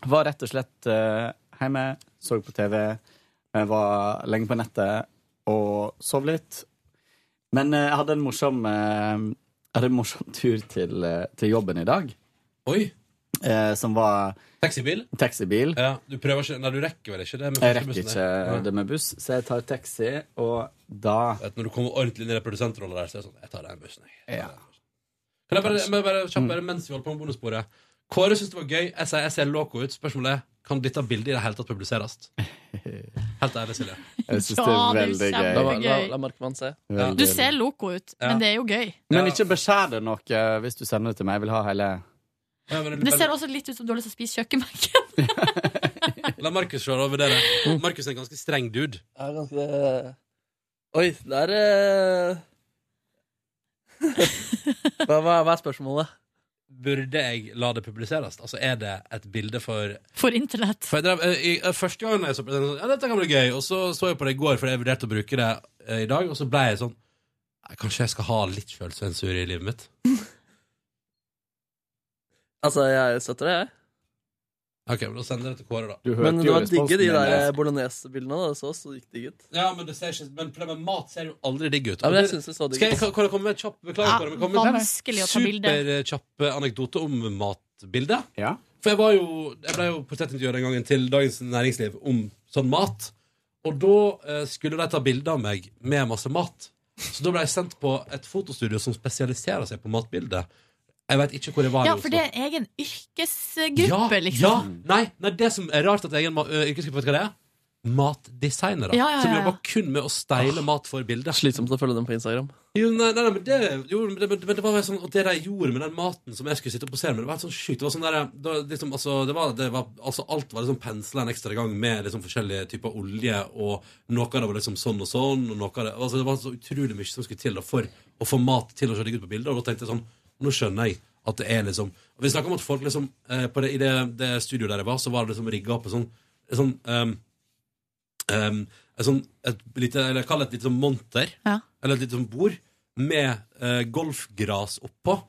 S9: var rett og slett eh, hjemme, så på TV, eh, var lenge på nettet og sov litt. Men eh, jeg hadde en morsom eh, jeg hadde en morsom [laughs] tur til, eh, til jobben i dag,
S1: Oi.
S9: eh, som var
S1: Taxibil?
S9: taxibil.
S1: Ja, du prøver ikke Nei, du rekker vel ikke det? med
S9: Jeg
S1: første
S9: rekker
S1: bussen,
S9: ikke
S1: nei.
S9: det med buss, så jeg tar taxi, og da
S1: Vet, når du kommer ordentlig inn i produsentrollen der, så er det sånn Jeg tar den bussen, jeg.
S9: ja.
S1: Kan jeg bare, må jeg bare kjapt bare mens vi holder på med bonussporet Kåre syns det var gøy. Jeg sier jeg ser loco ut. Spørsmålet er kan dette bildet i det hele tatt publiseres. Helt ærlig, Silje.
S9: Jeg syns
S2: Ja,
S9: det er
S2: det er
S9: veldig
S3: La,
S9: gøy.
S3: la,
S2: kjempegøy.
S3: la, la Markmann se.
S1: Ja.
S2: Du ser loco ut,
S1: Ja.
S2: men det er jo gøy.
S9: Men
S1: Ja.
S9: ikke beskjær det nok eh, hvis du sender det til meg. Jeg vil ha hele
S1: Ja, men-
S2: Det ser også litt ut som du har lyst til å spise kjøkkenbenken. [laughs]
S1: La Markus se over dere. Markus er en ganske streng dude.
S3: Jeg er ganske Oi, der eh... [laughs] hva, hva, hva er spørsmålet?
S1: Burde jeg la det publiseres? Altså, Er det et bilde for
S2: For internett.
S1: For jeg drev, eh, i, eh, Første gangen jeg så på det, sånn, ja, dette kan bli gøy, og så så jeg på det i går, fordi jeg vurderte å bruke det eh, i dag, og så ble jeg sånn «Nei, Kanskje jeg skal ha litt sjølsensur i livet mitt?
S3: Altså, jeg støtter det, jeg.
S1: Ok, men Da sender jeg det til Kåre, da.
S9: Du hørte
S3: Men det
S9: jo
S3: var digge
S9: responsen
S3: de
S9: min,
S3: der eh,
S9: altså.
S3: bolognese-bildene. da. Det så så gikk digg ut.
S1: Ja, men, det ser ikke, men problemet med mat ser jo aldri digg ut.
S3: Ja, men jeg
S1: Og det-
S3: synes det så digg
S1: skal jeg
S3: ut.
S1: kan- kan jeg komme med et kjapp Beklager,
S2: Ja,
S1: Kåre, men kommer med
S2: vanskelig å ta bilde.
S1: superkjapp eh, anekdote om matbildet.
S9: Ja.
S1: For jeg, var jo, jeg ble jo portrettintervjuer den gangen til Dagens Næringsliv om sånn mat. Og da eh, skulle de ta bilde av meg med masse mat. Så da ble jeg sendt på et fotostudio som spesialiserer seg på matbilde. Jeg veit ikke hvor jeg var. i
S2: Ja,
S1: Oslo.
S2: for det er en egen yrkesgruppe,
S1: ja,
S2: liksom.
S1: Ja, nei, nei, det som er rart at jeg er en ma- ø, yrkesgruppe, vet du hva det er? Matdesignere.
S2: Ja, ja, ja,
S1: Som
S2: ja.
S1: jobber kun med å steile mat for bildet.
S3: Slitsomt å følge dem på Instagram.
S1: Jo, nei, nei, nei, men det, jo, men det, men det, men det var bare sånn Og det de gjorde med den maten som jeg skulle sitte og posere med, det var helt sånn sjukt. Det var sånn der, det var liksom, altså, det var, det var, altså, alt var liksom pensla en ekstra gang med liksom forskjellige typer olje, og noe av det var liksom sånn og sånn, og noe av det altså, Det var så utrolig mye som skulle til da, for å få mat til å se digg ut på bildet, og da tenkte jeg sånn Nå skjønner jeg at det er liksom og Vi snakker om at folk liksom eh, på det, I det, det studioet der jeg var, så var det liksom rigga opp en sånn, en sånn ehm, ehm, en sånn, et lite, eller kall det et lite sånn monter
S2: Ja.
S1: eller et lite sånn bord med eh, golfgras oppå.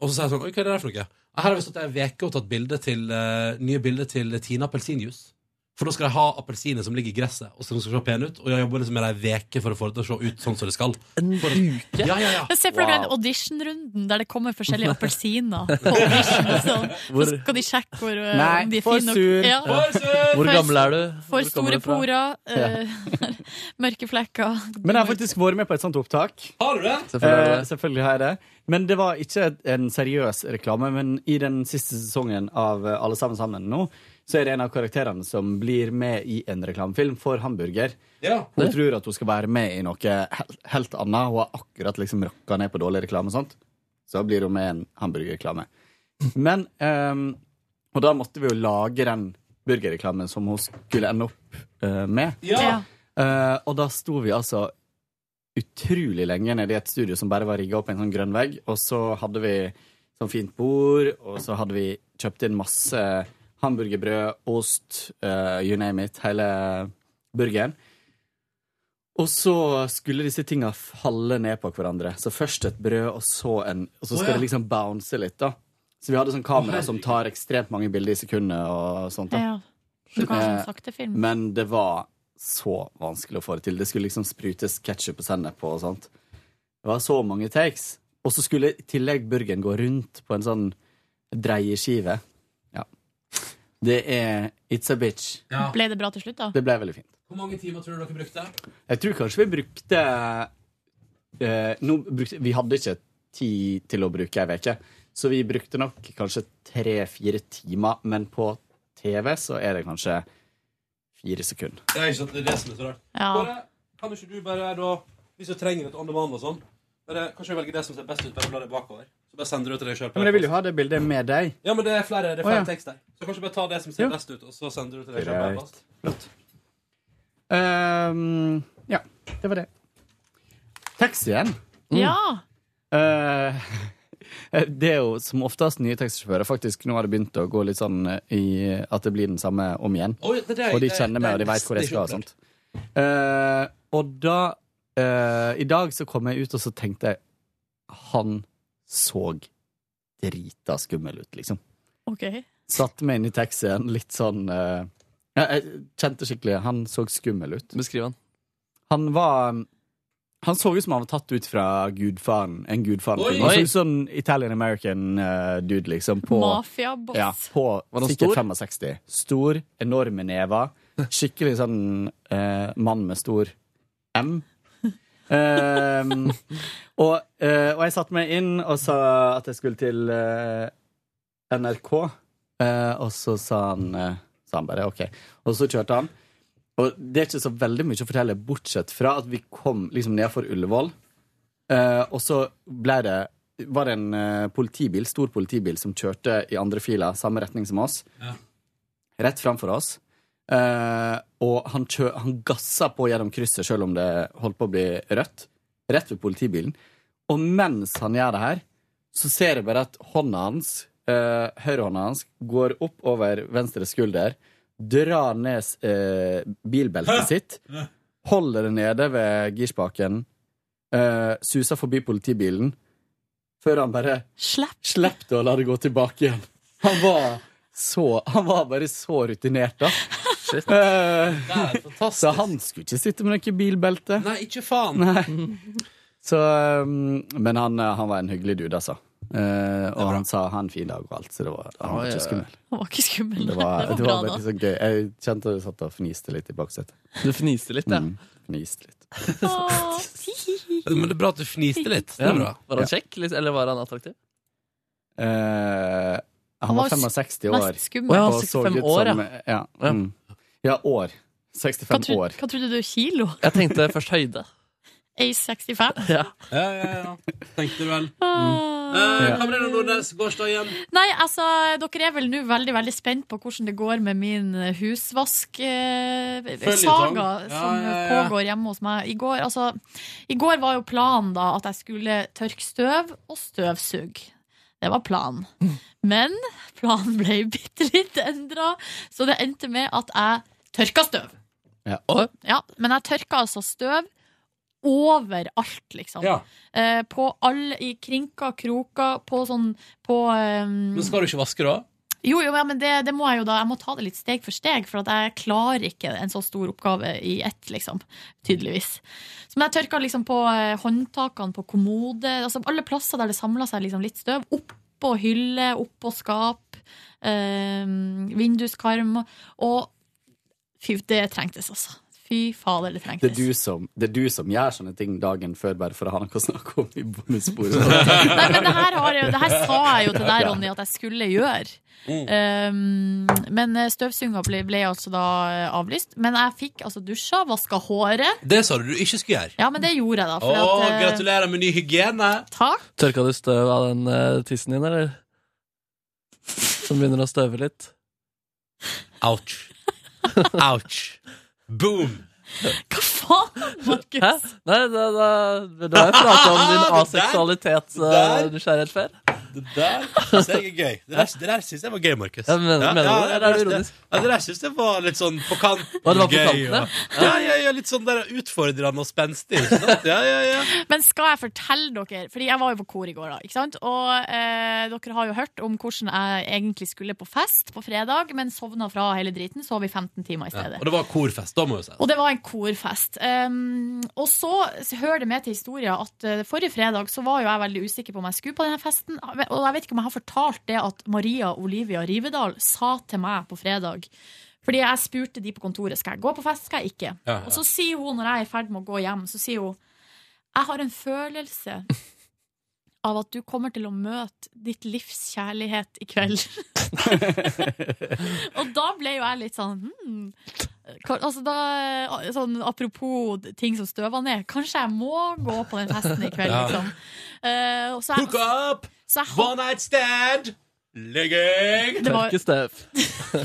S1: Og så sa jeg sånn Oi, hva er det der for noe? Her har vi stått ei uke og tatt bilde til, eh, nye bilder til Tina appelsinjuice. For da skal de ha appelsiner som ligger i gresset, og så de skal se pene ut. Og jeg jobber liksom med ei uke for å få det til å se ut sånn som det skal.
S3: En
S1: For-
S3: uke?
S1: Ja, ja, ja.
S2: Men se for dere den auditionrunden der det kommer [laughs] forskjellige appelsiner. på audition og sånn. Så
S3: Hvor-
S2: skal de sjekke hvor, eh,
S9: Nei,
S2: om de er
S9: for
S2: fine nok.
S9: sur.
S2: Ja,
S1: Bare sur!
S3: Hvor
S2: For-
S3: gammel er du?
S2: for
S3: Hvor kommer
S2: store
S3: du fra?
S2: porer, eh, [laughs] mørke flekker.
S9: Men jeg har faktisk vært med på et sånt opptak.
S1: Har du det?
S3: Selvfølgelig
S9: Eh,
S3: er det.
S9: selvfølgelig har jeg det. Men det var ikke en seriøs reklame. Men i den siste sesongen av eh, Alle sammen sammen nå, så er det en av karakterene som blir med i en reklamefilm for hamburger.
S1: Ja.
S9: Hun tror at hun skal være med i noe helt, helt annet. Hun har akkurat liksom rocka ned på dårlig reklame og sånt. så blir hun med i en hamburgerreklame. Men ehm, Og da måtte vi jo lage den burgerreklamen som hun skulle ende opp eh, med.
S2: Ja.
S9: Eh, og da sto vi altså utrolig lenge nede i et studio som bare var rigga opp i en sånn grønn vegg, og så hadde vi sånn fint bord, og så hadde vi kjøpt inn masse hamburgerbrød, ost, eh, you name it, hele burgeren. Og så skulle disse tinga falle ned på hverandre. Så først et brød, og så en Og så skal det liksom bounce litt, da. Så vi hadde sånn kamera som tar ekstremt mange bilder i sekundet og sånt. da.
S2: ja. Du kan ha
S9: Eh,
S2: sånn saktefilm.
S9: Men det var så vanskelig å få det til. Det skulle liksom sprutes ketsjup og sennep på og sånt. Det var så mange takes. Og så skulle i tillegg burgeren gå rundt på en sånn dreieskive. Ja. Det er It's a bitch.
S2: Ble det bra til slutt, da?
S9: Det ble veldig fint.
S1: Hvor mange timer tror du dere brukte?
S9: Jeg tror kanskje vi brukte, eh, nå brukte Vi hadde ikke tid til å bruke ei uke, så vi brukte nok kanskje tre-fire timer. Men på TV så er det kanskje fire sekunder.
S1: Ja, ikke sant, det er det som er så rart.
S2: Ja.
S1: Bare, kan ikke du bare da, hvis du trenger et on demand og sånn, bare, kanskje velge det som ser best ut, bare bla det bakover. Så bare sender du det til deg selv.
S9: Men jeg vil jo ha det bildet med deg.
S1: Ja, men det er flere, det er flere
S9: Å, ja.
S1: tekst der. Så kanskje bare ta det som ser
S9: Ja.
S1: best ut, og så sender du til deg selv. på
S9: Greit.
S1: e-post.
S9: Ehm, ja, det var det. Tekst igjen.
S2: ja.
S9: Eh, [laughs] det er jo som oftest nye taxisjåfører faktisk nå har det begynt å gå litt sånn i at det blir den samme om igjen.
S1: Oi, det, det, er-
S9: Og de
S1: det-
S9: kjenner meg, og
S1: det
S9: de
S1: er
S9: veit hvor jeg
S1: nesten
S9: skal.
S1: ikke
S9: og sånt. Eh, og da eh, I dag så kom jeg ut, og så tenkte jeg Han så drita skummel ut, liksom.
S2: OK.
S9: Satte meg inn i taxien litt sånn eh, ja, Jeg kjente skikkelig Han så skummel ut.
S3: Beskriv han.
S9: Han var Han så ut som han var tatt ut fra Gudfaren. En
S1: Oi!
S9: Gudfaren-film. Han så ut som en Italian American eh, dude, liksom. På,
S2: Mafiaboss.
S9: ja, på
S3: Var han
S9: sikkert
S3: stor?
S9: 65. Stor, enorme never. Skikkelig sånn eh, mann med stor M.
S3: [laughs]
S9: Ehm, og, eh, og jeg satte meg inn og sa at jeg skulle til eh, NRK. Eh, og så sa han, eh, sa han bare OK. Og så kjørte han. Og det er ikke så veldig mye å fortelle, bortsett fra at vi kom liksom nedfor Ullevål. Eh, og så ble det var det en eh, politibil, stor politibil som kjørte i andre fila, samme retning som oss.
S1: Ja.
S9: Rett framfor oss. Eh, og han, kjø han gassa på gjennom krysset selv om det holdt på å bli rødt. Rett ved politibilen. Og mens han gjør det her, så ser jeg bare at hånda hans, eh, høyrehånda hans, går opp over venstre skulder, drar ned eh, bilbeltet sitt, holder det nede ved girspaken, eh, suser forbi politibilen, før han bare
S2: Slipp.
S9: Slipp det og la det gå tilbake igjen. Han var så Han var bare så rutinert, da. Eh,
S1: Det er fantastisk.
S9: så han skulle ikke sitte med noe bilbelte.
S1: Nei, ikke faen.
S9: Nei. Så, um, men han, eh, han var en hyggelig dude, altså. Eh, og han sa ha en fin dag og alt, så det var, han var
S3: Oi,
S9: ikke
S3: oi.
S9: skummel.
S2: Han var ikke skummel.
S9: Det var, det var
S2: bra,
S9: veldig så gøy. Jeg kjente jeg satt og fniste litt i baksetet.
S3: Du fniste litt, ja.
S9: Mm, fniste litt.
S2: da. Åh, hihihi.
S1: Men det er bra at du fniste litt. Det
S3: Ja.
S1: er bra.
S3: Var han kjekk, litt- eller var han attraktiv?
S9: Eh, han
S2: Han var
S9: var 65 år.
S2: Mest skummel.
S3: Å, ja.
S9: og så
S3: 65
S9: ut
S3: år,
S9: som- ja.
S3: Ja.
S9: Mm. Ja, år.
S2: Hva,
S9: 65
S2: tro,
S9: år.
S2: hva trodde du? Kilo?
S3: Jeg tenkte først høyde.
S2: Ace 65?
S3: Ja.
S1: Ja, ja, ja. Tenkte du vel.
S9: Mm.
S2: Ah.
S1: Eh, Kamerina Nordnes, gårsdagen.
S2: Nei, altså, dere er vel nå veldig veldig spent på hvordan det går med min eh, husvask-saga
S1: Føljetong. Ja,
S2: som
S1: ja, ja.
S2: pågår hjemme hos meg. I går, altså, I går var jo planen da at jeg skulle tørke støv og støvsug. Det var planen. Men planen ble [laughs] bitte litt endra, så det endte med at jeg tørka støv.
S9: Ja.
S2: Ja, men jeg tørka altså støv overalt, liksom.
S1: Ja.
S2: Eh, på alle, i krinker, kroker, på sånn På ehm,
S1: Men skal du ikke vaske, da?
S2: jo, jo, ja, men det, det må jeg jo da. Jeg må ta det litt steg for steg, for at jeg klarer ikke en så stor oppgave i ett, liksom. Tydeligvis. Så men jeg tørka liksom på eh, håndtakene på kommode, altså alle plasser der det samla seg liksom litt støv. Oppå hylle, oppå skap, ehm, eh, vinduskarm. Og fy, det trengtes, altså. Fy fader, det trengtes.
S9: Det er, du som, det er du som gjør sånne ting dagen før bare for å ha noe å snakke om i bonusbordet.
S2: Nei, men det her, har jeg, jo- det her sa jeg jo til deg, Ronny, at jeg skulle gjøre.
S1: Mm.
S2: Um, men eh, støvsuginga ble, ble altså da eh, avlyst. Men jeg fikk altså dusja, vaska håret.
S1: Det sa du du ikke skulle gjøre.
S2: Ja, men det gjorde jeg, da.
S1: Å,
S2: For at, eh,
S1: gratulerer med ny hygiene!
S2: Takk.
S3: Tørka du støv av den eh, tissen din, eller? Som begynner å støve litt?
S1: Ouch. Ouch. Boom!
S2: Hva faen,
S3: Hæ?
S2: Markus?
S3: Nei, da, da, da har jeg
S2: [laughs]
S3: prata om din aseksualitetsnysgjerrighet før.
S1: Det der syns jeg er gøy. Det der, det der syns jeg var gøy, Markus.
S3: Ja, men- mener du det, eller
S1: det,
S3: er du
S1: der-
S3: ironisk?
S1: ja, det der syns jeg var litt sånn på kanten.
S3: Å, det var på
S1: gøy,
S3: kanten, ja.
S1: og- ja, ja, ja, litt sånn der utfordrende og spenstig. ikke sant? Ja, ja, ja.
S2: Men skal jeg fortelle dere Fordi jeg var jo på kor i går, da. Ikke sant? Og eh, dere har jo hørt om hvordan jeg egentlig skulle på fest på fredag, men sovna fra hele driten. Sov i 15 timer i
S1: Ja,
S2: stedet.
S1: Og det var korfest, da, må jeg jo si.
S2: Og det var en korfest. Um, og så s- hører det med til historien at eh, forrige fredag så var jo jeg veldig usikker på om jeg skulle på denne festen. Og jeg vet ikke om jeg har fortalt det at Maria Olivia Rivedal sa til meg på fredag. Fordi jeg spurte de på kontoret skal jeg gå på fest, skal jeg ikke.
S1: Ja, ja.
S2: Og så sier hun, når jeg er i ferd med å gå hjem, så sier hun jeg har en følelse
S1: [laughs]
S2: av at du kommer til å møte ditt livs kjærlighet i kveld. og da ble jo jeg litt sånn hmm, Ka- Altså da, sånn, apropos ting som støver ned, kanskje jeg må gå på den festen i kveld,
S1: Ja.
S2: liksom. Eh, og så
S1: Hook
S2: jeg,
S1: up!
S2: så jeg,
S1: One night stand! Ligging!
S2: det, var,
S3: Tørke støv.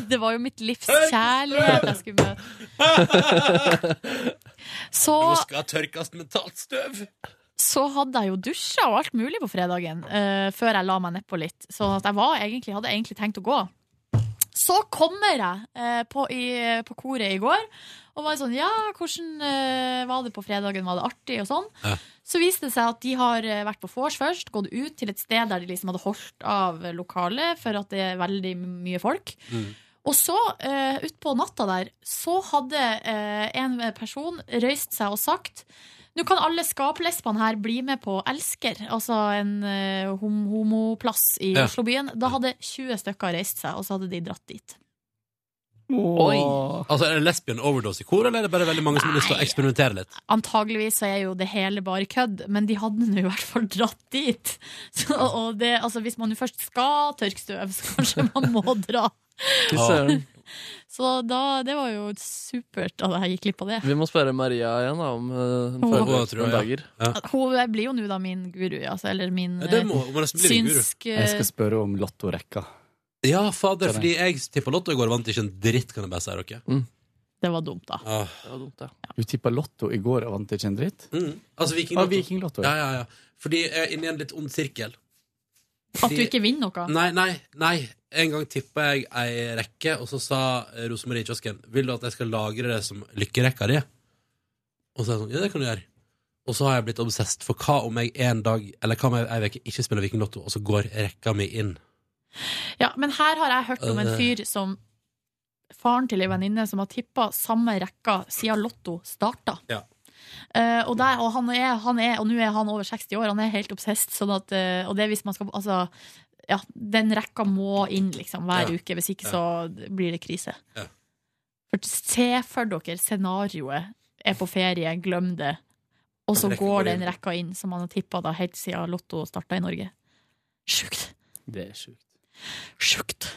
S2: det var jo mitt livs kjærlighet jeg skulle møte. Så,
S1: Nå skal jeg tørkes mentalt støv.
S2: så hadde jeg jo dusja og alt mulig på fredagen, eh, før jeg la meg nedpå litt. Så at jeg var egentlig, hadde egentlig tenkt å gå. Så kommer jeg eh, på, i, på koret i går og var sånn Ja, hvordan eh, var det på fredagen? Var det artig? Og sånn.
S1: Ja.
S2: Så viste det seg at de har eh, vært på vors først, gått ut til et sted der de liksom hadde holdt av lokalet for at det er veldig mye folk.
S1: Mm.
S2: Og så, eh, utpå natta der, så hadde eh, en person røyst seg og sagt nå kan alle skaplesbene her bli med på Elsker, altså en eh, hom homoplass i
S1: Ja.
S2: Oslobyen. Da hadde 20 stykker reist seg, og så hadde de dratt dit.
S1: Altså, Er det lesbian overdose i kor, eller er det bare veldig mange som har lyst til å
S2: Nei.
S1: eksperimentere litt?
S2: Antageligvis så er jo det hele bare kødd, men de hadde nå i hvert fall dratt dit. [laughs] Så, og det, altså, hvis man jo først skal tørke støv, så kanskje man må [laughs] dra.
S3: Fy søren.
S2: Så da, det var jo supert at jeg gikk glipp av det.
S3: Vi må spørre Maria igjen da, om eh, hun
S2: Åh.
S3: føler
S1: Åh, tror jeg,
S3: noen
S1: ja.
S3: dager.
S2: Hun blir jo nå da min guru, altså, eller min eh,
S1: Ja, Det må, må nesten bli en guru.
S2: synsk
S9: Jeg skal spørre om lottorekka.
S1: Ja, fader,
S9: Sorry.
S1: fordi jeg tippa lotto i går, vant ikke en dritt, kan jeg bare si dere.
S2: Det var dumt, da.
S1: Ah.
S3: Det var dumt, ja.
S9: Du tippa lotto i går og vant ikke en dritt?
S1: Mm. Altså, Viking
S9: Ah,
S1: lotto.
S9: Vikinglotto.
S1: Ja, ja, ja. Fordi jeg er inne i en litt ond sirkel.
S2: At du ikke vinner noe.
S1: Nei, nei, nei. En gang tippa jeg ei rekke, og så sa Rosemarie i kiosken Vil du at jeg skal lagre det som lykkerekka di. Og så er jeg sånn, ja, det kan du gjøre. Og så har jeg blitt obsesst, for hva om jeg en dag Eller hva om jeg ei uke ikke spiller Vikinglotto, og så går rekka mi inn?
S2: Ja, men her har jeg hørt om en
S1: Øh.
S2: fyr som Faren til ei venninne som har tippa samme rekka siden Lotto starta.
S1: Ja.
S2: Eh, og, der, og, han er, han er, og nå er han over 60 år, han er helt obsesst. Sånn at, eh, og det er hvis man skal Altså, ja, den rekka må inn liksom hver
S1: Ja.
S2: uke, hvis ikke
S1: Ja.
S2: så blir det krise.
S1: Ja.
S2: For se for dere scenarioet er på ferie, glem det, og så
S1: Rekka går
S2: går den
S1: inn.
S2: rekka inn som han har tippa helt siden Lotto starta i Norge. Sjukt.
S9: Det er sjukt.
S2: Sjukt.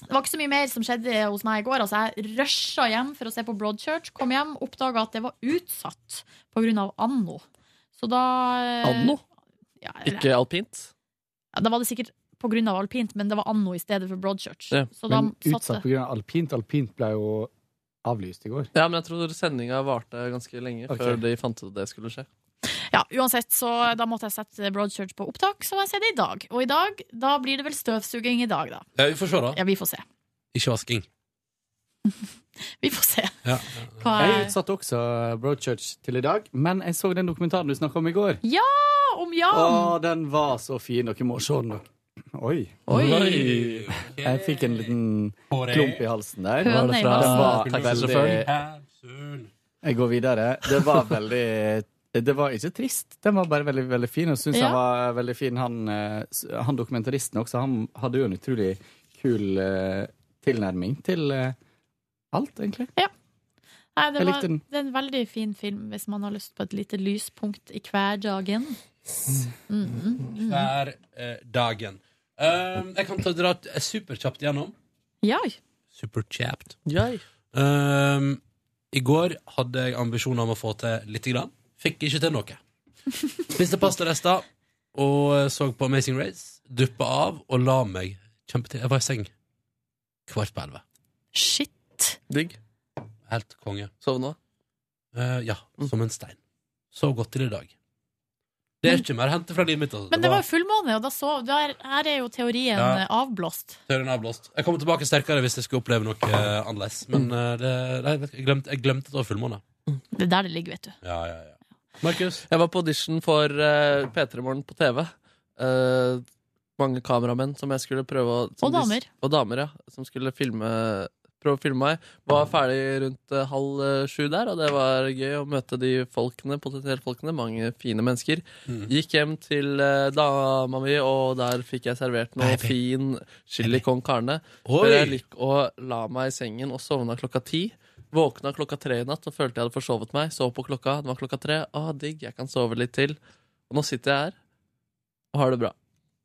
S2: Det var ikke så mye mer som skjedde hos meg i går. Altså, jeg rusha hjem for å se på Broadchurch. Kom hjem, oppdaga at det var utsatt pga. anno. Så da eh,
S3: Anno?
S2: Ja, eller-
S3: Ikke alpint?
S2: ja, da var det sikkert pga. alpint, men det var anno i stedet for Broadchurch.
S3: Ja,
S2: Så da
S9: Men utsatt
S2: satt det.
S9: pga. alpint. Alpint ble jo avlyst i går.
S3: Ja, men jeg tror sendinga varte ganske lenge
S9: Ok.
S3: før de fant ut at det skulle skje.
S2: Ja, uansett, så da måtte jeg sette Broadchurch på opptak, som jeg ser det i dag. Og i dag, da blir det vel støvsuging i dag, da.
S1: Ja, vi får se, da.
S2: Ja, vi får se.
S1: Ikke vasking.
S2: Vi får se.
S1: Ja.
S2: Hva
S9: Jeg
S2: er
S9: utsatte også Broadchurch til i dag, men jeg så den dokumentaren du snakka om i går.
S2: Ja, om Jan?
S9: Å, den var så fin. Dere må se den. Oi.
S2: Oi!
S9: Jeg fikk en liten klump i halsen der.
S2: Høne
S9: det
S2: i
S9: fra-
S2: halsen.
S9: Det var veldig Jeg går videre. Det
S3: [laughs]
S9: var veldig det var ikke trist, den var bare veldig veldig fin. Og synes
S2: Ja.
S9: han var veldig fin Han, eh, s- han dokumentaristen også, han hadde jo en utrolig kul eh, tilnærming til eh, alt, egentlig.
S2: Nei, det,
S9: Jeg
S2: var,
S9: likte den.
S2: det er en veldig fin film hvis man har lyst på et lite lyspunkt i hverdagen. Mm, mm, mm.
S1: hver eh, dagen. Ehm, jeg kan ta dra t- superkjapt gjennom.
S2: Ja.
S1: Superkjapt.
S3: Jøy.
S1: Ehm, I går hadde jeg ambisjoner om å få til lite grann. Fikk ikke til
S2: [laughs]
S1: noe. Spiste pastarester og eh, så på Amazing Race. Duppa av og la meg kjempetid. Jeg var i seng kvart på elleve.
S2: Shit.
S3: Digg.
S1: Helt konge.
S3: Sovna.
S1: Eh, ja,
S2: Mm.
S1: som en stein. Sov godt til i dag. Det er ikke mer å hente fra livet mitt. Altså.
S2: Men det var jo fullmåne, og da sov der, Her er jo teorien
S1: Ja.
S2: eh, avblåst.
S1: Tørren er avblåst. Jeg kommer tilbake sterkere hvis jeg skulle oppleve noe eh, annerledes. Men
S2: Mm.
S1: eh, det, nei, vet du, jeg, glemte, jeg glemte at det var fullmåne.
S2: Det er der det ligger, vet du.
S1: Ja, ja, ja. Markus?
S3: Jeg var på audition for eh, P3 Morgen på TV. Eh, mange kameramenn som jeg skulle prøve å som
S2: Og damer.
S3: De, og damer, ja. Som skulle filme, prøve å filme meg. Var ferdig rundt eh, halv eh, sju der, og det var gøy å møte de folkene, potensielle folkene. Mange fine mennesker. Gikk hjem til eh, dama mi, og der fikk jeg servert noe
S1: Baby.
S3: fin chili con carne.
S1: Oi!
S3: Før jeg gikk og la meg i sengen og sovna klokka ti. Våkna klokka tre i natt og følte jeg hadde forsovet meg. Sov på klokka, det var klokka tre. Å, digg, jeg kan sove litt til. Og nå sitter jeg her og har det bra.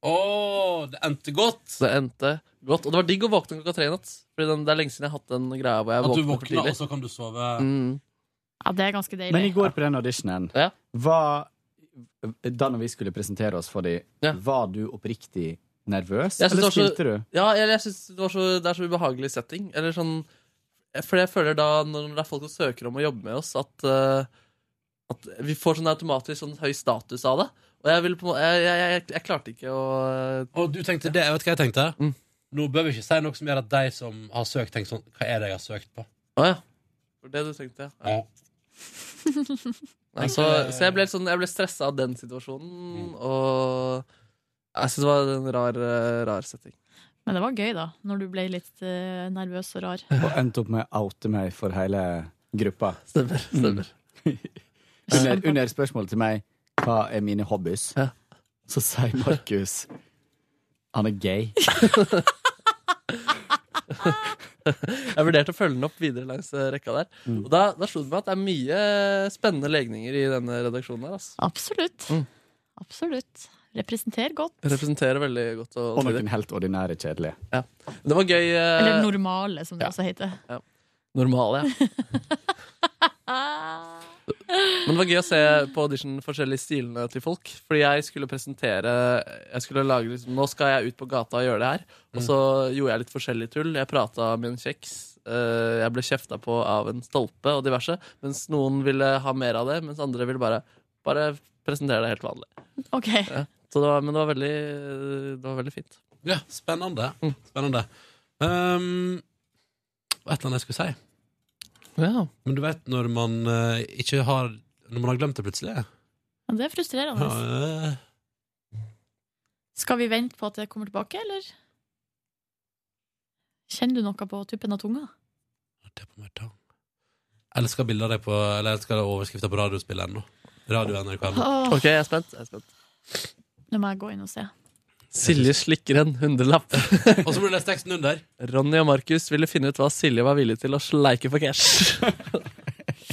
S1: Åh, det endte godt!
S3: Så det endte godt. Og det var digg å våkne klokka tre i natt. Fordi den, det er lenge siden jeg har hatt den greia hvor jeg
S1: At du
S3: våkner for
S1: våkna, og
S3: tidlig.
S1: så kan du sove.
S3: Mm.
S2: Ja, det er ganske deilig.
S9: Men i går på den auditionen
S3: Ja.
S9: var Da når vi skulle presentere oss for de,
S3: Ja.
S9: var du oppriktig nervøs?
S3: Jeg synes
S9: Eller
S3: det var så-
S9: spilte du?
S3: Ja, jeg, jeg synes det, var så, det er så ubehagelig setting. Eller sånn For jeg føler da, når det er folk som søker om å jobbe med oss, at, eh, at vi får sånn automatisk sånn høy status av det. Og jeg, ville på, en måte- jeg, jeg, jeg, jeg klarte ikke å eh,
S1: Og du tenkte det, vet du hva jeg tenkte?
S3: Mm.
S1: Nå bør vi ikke si noe som gjør at de som har søkt, tenker sånn Hva er det jeg har søkt på?
S3: Å ja. Det var det du tenkte, ja.
S1: Ja.
S3: [laughs] Nei, så, så jeg ble, litt sånn, jeg ble stressa av den situasjonen, og jeg syns det var en rar, eh, rar setting.
S2: Men det var gøy, da. Når du ble litt eh, nervøs og rar.
S9: Og endte opp med å oute meg for hele gruppa.
S3: Stemmer. stemmer.
S9: Under, under spørsmålet til meg hva er mine hobbies,
S3: Ja.
S9: så sier Markus han er gay.
S3: Jeg vurderte å følge den opp videre langs eh, rekka der. Og da, da slo det meg at det er mye spennende legninger i denne redaksjonen her. Altså.
S2: Absolutt.
S3: Mm.
S2: Absolutt. Representer godt.
S3: Det representerer veldig godt. Og,
S9: Og noen helt ordinære kjedelige.
S3: Det var gøy. eh,
S2: Eller normale, som det
S3: ja.
S2: også heter.
S3: normal, ja.
S2: Ah.
S3: Men det var gøy å se på audition forskjellige stilene til folk. Fordi jeg skulle presentere jeg skulle lage, liksom, Nå skal jeg ut på gata og gjøre det her. Og så gjorde jeg litt forskjellig tull. Jeg prata med en kjeks. eh, Jeg ble kjefta på av en stolpe og diverse. Mens noen ville ha mer av det, mens andre ville bare, bare presentere det helt vanlig.
S2: OK.
S3: Så det var, men det var veldig, det var veldig fint.
S1: Ja, spennende.
S3: Mm.
S1: Spennende. Um, et eller annet jeg skulle si.
S3: Ja.
S1: Men du vet når man eh, ikke har Når man har glemt det plutselig?
S2: Ja, Det er frustrerende.
S1: Ja, eh.
S2: Skal vi vente på at det kommer tilbake, eller? Kjenner du noe på tuppen av tunga?
S1: Det på meg tang. Eller skal bilder det på Eller skal det overskrifter på radiospillet ennå? Radio NRK.
S2: Åh,
S3: Ok, jeg er spent. Jeg er spent.
S2: nå må jeg gå inn og se.
S3: Silje slikker en hundrelapp.
S1: Og så blir det lest teksten under.
S3: Ronny og Markus ville finne ut hva Silje var villig til å sleike for cash.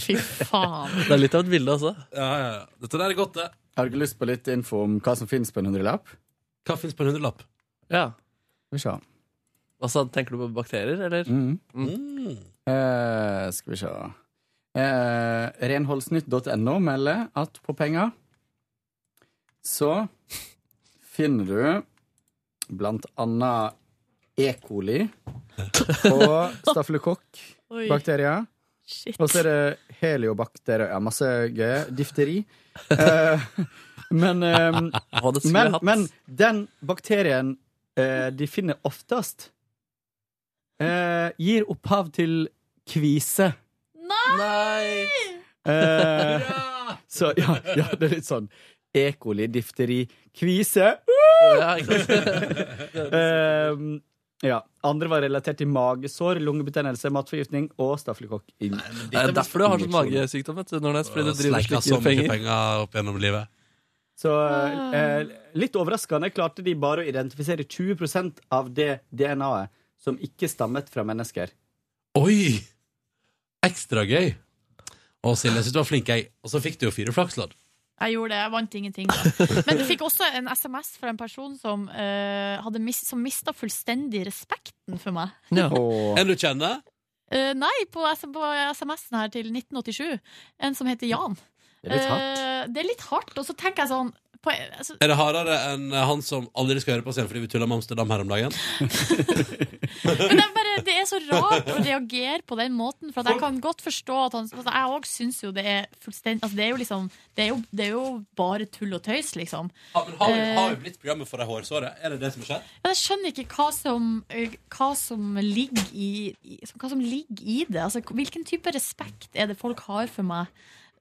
S2: Fy faen.
S3: Det er litt av et bilde, altså.
S1: Ja, ja, ja. Dette der er godt, det.
S9: Har du ikke lyst på litt info om hva som finnes på en hundrelapp?
S1: Hva fins på en hundrelapp?
S3: Ja.
S9: Skal vi se.
S3: Altså, tenker du på bakterier, eller?
S9: Mm.
S1: Mm.
S9: Eh, skal vi se Eh, Renholdsnytt.no melder at på penger så finner du blant annet E. coli og stafylokokk-bakterier.
S2: Oi, shit.
S9: Og så er det heliobakterier. Ja, masse gøye. Difteri. Eh, men,
S3: [laughs]
S9: eh,
S3: Hva det skulle
S9: men,
S3: jeg hatt.
S9: men den bakterien eh, de finner oftest, eh, gir opphav til kvise.
S3: Nei!
S9: Eh,
S3: [laughs] Ah!
S9: så ja, ja, det er litt sånn E. coli, difteri, kvise.
S3: Ja, ikke
S9: [laughs]
S3: sant?
S9: Eh, ja. Andre var relatert til magesår, lungebetennelse, matforgiftning og stafylokokk.
S3: Det er derfor du har sånn magesykdom, vet du, Nordnes. Fordi du driver og
S1: Sleika så
S3: slikker
S1: mye
S3: penger.
S1: penger opp gjennom livet.
S9: Så
S2: Ah.
S9: eh, litt overraskende klarte de bare å identifisere 20 av det DNA-et som ikke stammet fra mennesker.
S1: Oi! Jeg ekstra gøy. Å, Silje, jeg synes du var flink, jeg. Og så fikk du jo fire flakslodd.
S2: Jeg gjorde det, jeg vant ingenting. Da. Men jeg fikk også en SMS fra en person som, uh, hadde mis som mista fullstendig respekten for meg.
S3: Ja.
S1: En du kjenner?
S2: Eh, nei, på, S- på SMS-en her til 1987. En som heter Jan.
S9: Det er litt hardt.
S2: Eh, det er litt hardt, og så tenker jeg sånn på, altså,
S1: Er det hardere enn eh, han som aldri skal høre på oss igjen fordi vi tulla med Amsterdam her om dagen?
S2: Men det er, bare, det er så rart å reagere på den måten, for at jeg kan godt forstå at han altså, Jeg òg syns jo det er fullstendig altså, det, er jo liksom, det, er jo, det er jo bare tull og tøys, liksom.
S1: Ja, men har, vi,
S2: Eh.
S1: har vi blitt programmet for det hårsåret? Er det det som har skjedd?
S2: Men jeg skjønner ikke hva som, eh, hva som, ligger, i, i- hva som ligger i det. Altså, hvilken type respekt er det folk har for meg?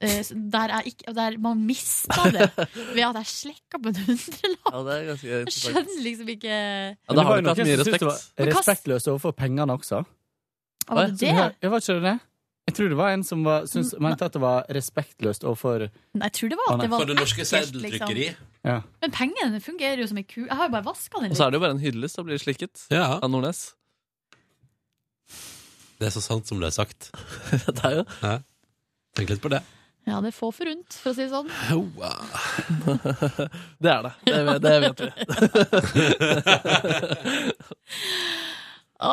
S2: eh, Der, jeg ikke, der man mister
S1: [laughs]
S2: det ved at jeg slekker på en hundrelapp.
S3: ja, det er ganske
S2: Jeg
S3: interessant.
S2: skjønner liksom ikke
S3: Ja,
S9: Men
S3: da
S9: det var
S3: har
S9: jo
S3: du ikke hatt
S9: noen
S3: mye
S9: som syntes
S3: respekt.
S9: det var
S2: Men hva s-
S9: Respektløst overfor pengene også.
S2: Hva var det det?
S9: Så Jeg var ikke det. Jeg tror det var en som var, syns, mente at det var respektløst overfor
S2: Nei, Jeg tror det var at det var
S1: For det norske
S2: ekkelt, liksom.
S1: seddeltrykkeri?
S9: ja.
S2: Men pengene fungerer jo som ei ku. Jeg har jo bare vaska den
S3: Og
S2: litt.
S3: så er det jo bare en hyllest som blir slikket
S1: Ja.
S3: av Nordnes.
S1: Det er så sant som det er sagt.
S3: [laughs] Det er jo [laughs]
S1: Tenk litt på det.
S2: Ja, det er få forunt, for å si det sånn.
S3: Det er det. Det, vet- det vet vi.
S2: Å,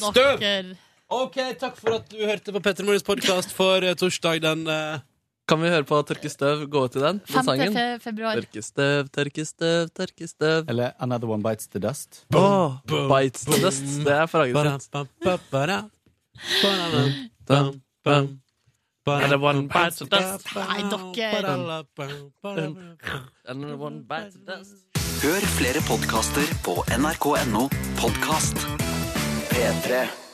S1: Støv!
S2: dere.
S1: OK, takk for at du hørte på Petter Morgens podkast for eh, torsdag den eh,
S3: Kan vi høre på Tørke støv gå ut i den? Den
S2: 5.
S3: sangen?
S2: fe- februar.
S3: Tørke støv, tørke støv, tørke støv.
S9: Eller Another One Bites the Dust.
S3: Åh,
S1: boom,
S3: bites the
S1: boom.
S3: dust. Det er
S1: Ba-da,
S3: fragesett.
S1: ba, ba, ba-da. Ba-da, ba,
S3: Bam,
S1: ba,
S3: bam.
S1: ba-da,
S3: And one bites the dust.
S2: Nei, dere.
S1: Ba-da, ba, ba-da, ba.
S3: And one bites the dust.
S10: Hør flere podkaster på nrk.no podkast. P3.